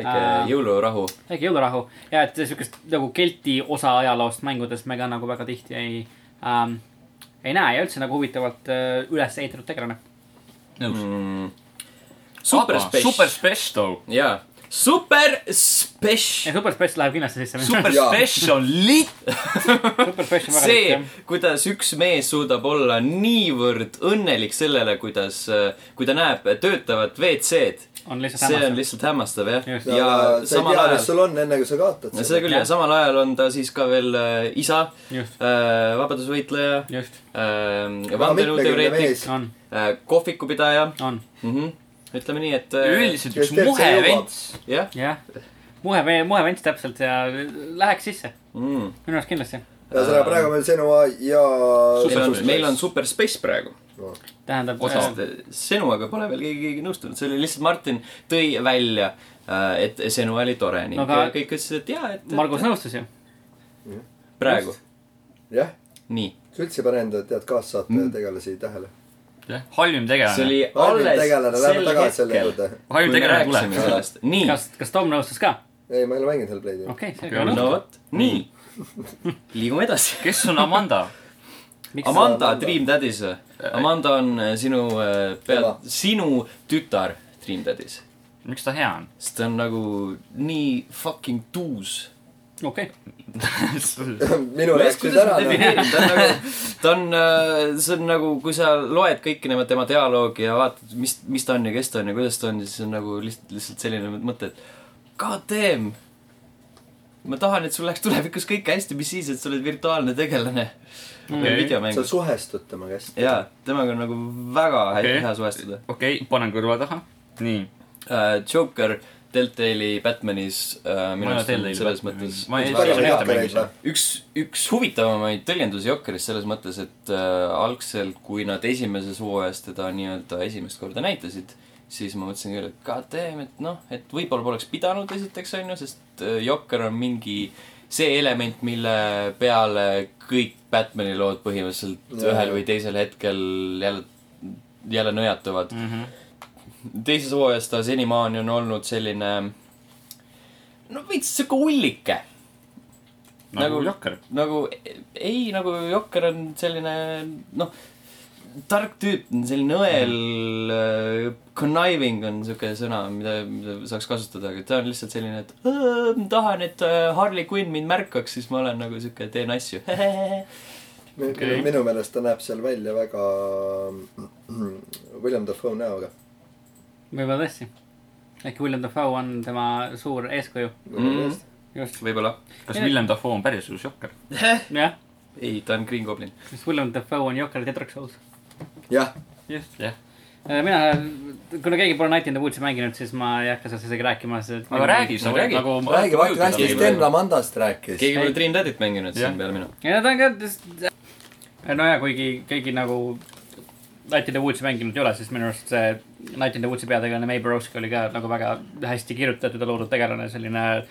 väike
Aa.
jõulurahu .
väike jõulurahu ja et siukest nagu kelti osa ajaloost mängudes me ka nagu väga tihti ei ähm, , ei näe ja üldse nagu huvitavalt äh, üles ehitatud tegelane .
super
Mm. super
spets ,
special .
jaa , super spets
ei , Super Space läheb kindlasti sisse .
super
Jaa.
special , lit- .
Super Space on väga
see
lihtne .,
kuidas üks mees suudab olla niivõrd õnnelik sellele , kuidas , kui ta näeb töötavat WC-d .
on lihtsalt
see on
hämmastav .
lihtsalt hämmastav jah ,
Just.
ja
sa ei
samal
tea , mis
ajal ,
sul on , enne kui sa kaotad
seda küll ja samal ajal on ta siis ka veel äh, isa ,
just ,
vabadusvõitleja ,
just ,
vandenõuteoreetik ,
on ,
kohvikupidaja
on ,
mhm. , ütleme nii , et äh,
üldiselt üks
Kes teeb, see
muhe
jõuab.
vents .
jah
jah . muhe , muhe vents täpselt ja läheks sisse ,
mm. .
minu arust kindlasti .
ühesõnaga , praegu on meil Senua ja .
meil on , meil on super space praegu .
tähendab ,
Osa.
äh,
eh, Senuaga pole veel keegi, keegi nõustunud , see oli lihtsalt Martin tõi välja , et Senua oli tore ning
No
no,
aga-
kõik ütlesid , et jaa , et
Margus nõustus ju .
praegu ,
jah ,
nii .
sa üldse ei pane enda , tead , kaassaate
Mm.
tegelasi tähele .
halvim
see
tegelane .
oli
halvim
alles
tegelane , lähme
sel
tagasi selle
hetkel ,
juurde .
halvim
kui me
tegelane tuleb .
rääkisime sellest , nii ,
kas , kas Tom nõustus ka ?
ei , ma ei ole mänginud Hellblade'i okay. .
okei , selge ,
no
nõustus .
vot , nii , liigume edasi .
kes on Amanda ?
Amanda
Amanda?
Dream Daddies , Amanda on äh, sinu äh, pea
Ema. ,
sinu tütar Dream Daddies ,
miks ta hea on ?
sest ta on nagu nii fucking tuus
okei ,
minul läks nüüd ära . noh.
defineerib , ta on nagu , ta on , see on nagu , kui sa loed kõiki nema tema dialoogi ja vaatad , mis , mis ta on ja kes ta on ja kuidas ta on , siis on nagu lihtsalt , lihtsalt selline mõte , et god damn . ma tahan , et sul läheks tulevikus kõik hästi , mis siis , et sa oled virtuaalne tegelane okay.
Okei.
sa
videomängus .
suhestud temaga hästi .
jaa , temaga on nagu väga hä-
Okei.
hea suhestuda .
okei , panen kõrva taha . nii .
Joker , Deltali Batmanis äh, minu
Ma ei ole
arust on
Telltale'i
selles
Batmani
mõttes
mänginud. Ma ei-
väga
see on
hea
ühte mängis,
tegelane .
üks , üks huvitavamaid tõlgendusi Jokkerist selles mõttes , et äh, algselt , kui nad esimeses hooajas teda nii-öelda esimest korda näitasid , siis ma mõtlesin küll , et god damn , et noh , et võib-olla poleks pidanud esiteks , on ju , sest äh, Jokker on mingi see element , mille peale kõik Batman'i lood põhimõtteliselt
Jaa.
ühel või teisel hetkel jälle , jälle nõjatuvad mm . -hmm. teises hooajas ta senimaani on olnud selline no veits sihuke ullike
nagu
Nagu-
jokker .
nagu ei , nagu Jokker on selline noh , tark tüüp , selline õel äh, , conniving on siuke sõna , mida , mida saaks kasutada , aga ta on lihtsalt selline , et "Õõ, ma tahan , et äh, Harley Quinn mind märkaks , siis ma olen nagu siuke , teen asju .
Okei.
minu meelest ta näeb seal välja väga William Dafoe näoga .
võib-olla tõesti . äkki William Dafoe on tema suur eeskuju ,
Mm.
just .
võib-olla .
kas
Ei.
William Dafoe on päris uus jokker ?
jah ,
ei , ta on Green Goblin .
mis William Dafoe on Joker Tetraks olnud .
jah ,
just .
jah .
Äh, mina , kuna keegi pole Night in the Woods'i mänginud , siis ma ei hakka sellest isegi rääkima , sest .
aga räägi , sa
no
võid
räägi.
nagu .
räägi , vaata hästi , Sten . Lamandast rääkis .
keegi pole Dream Daddy't mänginud
Jah.
siin peale minu .
ja ta on ka , no ja kuigi keegi nagu Night in the Woods'i mänginud ei ole , siis minu arust see Night in the Woods'i peategelane May Borowski oli ka nagu väga hästi kirjutatud ja loodud tegelane , selline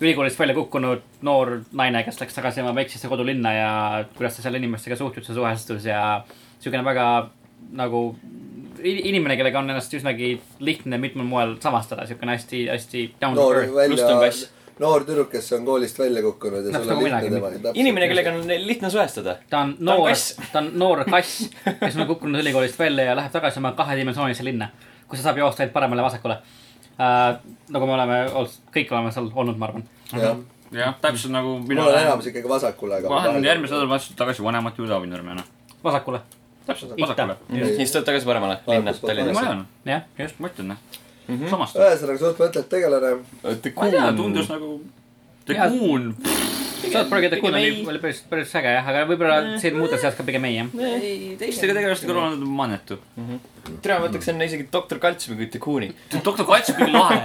ülikoolist välja kukkunud noor naine , kes läks tagasi oma väiksesse kodulinna ja kuidas ta seal inimestega suhtlus ja suhestus ja siukene väga nagu i- inimene , kellega on ennast üsnagi lihtne mitmel moel samastada , siukene hästi , hästi down to
noor
earth .
lust on
välja
kass. ,
noor tüdruk , kes on koolist välja kukkunud ja
Täpselt
sul on
nagu
lihtne
minagi.
temaga .
inimene , kellega on lihtne suhestuda .
ta on
on
noor
kass. ,
ta on noor kass , kes on kukkunud ülikoolist välja ja läheb tagasi oma kahedimensioonilisse linna , kus ta saab joosta ainult paremale-vasakule uh, . nagu me oleme olnud , kõik oleme seal olnud , ma arvan .
jah ,
jah , täpselt nagu
mul
mina
on enamus ikkagi vasakule , aga
ma lähen järgmisel nädalal vastu tagasi vanemate juurde abinurmena .
vasakule ,
täpselt ,
Ikka.
vasakule .
ja siis tuleb tagasi paremale , linna ,
ma
Tallinnasse .
tean ,
jah ,
just , ma ütlen ,
Mhm.
noh . samas ,
ühesõnaga suht mõtlev tegelane .
ma ei tea , tundus nagu The
Jaa.
Coon .
South Park'i The Coon oli , oli päris , päris äge jah , aga võib-olla siin muude seas ka pigem ei jah .
teistega tegelastega olen olnud nagu mannetu .
tere , ma võtaks enne isegi doktor Kaltsumi kui Tekuni .
doktor Katsuk oli lahe .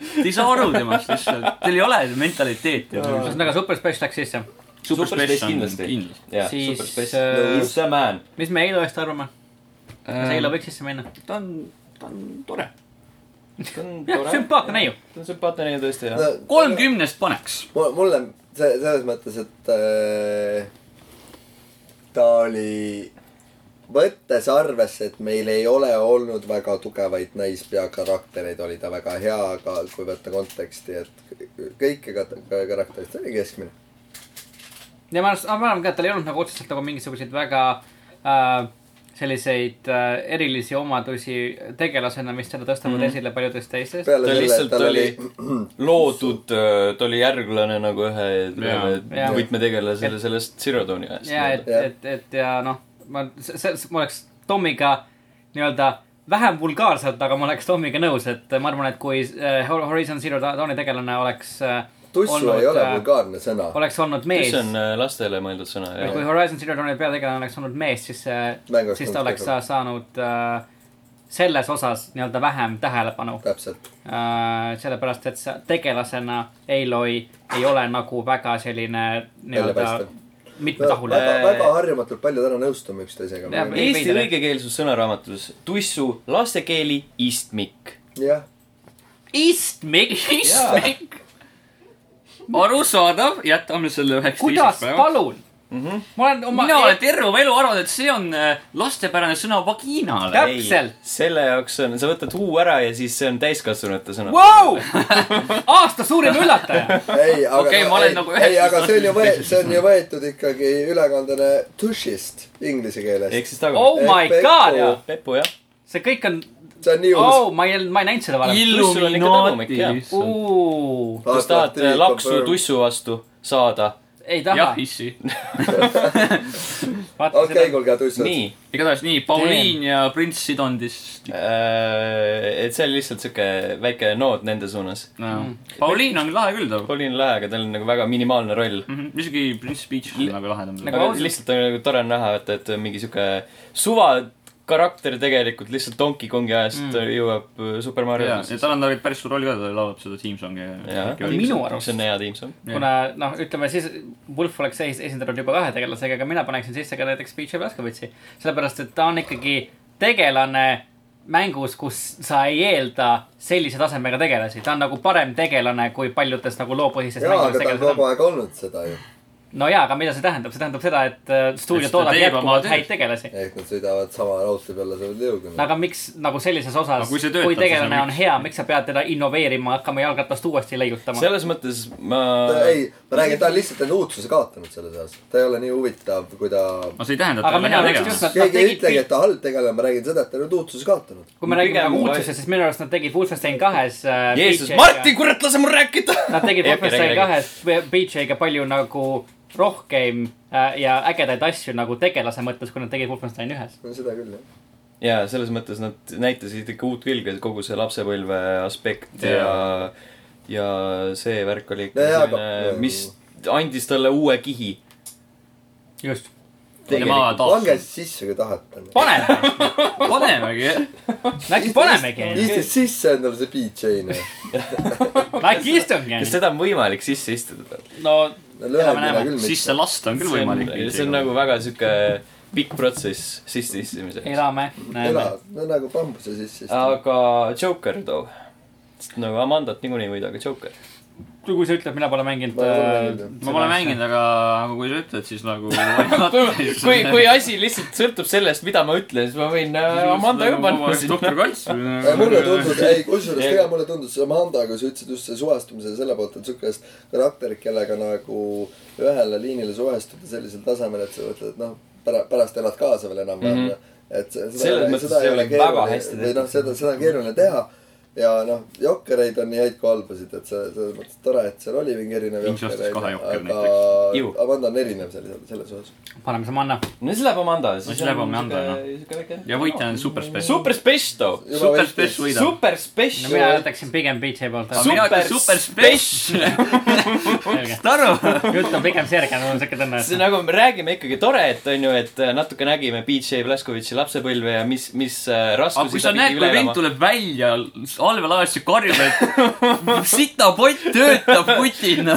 Te ei saa aru temast lihtsalt , teil ei ole mentaliteeti .
ühesõnaga Super Space läks sisse .
Super Space kindlasti.
kindlasti .
jaa ,
Siis,
Super Space
äh, .
It's a man .
mis me Eilost arvame ? kas Eilo võiks sisse minna ?
Ehm, ta on , ta on tore .
jah , sümpaatne neiu .
ta on sümpaatne neiu tõesti jah .
kolm . kümnest paneks .
mulle see , selles mõttes , et äh, ta oli , võttes arvesse , et meil ei ole olnud väga tugevaid naispeakaraktereid , oli ta väga hea , aga kui võtta konteksti , et kõiki kat- karaktereid , ta oli keskmine .
ja ma arvan , ma arvan ka , et tal ei olnud nagu otseselt nagu mingisuguseid väga äh, selliseid äh, erilisi omadusi tegelasena , mis teda tõstavad
Mhm.
mm -hmm. esile paljudest teistest .
peale
Ta
selle
lihtsalt ,
tal oli
loodud , ta oli järglane nagu ühe
Jaa.
ühe võtmetegelasele sellest Zero Dawni
ja
ajast .
et , et , et ja noh , ma , see , see , ma oleks Tomiga nii-öelda vähem vulgaarselt , aga ma oleks Tomiga nõus , et ma arvan , et kui äh, Horizon Zero Da- Dawni tegelane oleks äh,
tussu ei ole
äh,
vulgaarne sõna .
oleks olnud mees
mis , on äh, lastele mõeldud sõna jah .
kui Horizon Zero Dawni peategelane oleks olnud mees , siis
Mäng
äh, ,
oleks
siis ta
olnud
oleks
kehvem.
sa- saanud äh, selles osas nii-öelda vähem tähelepanu
täpselt .
äh, . sellepärast , et sa tegelasena Aloy ei ole nagu väga selline nii-öelda
Väljapaistev.
mitmetahule
väga , väga harjumatult palju täna nõustume üksteisega
Jah, . ei-
Eesti
veider.
õigekeelsus sõnaraamatus tussu lastekeeli istmik .
jah ,
istmik , istmik .
arusaadav , jätame selle üheks
kuidas ,
teiseks päevaks .
palun mm ?
Mhm.
-hmm. ma olen oma
mina olen terve oma elu arvanud , et see on äh, lastepärane sõna vagiinale .
täpselt .
selle jaoks on , sa võtad huu ära ja siis see on täiskasvanute sõna .
wow! . aasta suurim üllataja .
ei , aga
Okei, ma olen
ei,
nagu
ei ,
üheksas-
aga see on ju võetud , see on ju võetud ikkagi ülekandena tushist inglise
ehk
keeles .
siis tagumik .
oh my god
Peppu. .
Pepu jah .
see kõik on ,
see on nii uus .
oh , ma ei , ma ei näinud seda varem .
kui sa
äh,
tahad äh, laksu tussu vastu saada .
ei
jah ,
taha .
issi .
okei , kuulge , tussud .
nii ,
igatahes nii , Pauliin ja prints Sidondis
äh, et see oli lihtsalt siuke väike nood nende suunas .
no. .
Mm.
Pauliin on lahe küll too .
Pauline Lahe , aga tal on nagu väga minimaalne roll .
isegi prints Peach on nagu lahedam .
Mm. Nagu
aga
ausalt-
lihtsalt on nagu tore on näha , et , et mingi sihuke suva karakter tegelikult lihtsalt Donkey Kongi ajast mm. jõuab äh, Super Mario
ja , ja tal on nagu päris suur roll ka , ta laulab seda Team Songi .
Minu arust-
see on hea tiimsam .
kuna noh , ütleme siis Wolf oleks es- esindanud juba kahe tegelasega , aga mina paneksin sisse ka näiteks Peach ja Blaskovitši . sellepärast , et ta on ikkagi tegelane mängus , kus sa ei eelda sellise tasemega tegelasi . ta on nagu parem tegelane kui paljudes nagu loopõhistes
jaa ,
mängudes
aga ta on
tegelased
kogu
on .
aeg olnud seda ju .
no jaa , aga mida see tähendab ? see tähendab seda , et äh, stuudio
Et ta
toodab
teeb oma
jätkuvalt
tööd.
häid tegelasi .
ehk nad sõidavad sama raudtee peale selle
no
jõuga .
aga miks nagu sellises osas ,
Aga kui
kui,
see töötab,
kui tegelane
siis on
on
miks?
hea , miks sa pead teda innoveerima , hakkama jalgratast uuesti leiutama ?
selles mõttes ma .
ei , ma räägin , ta on lihtsalt enda uudsuse kaotanud selles osas . ta ei ole nii huvitav , kui ta
no see ei tähenda , et
aga
ta on
mina
hea
oleks just ,
tegelane .
nad , nad
keegi ei
tegid
ütlegi , et ta halb tegelane , ma räägin seda , et ta on nüüd uudsuse kaotanud .
kui me räägime
Pigem
nagu
ma-
uudsusest , siis minu arust nad tegid Wolfenstein kahes äh,
Jeesus ,
Beachiga-
Martin , kurat , lase mul rääkida
Nad tegid
Ei, okei,
Wolfenstein
räägi, räägi.
kahes BJ-ga palju nagu rohkem äh, ja ägedaid asju nagu tegelase mõttes , kui nad tegid Wolfenstein ühes .
no seda küll , jah .
ja selles mõttes nad näitasid ikka uut külge , kogu see lapsepõlve aspekt ja , ja see värk oli ikka
No jaa, aga-
selline , mis andis talle uue kihi .
just .
tema
pange
taas .
sisse , kui tahate .
paneme ,
panemegi , jah .
äkki panemegi ,
istu sisse endale see BJ-na .
äkki
kas
istumegi .
seda on võimalik sisse istuda tal ?
no
lühendina
näeme.
küll mitte .
sisse lasta on küll võimalik .
see on nagu väga sihuke pikk protsess sisse istumiseks .
elame , näeme .
elad , no nagu bambuse sisse .
aga Joker too ? nagu Amandat niikuinii ei võida , aga Joker .
kui sa ütled , mina pole mänginud . äh,
Ma pole mänginud, jah.
ma pole mänginud , aga , aga kui sa ütled , siis nagu . kui
kui , kui asi lihtsalt sõltub sellest , mida ma ütlen , siis ma võin äh, Amanda ka panna
nagu doktor nagu-
sinna .
Kals .
Äh,
mulle tundus , ei kusjuures tegelikult mulle tundus see Amanda , kui sa ütlesid just see suhestumise selle poolt , et siukest karakterit , kellega nagu ühele liinile suhestuda sellisel tasemel , et sa mõtled , noh , pärast , pärast elad kaasa veel enam-vähem mm . -hmm. et see-
Mhm. Selles
seda ,
mõttes
seda
see
ei ole
oli väga
keeruline
hästi ,
või noh , seda , seda on keeruline teha ja noh , jokkereid on nii häid kui halbasid , et see , selles mõttes tore , et seal oli mingi erinev
Inks ostis kahe jokker
aga
Ju.
Amanda on erinev selles , selles osas .
paneme see manna .
no siis läheb Amanda .
No siis läheb Amanda, noh. ja võitja on Super Space .
Super Spesto ,
Super Space võidab .
Super
no
Spesto
mina hääletaksin pigem BJ poolt .
Su-
mina ütlen
Super
Super Space . saad aru ?
jutt on pigem sirge , mul on siuke tunne ,
see
et
nagu me räägime ikkagi tore , et on ju , et äh, natuke nägime BJ Blaskovitši lapsepõlve ja mis , mis äh,
aga
raskusi
kui sa näed , kui vend tuleb välja allveelaevast ja karjub , et sitapott töötab nagu. putina .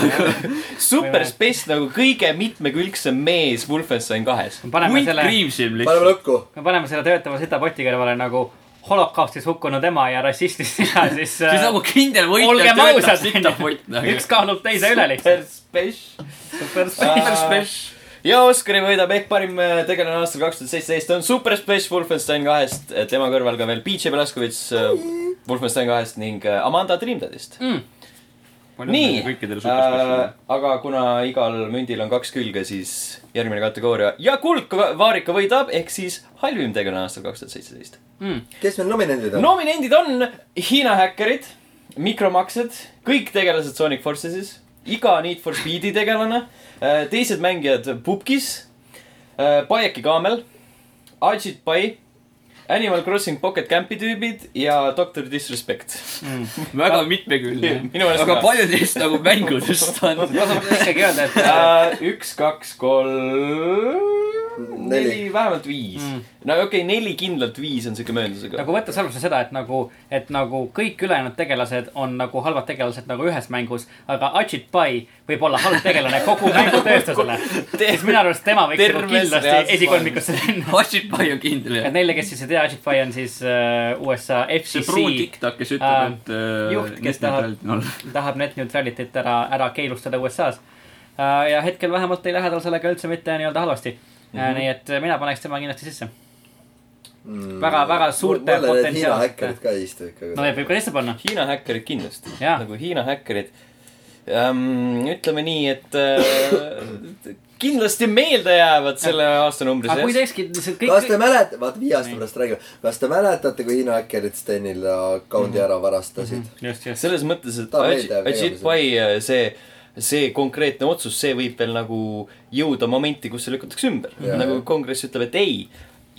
Super Space nagu kõige mitmekülgsem mees Wolfenstein kahes .
paneme
hunt
selle ,
kriib siin
paneme
lihtsalt .
lõppu .
me paneme selle töötava sitapoti kõrvale nagu holokaustis hukkunud ema ja rassistist sina , siis . äh,
siis nagu kindel võitja
olgem
töötab
ausad , nagu.
sitapott .
üks kaalub teise üle lihtsalt .
Space .
super
Super Space . ja Oscari võidab ehk parim äh, tegelane aastal kaks tuhat seitseteist on Super Space Wolfenstein kahest , tema kõrval ka veel BJ Blaskovitš äh, Wolfenstein kahest ning äh, Amanda Dreamdeadist . nii ,
kõikidele Super
äh,
Space'ile .
aga kuna igal mündil on kaks külge , siis järgmine kategooria ja kuldvaarika võidab , ehk siis halvim tegelane aastal kaks tuhat seitseteist .
kes meil nominendid on ?
nominendid on Hiina häkkerid , mikromaksed , kõik tegelased Sonic Forcesis , iga Need for Speedi tegelane , teised mängijad Pupkis , Pajeki kaamel , Ajit Pai , Animal Crossing Pocket Campi tüübid ja Doctor Disrespect .
väga mitmekülgne .
minu meelest
aga
ka.
palju neist nagu mängudest on ?
tasub ikkagi öelda , et
Äh, üks , kaks , kolm , neli , vähemalt viis mm. . no okei okay, , neli kindlalt viis on siuke mööndusega
nagu võttes arvesse seda , et nagu , et nagu kõik ülejäänud tegelased on nagu halvad tegelased nagu ühes mängus , aga Ajit Pai võib olla halb tegelane kogu mängutööstusele . siis minu arust tema võiks nagu
Terves reas
kindlasti esikolmikusse minna .
Hashitpai on kindel
et
jah .
neile , kes siis ei tea , Ajit Pai on siis äh, USA
see pruun
FCC ,
tiktak ,
Äh,
kes ütleb , et äh,
juht, kes
need
tahab-
näitajad on all.
tahab net neutrality't ära , ära keelustada USA-s . Äh, ja hetkel vähemalt ei lähe tal sellega üldse mitte nii-öelda halvasti . Mm -hmm. nii et mina paneks tema kindlasti sisse . väga , väga suurte
Mm. mulle need Hiina
potentsiaalsete
häkkerid . ka ei istu ikkagi .
no need võib ka sisse panna .
Hiina häkkerid kindlasti ,
Jaa.
nagu Hiina häkkerid ähm, . ütleme nii , et äh, kindlasti meelde jäävad selle aastanumbri
aga kui
sees .
teekski lihtsalt
kas te
kõik ,
mäletate , vaata viie aasta pärast räägime , kas te mäletate , kui Hiina häkkerid Stenil
Mhm.
account'i ära varastasid mm ?
just , just .
selles mõttes , et
Ta meelde jääb
Ajit
igaveseks.
Pai äh, see , see konkreetne otsus , see võib veel nagu jõuda momenti , kus see lükatakse ümber .
Jaa.
nagu kongress ütleb , et ei ,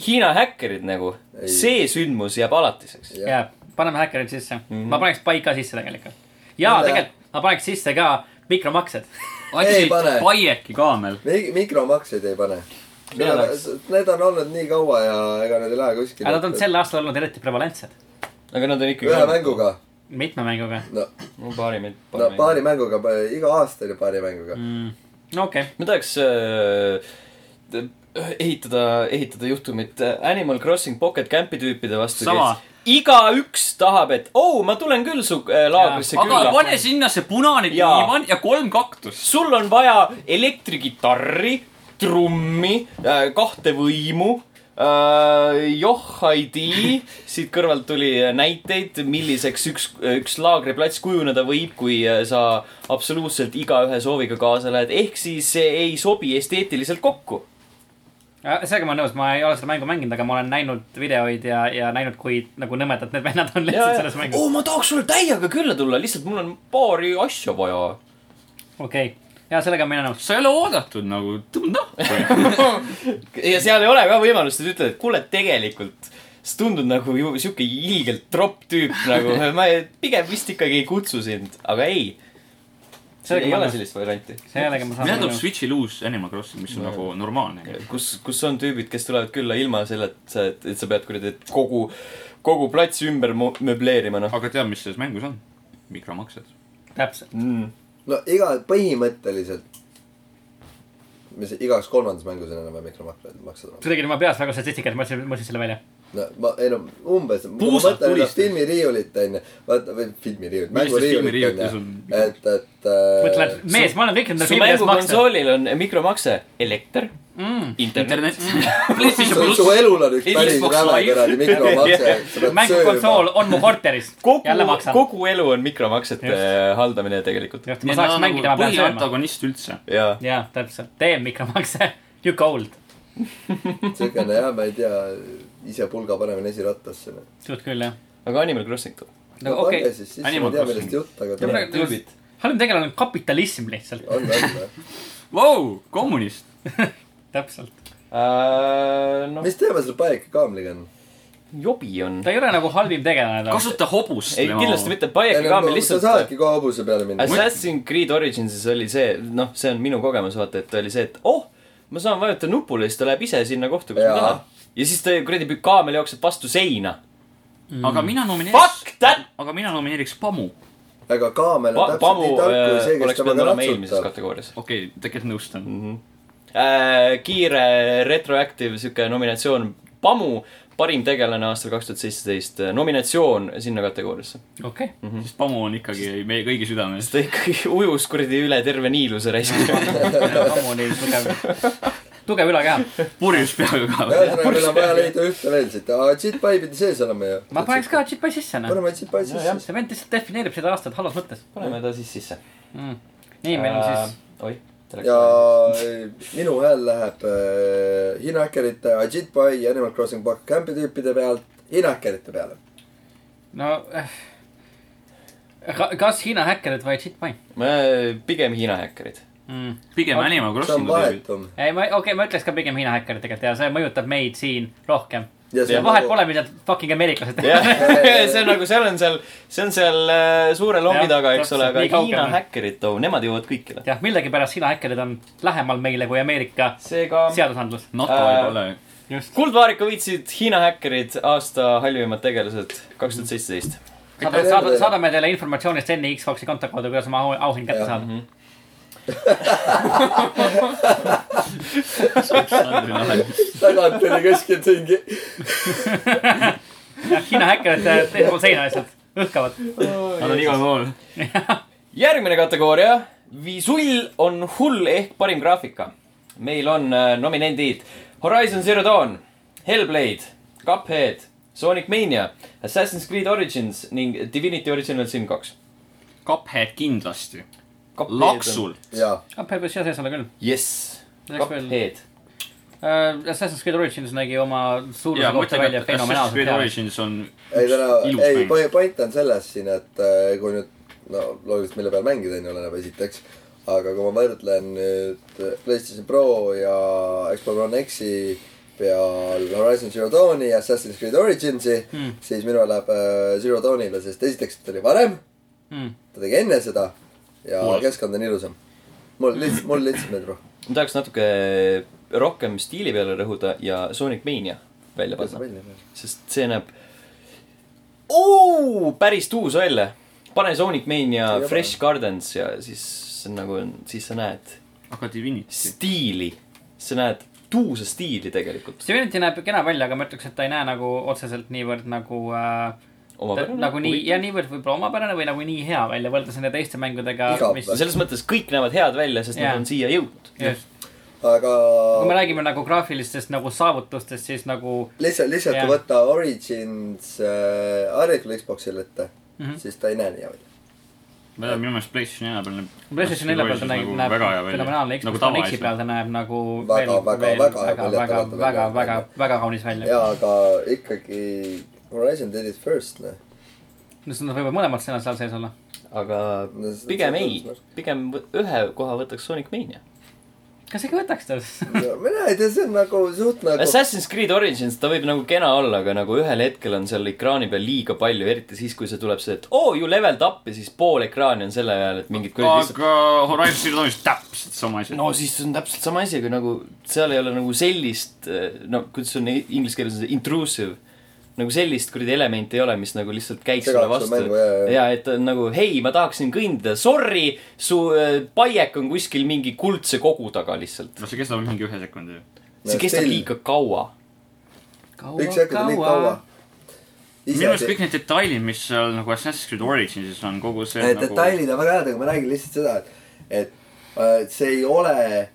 Hiina häkkerid nagu ,
Ei.
see sündmus jääb alatiseks .
Jah.
jääb , paneme häkkerid sisse mm . -hmm. ma paneks pai ka sisse tegelikult . ja
Mille-
tegelikult ma paneks sisse ka mikromaksed .
Hashit
pane.
Paieki kaamel .
Mina
mikromakseid ei pane .
läheks-
Need on olnud nii kaua ja ega need ei lähe kuskile .
aga nad on sel aastal olnud eriti prevalentsed .
aga nad on ikkagi .
ühe . mänguga ,
mitme mänguga .
no ,
paari meelt .
no paari mänguga , iga aasta oli paari mänguga mm. .
no okei okay. ,
ma tahaks äh, t- ehitada , ehitada juhtumit Animal Crossing Pocket Campi tüüpide vastu .
Sama.
igaüks tahab , et oo oh, , ma tulen küll su äh, laagrisse
aga
külla .
pane sinna see punane
Jaa.
diivan ja kolm kaktust .
sul on vaja elektrikitarri , trummi , kahte võimu . äh, Johhaidi , siit kõrvalt tuli äh, näiteid , milliseks üks , üks laagriplats kujuneda võib , kui äh, sa absoluutselt igaühe sooviga kaasa lähed , ehk siis see ei sobi esteetiliselt kokku .
Äh, sellega ma olen nõus , ma ei ole seda mängu mänginud , aga ma olen näinud videoid ja , ja näinud , kui nagu nõmedad need vennad on lihtsalt selles mängus .
oo , ma tahaks sulle täiega külla tulla , lihtsalt mul on paari asja vaja .
okei okay. , ja sellega olen mina nõus .
sa ei ole oodatud nagu , noh .
ja seal ei ole ka võimalust , et ütled , et kuule , tegelikult sa tundud nagu ju sihuke ilgelt tropp tüüp nagu , ma ei- pigem vist ikkagi ei kutsu sind , aga ei . seal
Sellega
ei
ma
ole
nõus.
sellist varianti ,
sellega ma saan
millal tuleb
nõus .
Switch'il uus Animal Crossing , mis on nagu normaalne .
kus , kus on tüübid , kes tulevad külla ilma selleta , et , et sa pead kuradi , et kogu , kogu platsi ümber mo- möbleerima , noh .
aga tead , mis selles mängus on ? mikromaksed .
täpselt .
no iga , põhimõtteliselt , mis igas kolmandas mängus on enam-vähem mikromaksed .
kuidagi oli mu peas väga statistikat , ma mõtlesin , mõtlesin selle välja .
no ma , ei no umbes .
Puusad tulistas.
filmiriiulit onju , vaata või filmiriiulit , mänguriiulit
filmiriiulit ja
onju , et , et . äh,
mõtled , mees , ma olen kõik nende
su
filmide eest maksnud .
mängukonsoolil on mikromakse , elekter ,
Mm,
internet .
internet . PlayStation
su, su
pluss .
elul on üks
Xbox
päris räve
Live.
kuradi mikromakse .
mängukonsool on mu korteris , jälle
kogu ,
maksan .
kogu elu on mikromaksete
Just.
haldamine tegelikult .
just , ma
ma
saaks mängida , ma pean sööma .
antagonist üldse .
jaa .
jaa , täpselt , tee mikromakse , you cold ,
siukene jah , ma ei tea , ise pulga panemine esirattasse .
suht küll jah .
aga Animal Crossing tuleb .
no okei okay. ,
siis , siis ma
Animal
ei tea ,
Crossing.
millest jutt , aga
Ja
tore
praegu- halb tegelane on kapitalism lihtsalt ,
on , on .
Vau , kommunist .
täpselt .
noh ,
mis teema selle Paike kaamliga on ?
jobi on .
ta ei ole nagu halvim tegelane .
kasuta hobust .
ei , kindlasti . mitte , Paieki kaamel
nagu- sa
lihtsalt .
saadki kohe hobuse peale minna .
Assassin's Creed Originsis oli see , noh , see on minu kogemus , vaata , et oli see , et oh , ma saan vajutada nupule ja siis ta läheb ise sinna kohta , kus ma
Jaa.
tahan . ja siis ta kuradi kaamel jookseb vastu seina .
aga mina nomineeriks ,
Fuck that
aga mina nomineeriks Pamu .
aga kaamel on
pa .
täpselt
Pamu
nii tark kui
äh,
see , kes
oleks pidanud
temaga
olema eelmises
ratsutab .
kategoorias .
okei okay, , tegelikult nõustan .
Äh, kiire retroactive sihuke nominatsioon , Pamu , parim tegelane aastal kaks tuhat seitseteist , nominatsioon sinna kategooriasse .
okei ,
sest Pamu on ikkagi meie kõigi südames .
ta ikkagi ujus kuradi üle terve Niiluse raisk .
ammu oli tugev , tugev ülakeha .
purjus peaga ka .
ühesõnaga , meil on vaja leida ühte veel siit , aga Jitpai pidi sees olema ju .
ma paneks ka džipai sisse , noh .
paneme Jitpai sisse .
see vend lihtsalt defineerib seda aastat halvas mõttes
paneme ta siis sisse .
mm. . nii , meil on siis ,.
oih , ta läks ja... .
ja minu hääl läheb äh, hinnahäkkerite , Jitpai ja Animal Crossing Park Campi tüüpide pealt hinnahäkkerite peale .
no äh, . kas Hiina häkkerid või džipai
pigem Hiina häkkerid .
mm. ?
pigem
Aga-
Animal
see on
Crossingu tüübid .
vahetum .
ei , ma , okei okay, , ma ütleks ka pigem Hiina häkkerid tegelikult ja see mõjutab meid siin rohkem .
ja see
ja
on
vahet
nagu-
pole , mida fucking ameeriklased
jah
teevad .,
see on nagu , seal on seal , see on seal äh, suure loomi
Jah,
taga , eks
täpselt,
ole , aga
nii kaugel
Hiina
on.
häkkerid , too , nemad jõuavad kõikidele .
jah , millegipärast Hiina häkkerid on lähemal meile kui Ameerika
seega
seadusandlus .
NATO
Äh,
ei ole .
just .
Kuldvaarika võitsid Hiina häkkerid aasta halvimad tegelased kaks tuhat seitseteist .
saadame , saadame , saadame teile informatsiooni Steni Xbox'i konto kaudu , kuidas oma au- auhind kätte
Jah. Mhm.
saada .
tagant oli keskelt mingi .
Hiina häkkerid äh, teisel pool seina lihtsalt õhkavad .
Nad on igal pool .
järgmine kategooria , visull on hull ehk parim graafika . meil on äh, nominendid Horizon Zero Dawn , Hellblade , Cuphead , Sonic Mania , Assassin's Creed Origins ning Divinity Original Sin kaks .
Cuphead kindlasti . laksul .
jaa ,
Ah,
peab siia sees olla küll .
jess ,
Läks veel-
Cuphead .
Uh, Assassin's Creed Origins nägi oma
ja
suuruse
ma
kohta
ütlen ,
välja
et Assassin's Creed
fenomenaalselt .
Origins on
ei täna ,
ilus
ei
mäng .
po- point on selles siin , et äh, kui nüüd no loogiliselt mille peal mängida on ju oleneb esiteks . aga kui ma võrdlen nüüd PlayStation Pro ja Xbox One X-i peal Horizon Zero Dawni ja Assassin's Creed Origins'i
Mm.
Hmm.
mm. , siis minu läheb äh, Zero Dawnile , sest esiteks ta oli varem ,
Hmm.
Mm.
ta tegi enne seda ja
Mul-
keskkond on ilusam . mul lihtsalt , mul lihtsalt meeldib rohkem .
ma tahaks natuke äh, rohkem stiili peale rõhuda ja Sonic Mania välja panna . sest see näeb Oo, päris tuus välja . pane Sonic Mania
Jube.
Fresh Gardens ja siis see on nagu , siis sa näed
aga Divinity .
stiili . sa näed tuusa stiili tegelikult .
Divinity näeb kena välja , aga ma ütleks , et ta ei näe nagu otseselt niivõrd nagu äh, ta, nagu nii ja niivõrd võib-olla omapärane või nagu nii hea välja võrreldes nende teiste mängudega ,
Igav
mis .
või?
selles mõttes kõik näevad head välja , sest
Jaa.
nad on siia jõudnud .
kui
aga .
me räägime nagu graafilistest nagu saavutustest , siis nagu
lihtsalt , lihtsalt
Jah.
kui võtta Origins äh, harjulikul Xboxil ette mm ,
Mhm.
-hmm. siis ta ei näe nii hea välja .
ma ei tea , minu meelest PlayStation nelja peal näeb .
PlayStation nelja peal ta näeb ,
nagu
näeb fenomenaalne , Xbox One X-i peal . ta näeb nagu
Väga,
veel-
väga,
veel
väga
väga ,
muljet
väga ,
avaldab
väga ,
välja.
väga , väga kaunis välja .
jaa , aga ikkagi Horizon did it first , noh .
no siis nad võivad mõlemad sõnad seal sees olla .
aga pigem ei , pigem võ- ühe koha võtaks Sonic Mania .
kas ikka võtaks ta siis ?
mina ei tea , see on nagu suht nagu .
Assassin's Creed Origins , ta võib nagu kena olla , aga nagu ühel hetkel on seal ekraani peal liiga palju , eriti siis , kui see tuleb see , et oo oh, , you leveled up ja siis pool ekraani on selle ajal , et mingid kuradi lihtsalt
aga Horizon Zero Dawn on täpselt sama asi .
no siis on täpselt sama asi , aga nagu seal ei ole nagu sellist , no kuidas on inglise keeles on see intrusive , nagu sellist kuradi elementi ei ole , mis nagu lihtsalt käiks
Segab
sulle
su
vastu
mängu, jaa, jaa, jaa. .
ja et on nagu hei , ma tahaksin kõndida , sorry , su äh, paiek on kuskil mingi kuldse kogu taga lihtsalt .
nagu
no see kestab mingi ühe sekundi ju .
see
No
kestab
still.
liiga kaua .
võiks jätkuda nii kaua .
minu arust kõik need detailid , mis seal nagu Assassin's Creed Originsis on , kogu see
Need
nagu
detailid on väga head , aga ma räägin lihtsalt seda , et , et äh, see ei ole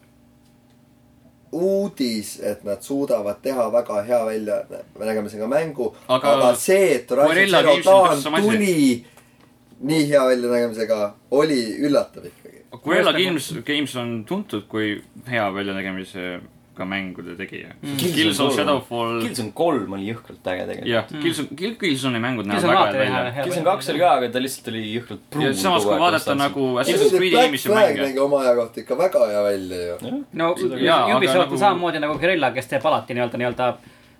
uudis , et nad suudavad teha väga hea välja , me nägime siin ka mängu ,
Aga-
aga, aga see , et Horizon
Guerrilla
Zero
Games on täpselt
Dawn
sama asi.
tuli nii hea väljanägemisega , oli üllatav ikkagi .
Guerrilla Games , Games on tuntud kui hea väljanägemisega mängude tegija mm. .
Killzone
Killzone
kolm.
Shadowfall ,
Killzone kolm oli jõhkralt äge tegelikult .
jah , Killzone , Killzone'i mängud näevad
Killzone
väga
alati oli hea , hea .
head välja .
Mm. Killzone kaks oli ka , aga ta lihtsalt oli jõhkralt pruun .
ja samas , kui vaadata . nagu Assassin's Creed'i
Black
eelmisi
Flag
mänge ,
nägi oma aja kohta ikka väga hea välja ju .
no
jaa, aga
Ubisoft
nagu-
on samamoodi nagu Guerilla , kes teeb alati nii-öelda , nii-öelda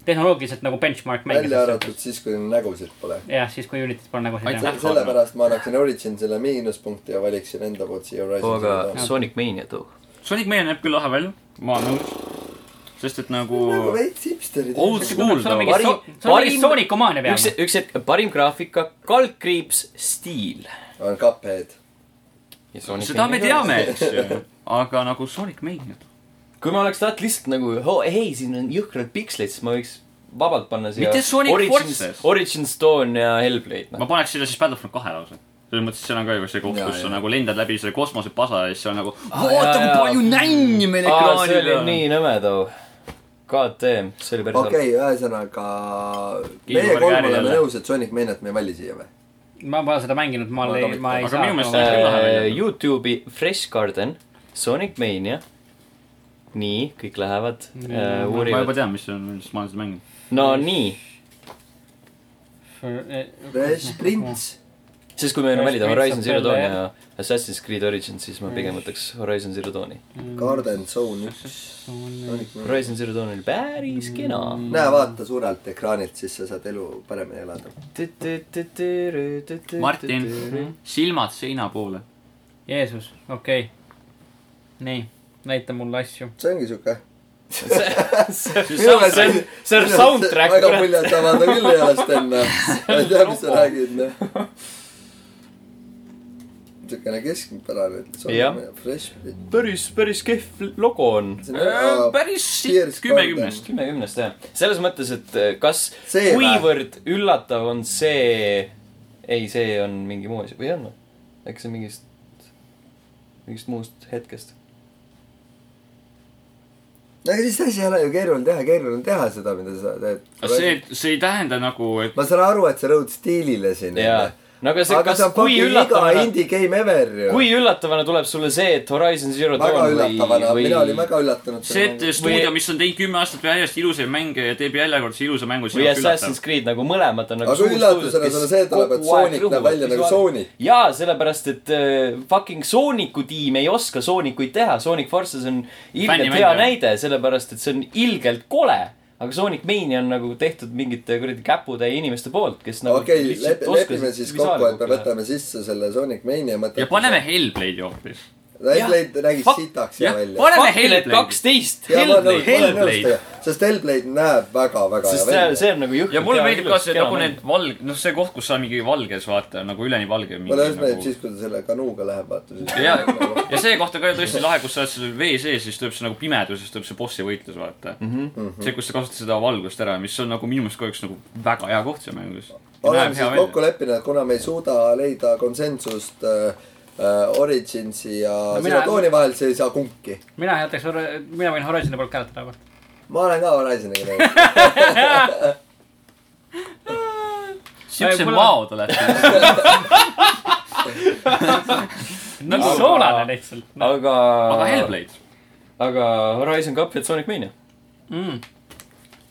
tehnoloogiliselt nagu benchmark
välja
mängides .
arvatud siis , kui nägusid pole .
jah , siis kui Unityt pole nagu
Aitäh.
siin .
Black
sellepärast ma annaksin Originsile miinuspunkti ja valiksin enda poolt siia Horizon
aga
Zero Dawn .
Sonic Mania too .
Sonic Mania näeb küll lahe välja , ma olen nõus . sest et nagu
nagu veits hipsterid .
old school
sul on
tava .
mingi ,
Parim-
sul on mingi
parim-
soonikumaania
üks
peal .,
üks hetk , parim graafika , kalkriips , stiil .
on Cuphead .
seda me teame , eks ju . aga nagu Sonic Mania .
kui ma oleks tahtnud lihtsalt nagu , hei , siin on jõhkralt piksleid , siis ma võiks vabalt panna siia .
Mitte Sonic Forces.
Origin Stone ja Hellblade ,
ma
noh .
paneks sinna siis Battlefront kahe lausa . selles mõttes , et seal on ka ju see koht ,
Jaa,
kus sa
jaa.
nagu lendad läbi selle kosmosepasa ja siis seal nagu
jaa,
vaata , kui
jaa.
palju nänni meil
aa , see
ekraanil
oli
on .
nii nõme too . KTM , see oli päris halb .
okei , ühesõnaga , meie
Kiilu
kolm
Margari
oleme
jälle.
nõus , et Sonic Maniat me ei vali siia või ?
ma pole seda mänginud , ma
Aga
ei , ma ei
aga
saa .
minu meelest oli- lahe välja.
Äh, Youtube'i Fresh Garden , Sonic Mania . nii , kõik lähevad äh, ,
ma juba
uurivad .
tean , mis see on , sest ma olen seda mänginud .
no nii ,
Äh,
Fresh . Prince .
sest kui meil on
Fresh
valida
Prince
Horizon
of
Zero Dawn
Bel-Air.
ja Assassin's Creed Origin , siis ma pigem võtaks Horizon Zero Dawni .
Garden Zone üks .
Horizon Zero Dawn oli päris kena .
näe , vaata suurelt ekraanilt , siis sa saad elu paremini elada .
Martin , silmad seina poole .
Jeesus , okei okay. . nii , näita mulle asju .
see ongi siuke .
see on , see on soundtrack ,
väga
kurat .
muljetavam ta küll ei ole , Sten . ma ei tea , mis sa räägid , noh . siukene keskpärane .
Jah. Äh,
Fresh Prince .
päris , päris kehv logo on .
päris
Tears
sitt kümme
Garden.
kümnest .
kümme kümnest jah , selles mõttes , et eh, kas ,
See või?
kuivõrd üllatav on see , ei , see on mingi muu asi või on või ? äkki see on mingist , mingist muust hetkest .
aga siis see asi ei ole ju keeruline teha , keeruline on teha seda , mida sa teed .
see , see ei tähenda nagu , et
ma saan aru , et sa rõhud stiilile siin .
jaa , no aga see ,
aga
kas
see , on
kui
fucking iga
üllatavana ,
indie game ever ju .
kui üllatavana tuleb sulle see , et Horizon Zero
väga
Dawn või ,
üllatavana , mina olin
või ,
väga üllatunud .
see , et stuudio , mis on teinud kümme aastat järjest ilusaid mänge ja teeb järjekordse ilusa mängu , see
või
on üllatav
Assassin's . Creed nagu mõlemad on nagu
aga üllatusena sulle see tuleb , et Sonic näeb välja nagu . Sonic .
jaa , sellepärast , et uh, fucking Sooniku tiim ei oska Soonikuid teha , Sonic Forces on ilgelt
Fännimäng,
hea
jah.
näide , sellepärast et see on ilgelt kole . aga Sonic Mania on nagu tehtud mingite kuradi käputäie inimeste poolt , kes nagu
okei ,
lihtsalt oskasid
lepime siis kokku , et me
visuaalkokku teha.
võtame sisse selle Sonic Mania mõtte .
ja paneme . Hellblade'i hoopis .
Hellblade nägi
Fuck,
sitaks ja
jah ,
välja .
paneme
Fuck, need
Hellblade'i .
kaksteist ,
ja ma olen nõus , ma
Hellblade ,
olen nõus
Hellblade.
teiega , sest Hellblade näeb väga-väga hea
sest see ,
välja .
see on nagu jõhkralt
ja mulle meeldib ka see nagu need valg- , noh , see koht , kus sa mingi valges vaata , nagu üleni valge .
mulle just meeldib siis , kui ta selle kanuuga läheb , vaata
ja ,
siis .
ja see koht on ka tõesti lahe , kus sa oled seal vee sees , siis tuleb see nagu pimeduses tuleb see bossi võitlus , vaata mm . -hmm.
Mhm.
see , kus sa kasutad seda valgust ära , mis on nagu minu meelest ka üks nagu väga hea koht seal mängus .
oleme siis kokku leppinud , et kuna me ei suuda leida konsensust äh, äh, Originsi ja
No
Zero
mina-
Dawni vahel , siis ei saa kumbki .
mina jätaks , mina võin Horizon'i poolt hääletada või ?
ma olen ka Horizoniga nõus .
siukse
Ei, mul-
mao te olete .
nii soolane lihtsalt .
Noh, aga ,
aga Hellblade ,
aga Horizon Cuphead Sonic Mania .
Mm.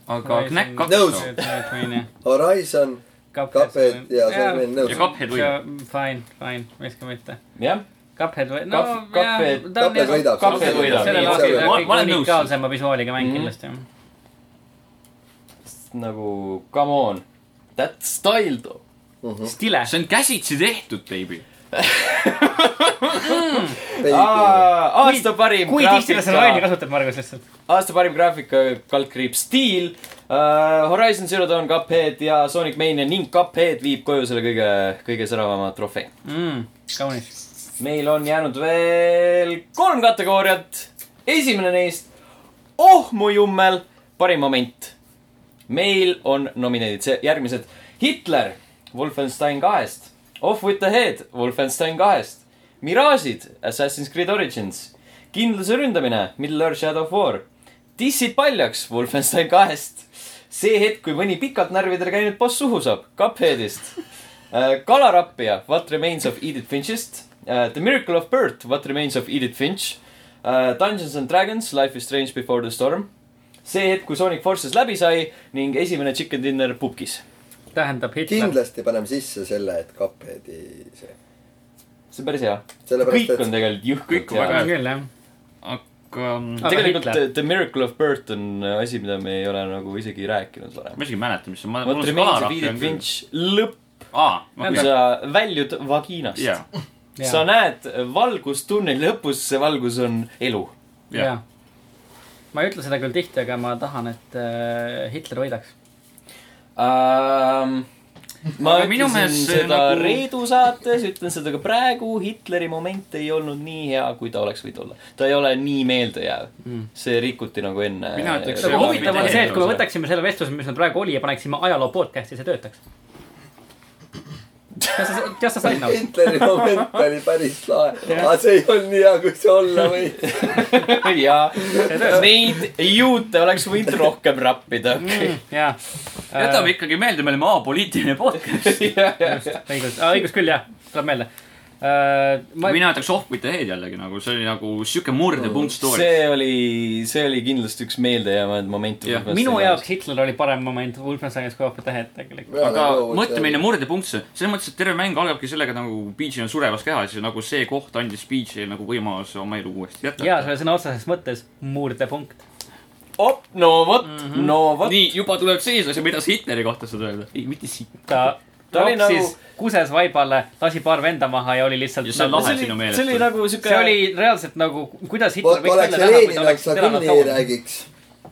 aga Knack
Nõus.
kaks .
Horizon , Cuphead ja Sonic
ja
nõus .
Cuphead võidab .
Fine , fine , miks ka mitte .
jah ,
Cuphead või , no
Cup- Cuphead-
ta on
Cuphead
jah-
võidab.
Cuphead võidab.
sellel
Nii,
aastal
see
ta on
ma- ma
kõige
olen nõus.
unikaalsema visuaaliga mäng
Mhm.
kindlasti .
nagu come on , that style though .
mhm,
Stile .
see on käsitsi tehtud , baby .
Aa, aasta parim
kui tihti sa seda laine
graafika ,
kasutad , Margus lihtsalt ?
aasta parim graafika , kaldkriips stiil uh, . Horizon Zero Dawn , Cuphead ja Sonic Mania ning Cuphead viib koju selle kõige , kõige säravama trofee .
Mm, kaunis .
meil on jäänud veel kolm kategooriat . esimene neist , oh mu jummel , parim moment . meil on nomineedid see , järgmised Hitler Wolfenstein kahest , Off with the head Wolfenstein kahest , Mirage'id Assassin's Creed Origins , kindluse ründamine Middle-earth Shadow of War , tissid paljaks Wolfenstein kahest , see hetk , kui mõni pikalt närvidel käinud boss suhu saab Cupheadist , Kalarappija What Remains of Edith Finchist , The Miracle of Birth What Remains of Edith Finch , Dungeons and Dragons Life is Strange Before the Storm , see hetk , kui Sonic Forces läbi sai ning esimene Chicken Dinner pukis .
tähendab Hitler .
kindlasti paneme sisse selle , et Cupheadi see .
see on päris hea . kõik
sellepärast ,
on
et
tegelikult
Kõik
jõhkralt
on väga
hea .
hea.
küll jah .
aga mm,
Aga
tegelikult äh,
Hitler.
The Miracle of Birth on äh, asi , mida me ei ole nagu isegi rääkinud varem .
ma isegi ei mäleta , mis see , ma , mul
What
on see
remains of
kalarahv
Edith
on küll .
Finch , lõpp ,
aa ,
kui
okei ,
sa väljud vaginast .
jaa ,
sa näed valgustunneli lõpus , see valgus on elu .
jaa .
jah . ma ei ütle seda küll tihti , aga ma tahan , et äh, Hitler võidaks .
Um, ma
Aga minu
ütlesin
meelest see
seda nagu...
nagu-
Reedu saates , ütlen seda ka praegu , Hitleri moment ei olnud nii hea , kui ta oleks võinud olla . ta ei ole nii meeldejääv mm. . see rikuti nagu enne .
Mina ütleks,
aga
See on
huvitav on
mitte
see , et kui me
eeldus,
võtaksime selle vestluse , mis meil praegu oli ja paneksime ajaloo podcast'i , see töötaks . kas sa , kas sa said nagu ?
Hitleri moment oli päris lahe , aga see ei olnud nii hea , kui see olla võis .
jaa , neid juute oleks võinud rohkem rappida .
Mm.
Mm, jaa . Äh,
jätame ikkagi meelde , me oleme apoliitiline podcast .
õigus , õigus küll jah , tuleb meelde . ma ,
mina ütleks Off with the head jällegi nagu , see oli nagu siuke murdepunkt story .
see oli , see oli kindlasti üks meeldejäävaid momente
Jah. .
minu jaoks Hitler oli parem moment Wolfensteinis kui Open Tehet tegelikult .
aga
nagu
mõtlemine murdepunktse , selles mõttes , et terve mäng algabki sellega nagu Peach on surevas kehas ja nagu see koht andis Peachile nagu võimaluse oma elu uuesti jätta .
jaa , selle sõna otseses mõttes murdepunkt .
op , no vot mm , -hmm. no vot .
Mhm. nii , juba tuleb seeslase , mida sa Hitleri kohta saad öelda ? ei , mitte siit .
ta
Ta oli
topsis
nagu-
nagu... kuses vaibale , lasi paar venda maha ja oli lihtsalt .
Ja see on
Nagu...
lahe.
see
sinu
oli ,
meelest
see oli
või?
nagu siuke .
see oli reaalselt nagu , kuidas Hitler
vot
võiks
oleks
välja näha , kui
Lenin
ta , oleks
oleks sa
elanud
küll ei
kaua .
räägiks .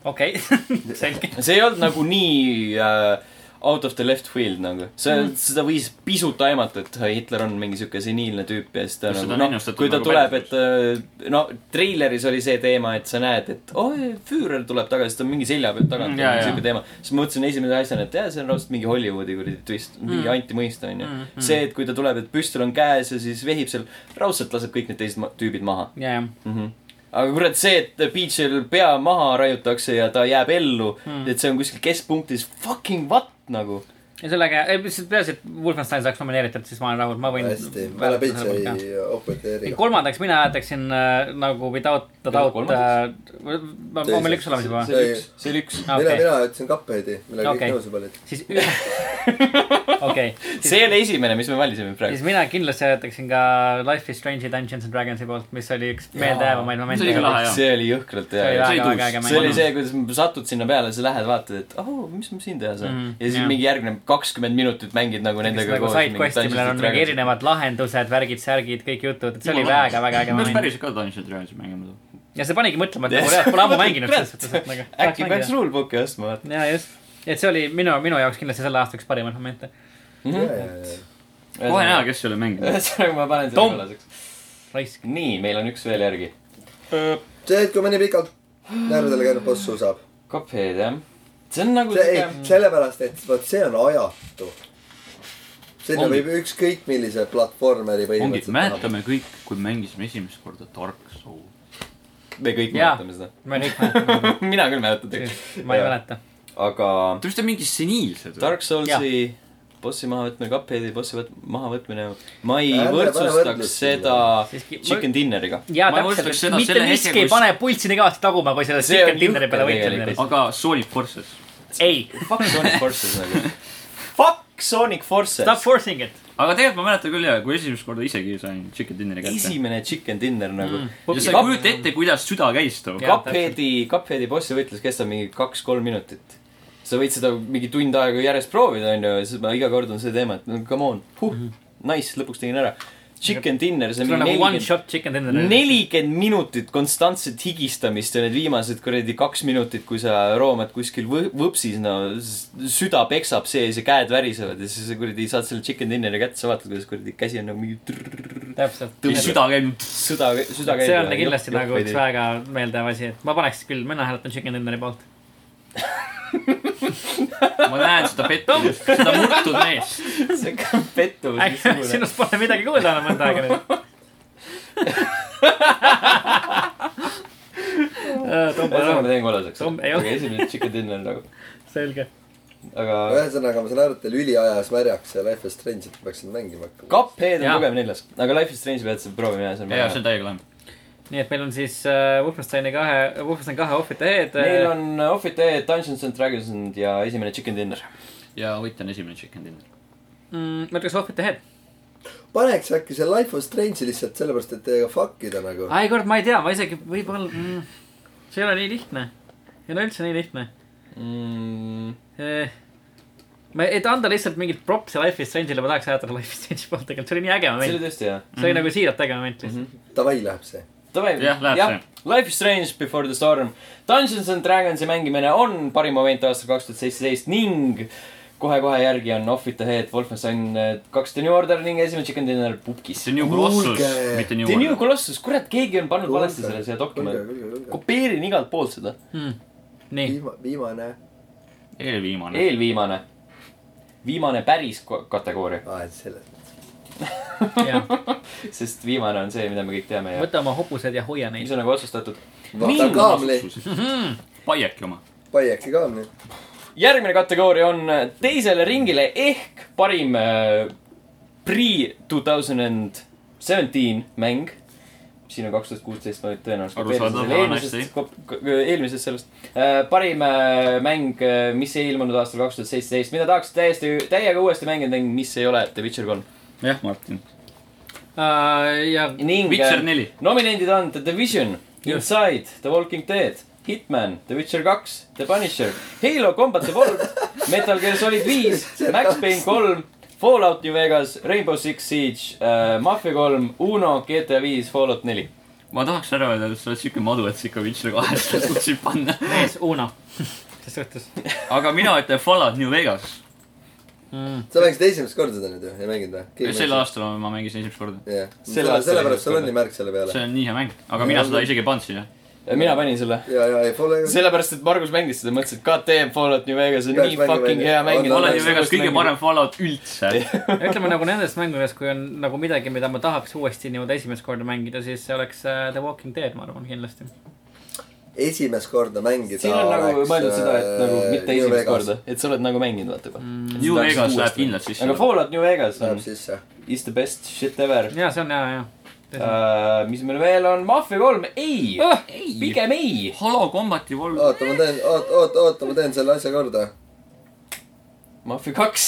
okei , selge .
see ei olnud nagu nii äh, out of the left field nagu . see mm. , seda võis pisut aimata , et äh, Hitler on mingi sihuke seniilne tüüp ja siis ta
No seda
nagu
on
noh
ennustatud ,
kui ta
nagu
tuleb , et
päriselt.
äh, no treileris oli see teema , et sa näed , et oi oh, , Führer tuleb tagasi , ta on mingi selja pealt tagant
Mm,
mm,
jaa,
ja mingi
jaa.
sihuke teema . siis ma mõtlesin esimese asjana , et jaa , see on raudselt mingi Hollywoodi kuradi twist , mingi mm. antimõista onju mm, . Mm. see , et kui ta tuleb , et püstol on käes ja siis vehib seal , raudselt laseb kõik need teised ma- tüübid maha .
jajah ,
Mhm. aga kurat , see , et Peachil pea maha raiutakse ja ta jääb ellu
Hmm.
mm. , et see on kuskil keskpunktis , fucking what nagu .
ja sellega , lihtsalt peaasi , et Wolfenstein saaks nomineeritud , siis ma olen rahul , ma võin .
hästi , ma olen Peitsa ei
ei ,
opereeri .
kolmandaks mina hääletaksin äh, nagu without the
Mida
doubt ,
kolmandaks?
äh, ma , ma meil üks olemas juba .
see oli üks , see oli üks .
mina ,
okei ,
mina ütlesin Cupheadi , millega
Okei.
kõik nõus olid .
siis ühe , okei ,
see oli esimene , mis me valisime
siis
praegu .
mina kindlasti hääletaksin ka Life is Strange'i Dungeons and Dragonsi poolt , mis oli üks meeldejäävamaid momente .
See oli ka lahe, jah.
see oli jõhkralt
Ah, see oli
hea .
väga ,
tuus.
väga äge
see oli
mäng .
see , kuidas satud sinna peale , sa lähed , vaatad , et oh , mis ma siin teha saan mm,
Mhm, .
ja siis
jah.
mingi järgnev kakskümmend minutit mängid nagu nendega
nagu side quest'i , millel on mingi . erinevad lahendused , värgid , särgid , kõik jutud , et see oli
Jumala.
väga , väga äge
peaks
moment .
päriselt ka Dungeons and Dragonsi mängima .
ja see panigi mõtlema , et
Jah.
ma reaalselt pole ammu mänginud
Kurat.
selles suhtes , et nagu .
äkki peaks rulebooki ostma , vaata .
ja just , et see oli minu , minu jaoks kindlasti selle aasta üks parimaid momente . Mhm.
kohe näha , kes selle mängib .
Mhm. ühesõnaga , ma panen selle
Tom.
kollaseks .
raisk .
nii , meil on üks veel järgi . Äh,
see , et kui mõni pikalt närvidele käinud boss suusab .
Cuphead , jah . see on nagu
see ei , sellepärast , et vot see on ajatu . sinna
Ongi.
võib ükskõik millise platvormeri
ongi ,
põhimõtteliselt
mäletame kõik , kui mängisime esimest korda Dark Souls .
me kõik
Jaa.
mäletame seda .
ma ei mäleta ,
mina küll mäletan tegelikult .
ma ei
Jaa.
mäleta .
aga
Te olete mingi seniilsed või ?
Dark Soulsi bossi mahavõtmine , Cupheadi bossi võt- mahavõtmine , ma ei
Ärme pane
võrdsustaks
võrdlust
seda
Siiski- ma-
Chicken Dinneriga .
ja
Ma
täpselt ,
alustaks
et
seda
mitte
selle hetke,
miski ei
kus-
pane pulssi nii kõvasti taguma , kui selles
See on
Chicken Dinneri
jõhker
peale
tegelikult.
võitlemine .
aga Sonic Forces .
ei ,
Fuck Sonic Forces nagu . Fuck Sonic Forces
stop . forcing it .
aga tegelikult ma mäletan küll jaa , kui esimest korda isegi sain Chicken Dinneri kätte .
esimene Chicken Dinner nagu .
Mm.
ja sa ei kujuta ette , kuidas süda käis too .
Jah,
Cupheadi , Cupheadi bossi võitlus kestab mingi kaks-kolm minutit . sa võid seda mingi tund aega järjest proovida , onju , ja siis ma iga kord on see teema , et no come on , huh , nice , lõpuks tegin ära . Chicken Dinner , see on
Mhm. sul on
mingi
nagu one
nelikümmend
shot Chicken Dinneri .
nelikümmend minutit konstantset higistamist ja need viimased kuradi kaks minutit , kui sa roomad kuskil võ- võpsis , no s- süda peksab sees ja käed värisevad ja siis sa kuradi saad selle chicken dinner'i kätte , sa vaatad , kuidas kuradi käsi on nagu mingi trrrr,
täpselt .
ja süda käib .
süda , süda käib .
see on kindlasti nagu üks väga meeldiv asi , et ma paneks küll , mina hääletan Chicken Dinneri poolt .
ma näen seda pettumust , seda murtud meest .
see on pettumus .
sinust pole midagi kuulda enam mõnda aega nüüd . tõmba
ühesõnaga , ma
ära ,
teen kollaseks .
Tom- ei
aga
ole.
esimene chicken dinner nagu ,
selge .
aga
ühesõnaga , ma saan aru , et teil üli ajas märjaks ja Life is Strange'it peaksid mängima hakkama .
Cuphead on
Jaa.
tugev neljas , aga Life is Strange pead sa proovima jah , see on
ja , see on täiega lahe .
nii et meil on siis äh, Wolfensteini kahe , Wolfenstein kahe äh, ohvrite eed .
meil on Off It Dead , Dungeons and Dragons ja esimene Chicken Dinner .
ja võit on esimene chicken dinner .
mm, . ma ütleks ohvrite eed .
paneks äkki see Life is Strange'i lihtsalt sellepärast , et teiega fuck ida nagu .
ai kurat , ma ei tea , ma isegi võib-olla mm, . see ei ole nii lihtne . ei ole üldse nii lihtne
mm, .
Eh, ma , et anda lihtsalt mingit propsi Life is Strange'ile , ma tahaks hääletada Life is Strange'i poolt tegelikult , see oli nii äge
see
moment .
oli tõesti hea .
see oli nagu siiralt äge moment lihtsalt .
Davai , läheb see .
Davai ,
Jah, läheb
Life is Strange Before the Storm . Dungeons and Dragonsi mängimine on parim moment aastal kaks tuhat seitseteist ning kohe-kohe järgi on Off It Dead , Wolfenstein äh, kaks The New Order ning esimene Chicken Dinner pubgis .
see on New Colossus
Kuulge. ,
mitte New
The New
Order .
Colossus , kurat , keegi on pannud valesti selle siia dokumenti .
dokumenti .
kopeerin igalt poolt seda .
mm. . nii ,
viimane .
eelviimane .
eelviimane , viimane päris ko- kategooria ,
aa , et selles mõttes .
jah .
sest viimane on see , mida me kõik teame ja
võta oma hobused ja hoia neid
mis . on nagu otsustatud .
vaata kaamli ,
Paieki Mhm. oma .
paiaki kaamli .
järgmine kategooria on teisele ringile ehk parim äh, pre two thousand seventeen mäng . siin on kaks tuhat kuusteist , ma nüüd tõenäoliselt
Arusaadav,
kopeerisin selle
vana
eelmisest , eelmisest sellest . parim äh, mäng , mis ei ilmunud aastal kaks tuhat seitseteist , mida tahaks täiesti , täiega uuesti mängida ning mis ei ole The Witcher kolm .
jah , Martin .
Uh, ja
ning äh,
Witcher neli .
nominendid on The Division ,
Just.
Inside , The Walking Dead , Hitman , The Witcher kaks , The Punisher , Halo Combat Evolved , Metal Gear Solid viis , Max Payne kolm , Fallout New Vegas , Rainbow Six Siege uh, , Mafia kolm , Uno , GTA viis , Fallout neli .
ma tahaks ära öelda , et sa oled siuke madu , et sa ikka Witcher kahest suutsid panna .
mees Uno . ses suhtes
aga mina ütlen Fallout New Vegas .
mm. .
sa mängisid esimest korda seda nüüd ju , ei mänginud või ?
sel . aastal ma mängisin esimest korda .
jah ,
Sel
selle ,
aastal
sellepärast
esimest
sul on
korda.
nii märk selle peale
see . on nii hea mäng , aga mina seda isegi ei pannud siia .
Äh, mina panin selle .
ja , ja , ja pole .
sellepärast , et Margus mängis seda , mõtles , et KTM Fallout New Vegas on
Peaks
nii
mängima,
fucking
onju.
hea mäng .
On, on,
Fallout New Vegas kõige parem Fallout üldse .
ütleme nagu nendes mängudes , kui on nagu midagi , mida ma tahaks uuesti niimoodi esimest korda mängida , siis see oleks uh, The Walking Dead , ma arvan kindlasti .
esimest korda mängida . äh,
siin on nagu mõeldud seda , et nagu mitte esimest korda , et sa oled nagu mänginud , vaata
Mm.
juba .
New Vegas läheb kindlalt sisse .
aga Fallout New Vegas on
Läheb , sisse .
is the best shit ever .
ja see on ja , ja .
Äh, mis meil veel on , Mafia kolm , ei
Ah, ,
pigem ei .
Halo Combati vol- .
oota , ma teen , oota , oota , oota , ma teen selle asja korda .
Mafia kaks ,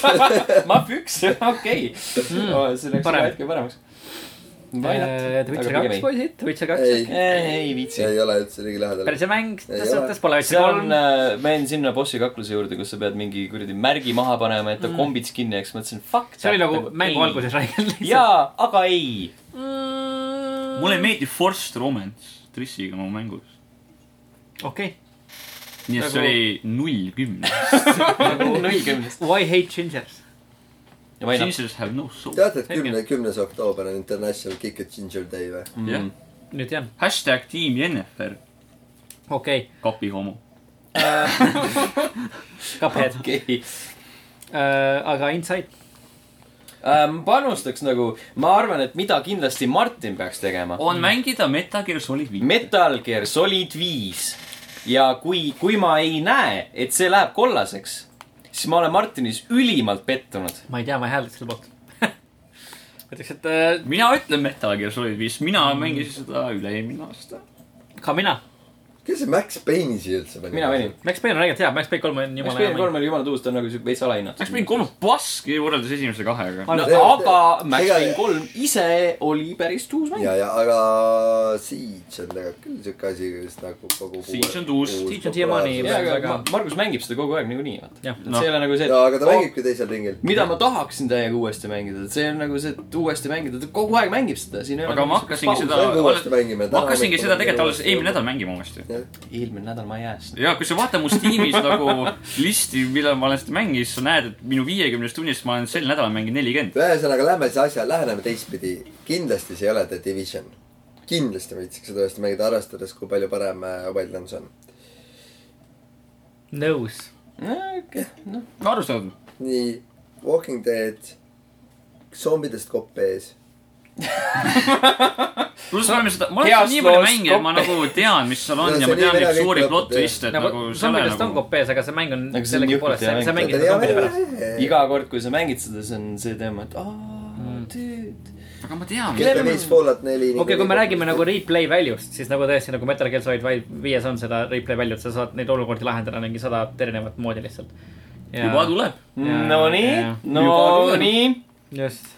Mafia üks , okei . see läks
Hmm. Parem. Äh,
parem. hetke paremaks .
Eh, The Witcher kaks , poisid , The Witcher kaks .
ei ,
ei viitsi
see .
Äh,
ei ole üldse ligi lähedal .
päris hea mäng , selles
ole.
suhtes pole üldse
seal on
kolm .
äh, , ma jäin sinna bossi kakluse juurde , kus sa pead mingi kuradi märgi maha panema , et ta kombits kinni jääks , mõtlesin fuck .
Hmm. see oli nagu mängu . alguses räägitud lihtsalt .
jaa , aga ei .
mulle meeldib Forced Romance Trissiga mu mängus .
okei ,
nii et
Nagu-
see oli null kümne .
on õigemini .
Why hate gingers ?
Jesus have no soul .
teate , et kümne , kümnes oktoober on International Kick it Ginger Day või ?
jah ,
nüüd jah ,
hashtag tiim Jennifer ,
okei ,
kapi homo .
Cuphead ,
okei .
Äh, aga Inside .
ma panustaks nagu , ma arvan , et mida kindlasti Martin peaks tegema .
on mängida Metal Gear Solid viis .
Metal Gear Solid viis ja kui , kui ma ei näe , et see läheb kollaseks , siis ma olen Martinis ülimalt pettunud .
ma ei tea , ma ei häälda selle poolt . ütleks , et äh,
mina ütlen Metal Gear Solid viis , mina mängisin seda üle-eelmine aasta .
ka mina ,
kes see Max Payne'i siia üldse pani ?
mina panin .
Max Payne on õigelt hea , Max Payne kolm on
Max
jumala hea
Payne
mäng .
kolm oli jumala tuus , ta on nagu siuke veits alahinnatud .
Max Payne kolm on paski võrreldes esimese kahega .
no
See-
aga Max
ega-
Payne kolm ise oli päris tuus mäng .
ja , ja aga Siege on tegelikult küll siuke asi , mis nagu kogu .
Siege on tuus.
Siege on siiamaani-
jaa , aga
väga-
Ma- Margus mängib seda kogu aeg niikuinii , vaata
Jah. .
see ei ole nagu see ,
ja , aga ta
oo,
mängibki teisel ringil .
mida ma tahaksin täiega uuesti mängida , see on nagu see , et uuesti mängida , ta kogu aeg mängib seda , siin ei ole
aga
nagu
ma
siukest
hakkasingi
pausi.
seda
Mängu uuesti , mängime,
ma
täna
hakkasingi
hommikul
seda
mängime
tegelikult alles
uuesti.
eelmine nädal mängima uuesti .
eelmine nädal ma ei jää sinna .
ja kui sa vaatad mu Steamis nagu listi , millal ma olen seda mänginud , siis sa näed , et minu viiekümnest tunnist ma olen sel nädalal mänginud nelikümmend .
ühesõnaga , lähme siis asja , läheneme teistpidi . kindlasti see ei ole The Division . kindlasti ma viitsiks seda uuesti mängida , arvestades , kui palju parem äh, Wildlands on .
nõus ,
arusaadav .
nii Walking Dead , zombidest kopp ees .
pluss me oleme seda , ma olen
Heas
seda nii palju
loos
mänginud , ma
koppe-
nagu tean , mis seal on
No
ja
see
ma tean
nii
neid
väga
suuri
kõik
plot
lõpeb, jah.
twiste , et
nagu
nagu selle
zombidest on
nagu .
kopees , aga see mäng on
Aga see on
sellegipoolest ,
jõhkralt hea
sa
mäng.
mängid seda zombide pärast .
iga kord , kui sa mängid seda , see on see teema , et aa , tüüd .
aga ma tean .
GTA viis Fallout neli .
okei , kui me räägime nagu replay value'st , siis nagu tõesti nagu Metal Gear Solid Vi- viies on seda replay value't , sa saad neid olukordi lahendada mingi sada erinevat moodi lihtsalt .
juba tuleb .
Nonii
Jaa. ,
nonii .
just .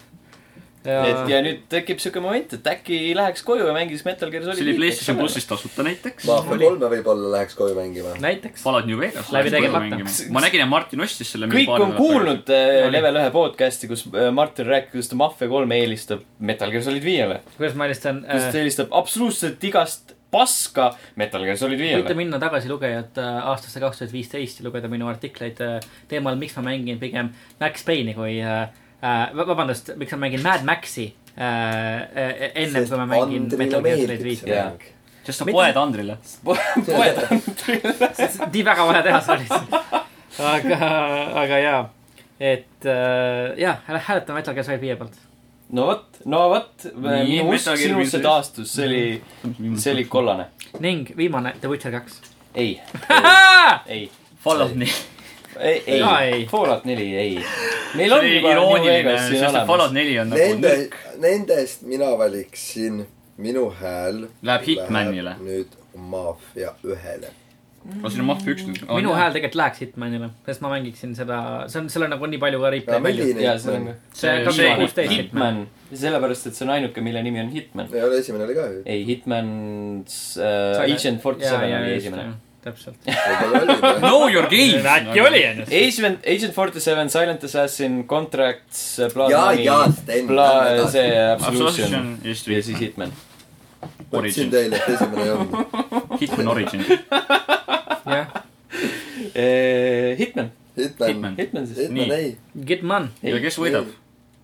et ja nüüd tekib siuke moment , et äkki läheks koju ja mängiks Metal Gear Solid .
see oli PlayStation . plussis tasuta näiteks .
Mafia kolme võib-olla läheks koju mängima .
näiteks .
Fallout New Vegas .
Läbi tegemata.
ma nägin , et Martin ostis selle .
kõik on kuulnud äh,
Oli.
level ühe podcast'i , kus äh, Martin rääkis , kuidas ta Mafia kolme eelistab Metal Gear Solid viiele .
kuidas ma eelistan
kuidas ta
äh, ,
eelistab absoluutselt igast paska Metal Gear Solid
võite
viiele .
minna tagasilugejad äh, aastasse kaks tuhat viisteist ja lugeda minu artikleid äh, teemal , miks ma mängin pigem Max Payne'i kui äh, , äh, vabandust , miks ma mängin Mad Maxi äh, äh, ennem kui ma mängin Metal Gear Solid viite .
Jaa.
sest sa poed Andrile .
poed on .
nii väga vaja teha , sorry . aga , aga jaa , et äh, jaa , hääletame Metal Gear Solid viie poolt .
no vot , no vot ,
Nii,
minu usk
Metal Gear
sinusse
Solid-
taastus , see oli , see oli kollane .
ning viimane The Witcher kaks .
ei , ei ,
Fallout nii .
ei , ei
Aa, ei. ,
Fallout neli , ei . meil on
see oli
juba New
irooniline ,
Vegas siin
sest et Fallout
olemas .
neli on nagu
Nende
nõrk .,
nendest mina valiksin , minu hääl .
Läheb Hitmanile.
nüüd Mafia ühele .
ma siin on Mafia üks nüüd .
minu hääl tegelikult läheks Hitmanile , sest ma mängiksin seda , see on , seal on nagu nii palju ka replay
milline
palju .
jaa , see on
Hitman ?
see
see-
kaks tuhat
see-
kuusteist Hitman .
Hitman , sellepärast , et see on ainuke , mille nimi on Hitman .
ei ole esimene oli ka ju .
ei , Hitman äh, , Agent Forty Seven oli esimene ..
täpselt .
Know your game .
äkki oli , onju .
Agent , Agent Forty Seven , Silent Assassin , Contracts , Blood
Jaa,
Money
jaa, Sten, , lähme
Blood ,
edasi.
see Absolution
Absolution ja
ja
siis
siis Hitman .
võtsin
Origin.
teile , et esimene ei olnud .
Hitman Origin .
jah ,
Äh, Hitman ,
Hitman
Hitman. .
Hitman siis ,
Hitman
Nii.
ei .
Gitman .
ja kes võidab ?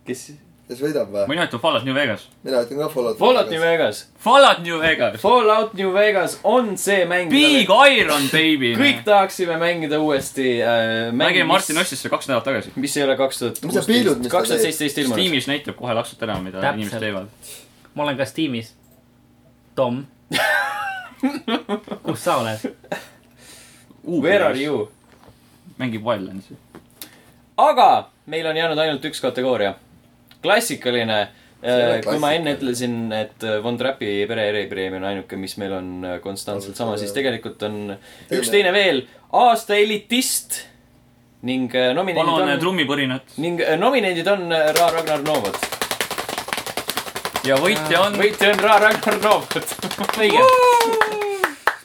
kes siis ?
kes võidab või ?
mina ütlen Fallout New Vegas .
mina ütlen ka Fallout .
Fallout New . Vegas .
Fallout New Vegas .
Fallout New Vegas on see mäng .
Big Iron Baby .
kõik tahaksime mängida uuesti äh,
ma nägin ,
mängi ,
Martin
mis ,
ostis selle kaks nädalat tagasi .
mis ei ole kaks tuhat
Mis sa piilud, mis ta
kaks tuhat
teeb?
seitseteist ilmunud .
Steamis näitab kohe laksult ära , mida
Täpselt.
inimesed teevad .
ma olen ka Steamis . Tom . kus sa oled ?
Where are ? you ?
mängib Wildlandsi .
aga meil on jäänud ainult üks kategooria . klassikaline .
ole
kui ma enne
klassikaline.
ütlesin , et äh, Von Trappi pere eripreemia on ainuke , mis meil on äh, konstantselt sama , siis tegelikult on üks teine veel . aasta elitist ning äh,
palun
nominendid on ,
trummipõrinat .
ning äh, nominendid on äh, Ra Ragnar Novot .
ja võitja on .
võitja on Ra Ragnar Novot .
õige .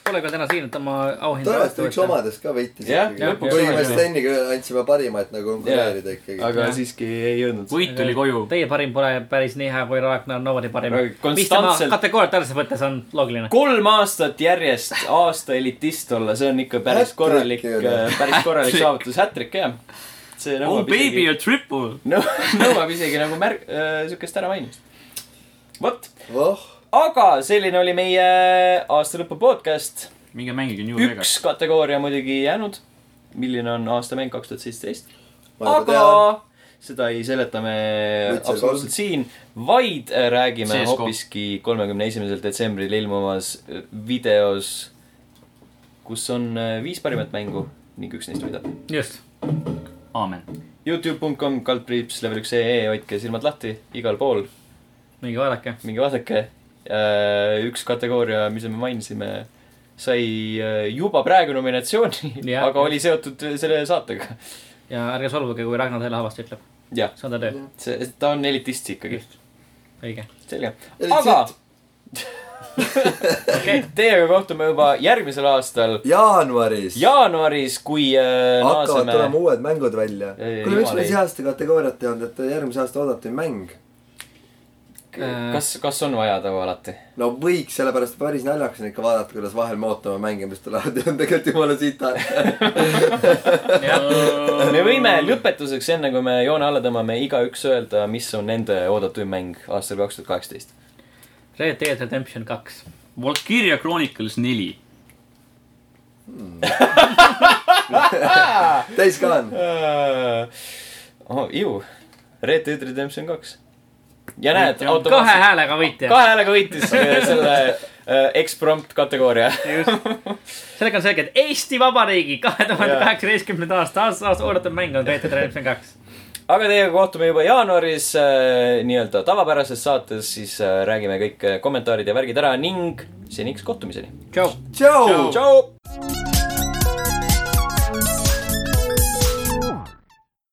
Pole ka täna siin , et oma auhinda
tõenäoliselt võiks . omadest ka võitis
Jah,
ikkagi .
lõpuks
kuigi
omad,
me
jah.
Steniga andsime parima , et nagu konkureerida ikkagi .
aga
Jah.
siiski ei jõudnud .
võit tuli koju .
Teie parim pole päris nii hea kui Ragnar Novodi parim
Aga .
mis tema
konstantselt-
kategooriatalises mõttes on loogiline .
kolm aastat järjest aasta elitist olla , see on ikka päris
Hat-trick
korralik äh,
ju, noh. ,
päris korralik
Hat-trick.
saavutus , hätrik jah . see
Oh
nõuab
baby
isegi ,
a triple .
nõuab isegi nagu märk- , siukest äramainimist . vot ,
voh ,
aga selline oli meie aastalõpu podcast .
minge mängige New Vegas .
üks kategooria muidugi jäänud , milline on aastamäng kaks tuhat seitseteist ,
ma juba
aga
tean .
seda ei seleta me
Võtsel
absoluutselt siin , vaid äh, räägime
CS:GO.
hoopiski kolmekümne esimesel detsembril ilmuvas videos , kus on äh, viis parimat mängu ning üks neist võidab .
just .
aamen .
Youtube.com , kaldpriips , level üks ee , hoidke silmad lahti igal pool ,
minge vaadake .
minge vaadake . üks kategooria , mis me mainisime , sai äh, juba praegu nominatsiooni ,
Jah.
aga oli seotud äh, selle saatega .
ja ärge solvuge , kui Ragnar selle halvasti ütleb .
Jah.
see on ta töö .
see , ta on elitist ikkagi ,
õige .
selge .
Elitsiit.
aga teiega kohtume juba järgmisel aastal
jaanuaris
jaanuaris , kui äh,
hakkavad tulema
naaseme .
uued mängud välja .
Ei,
kuule , miks
jumal
meil
ei.
see aasta kategooriat ei olnud , et järgmise aasta oodati mäng ?
kas , kas on vaja tava alati ?
no võiks , sellepärast päris naljakas on ikka vaadata , kuidas vahel me ootame mänge , mis tulevad ja on tegelikult jumala sita .
me võime lõpetuseks , enne kui me joone alla tõmbame , igaüks öelda , mis on nende oodatuim mäng aastal kaks tuhat kaheksateist .
Red Dead Redemption kaks .
Valkyria Chronicles neli .
täiskalan .
oh, ju , Red Dead Redemption kaks . ja näed ,
kahe
automaatselt
häälega võitja .
kahe häälega võitis äh, selle äh, eksprompt kategooria .
sellega on selge , et Eesti Vabariigi kahe tuhande kaheksateistkümnenda aasta aasta , aasta oodatud mäng on Red Dead Redemption kaks .
aga teiega kohtume juba jaanuaris äh, nii-öelda tavapärases saates , siis äh, räägime kõik äh, kommentaarid ja värgid ära ning seniks kohtumiseni .
tšau .
tšau .
tšau .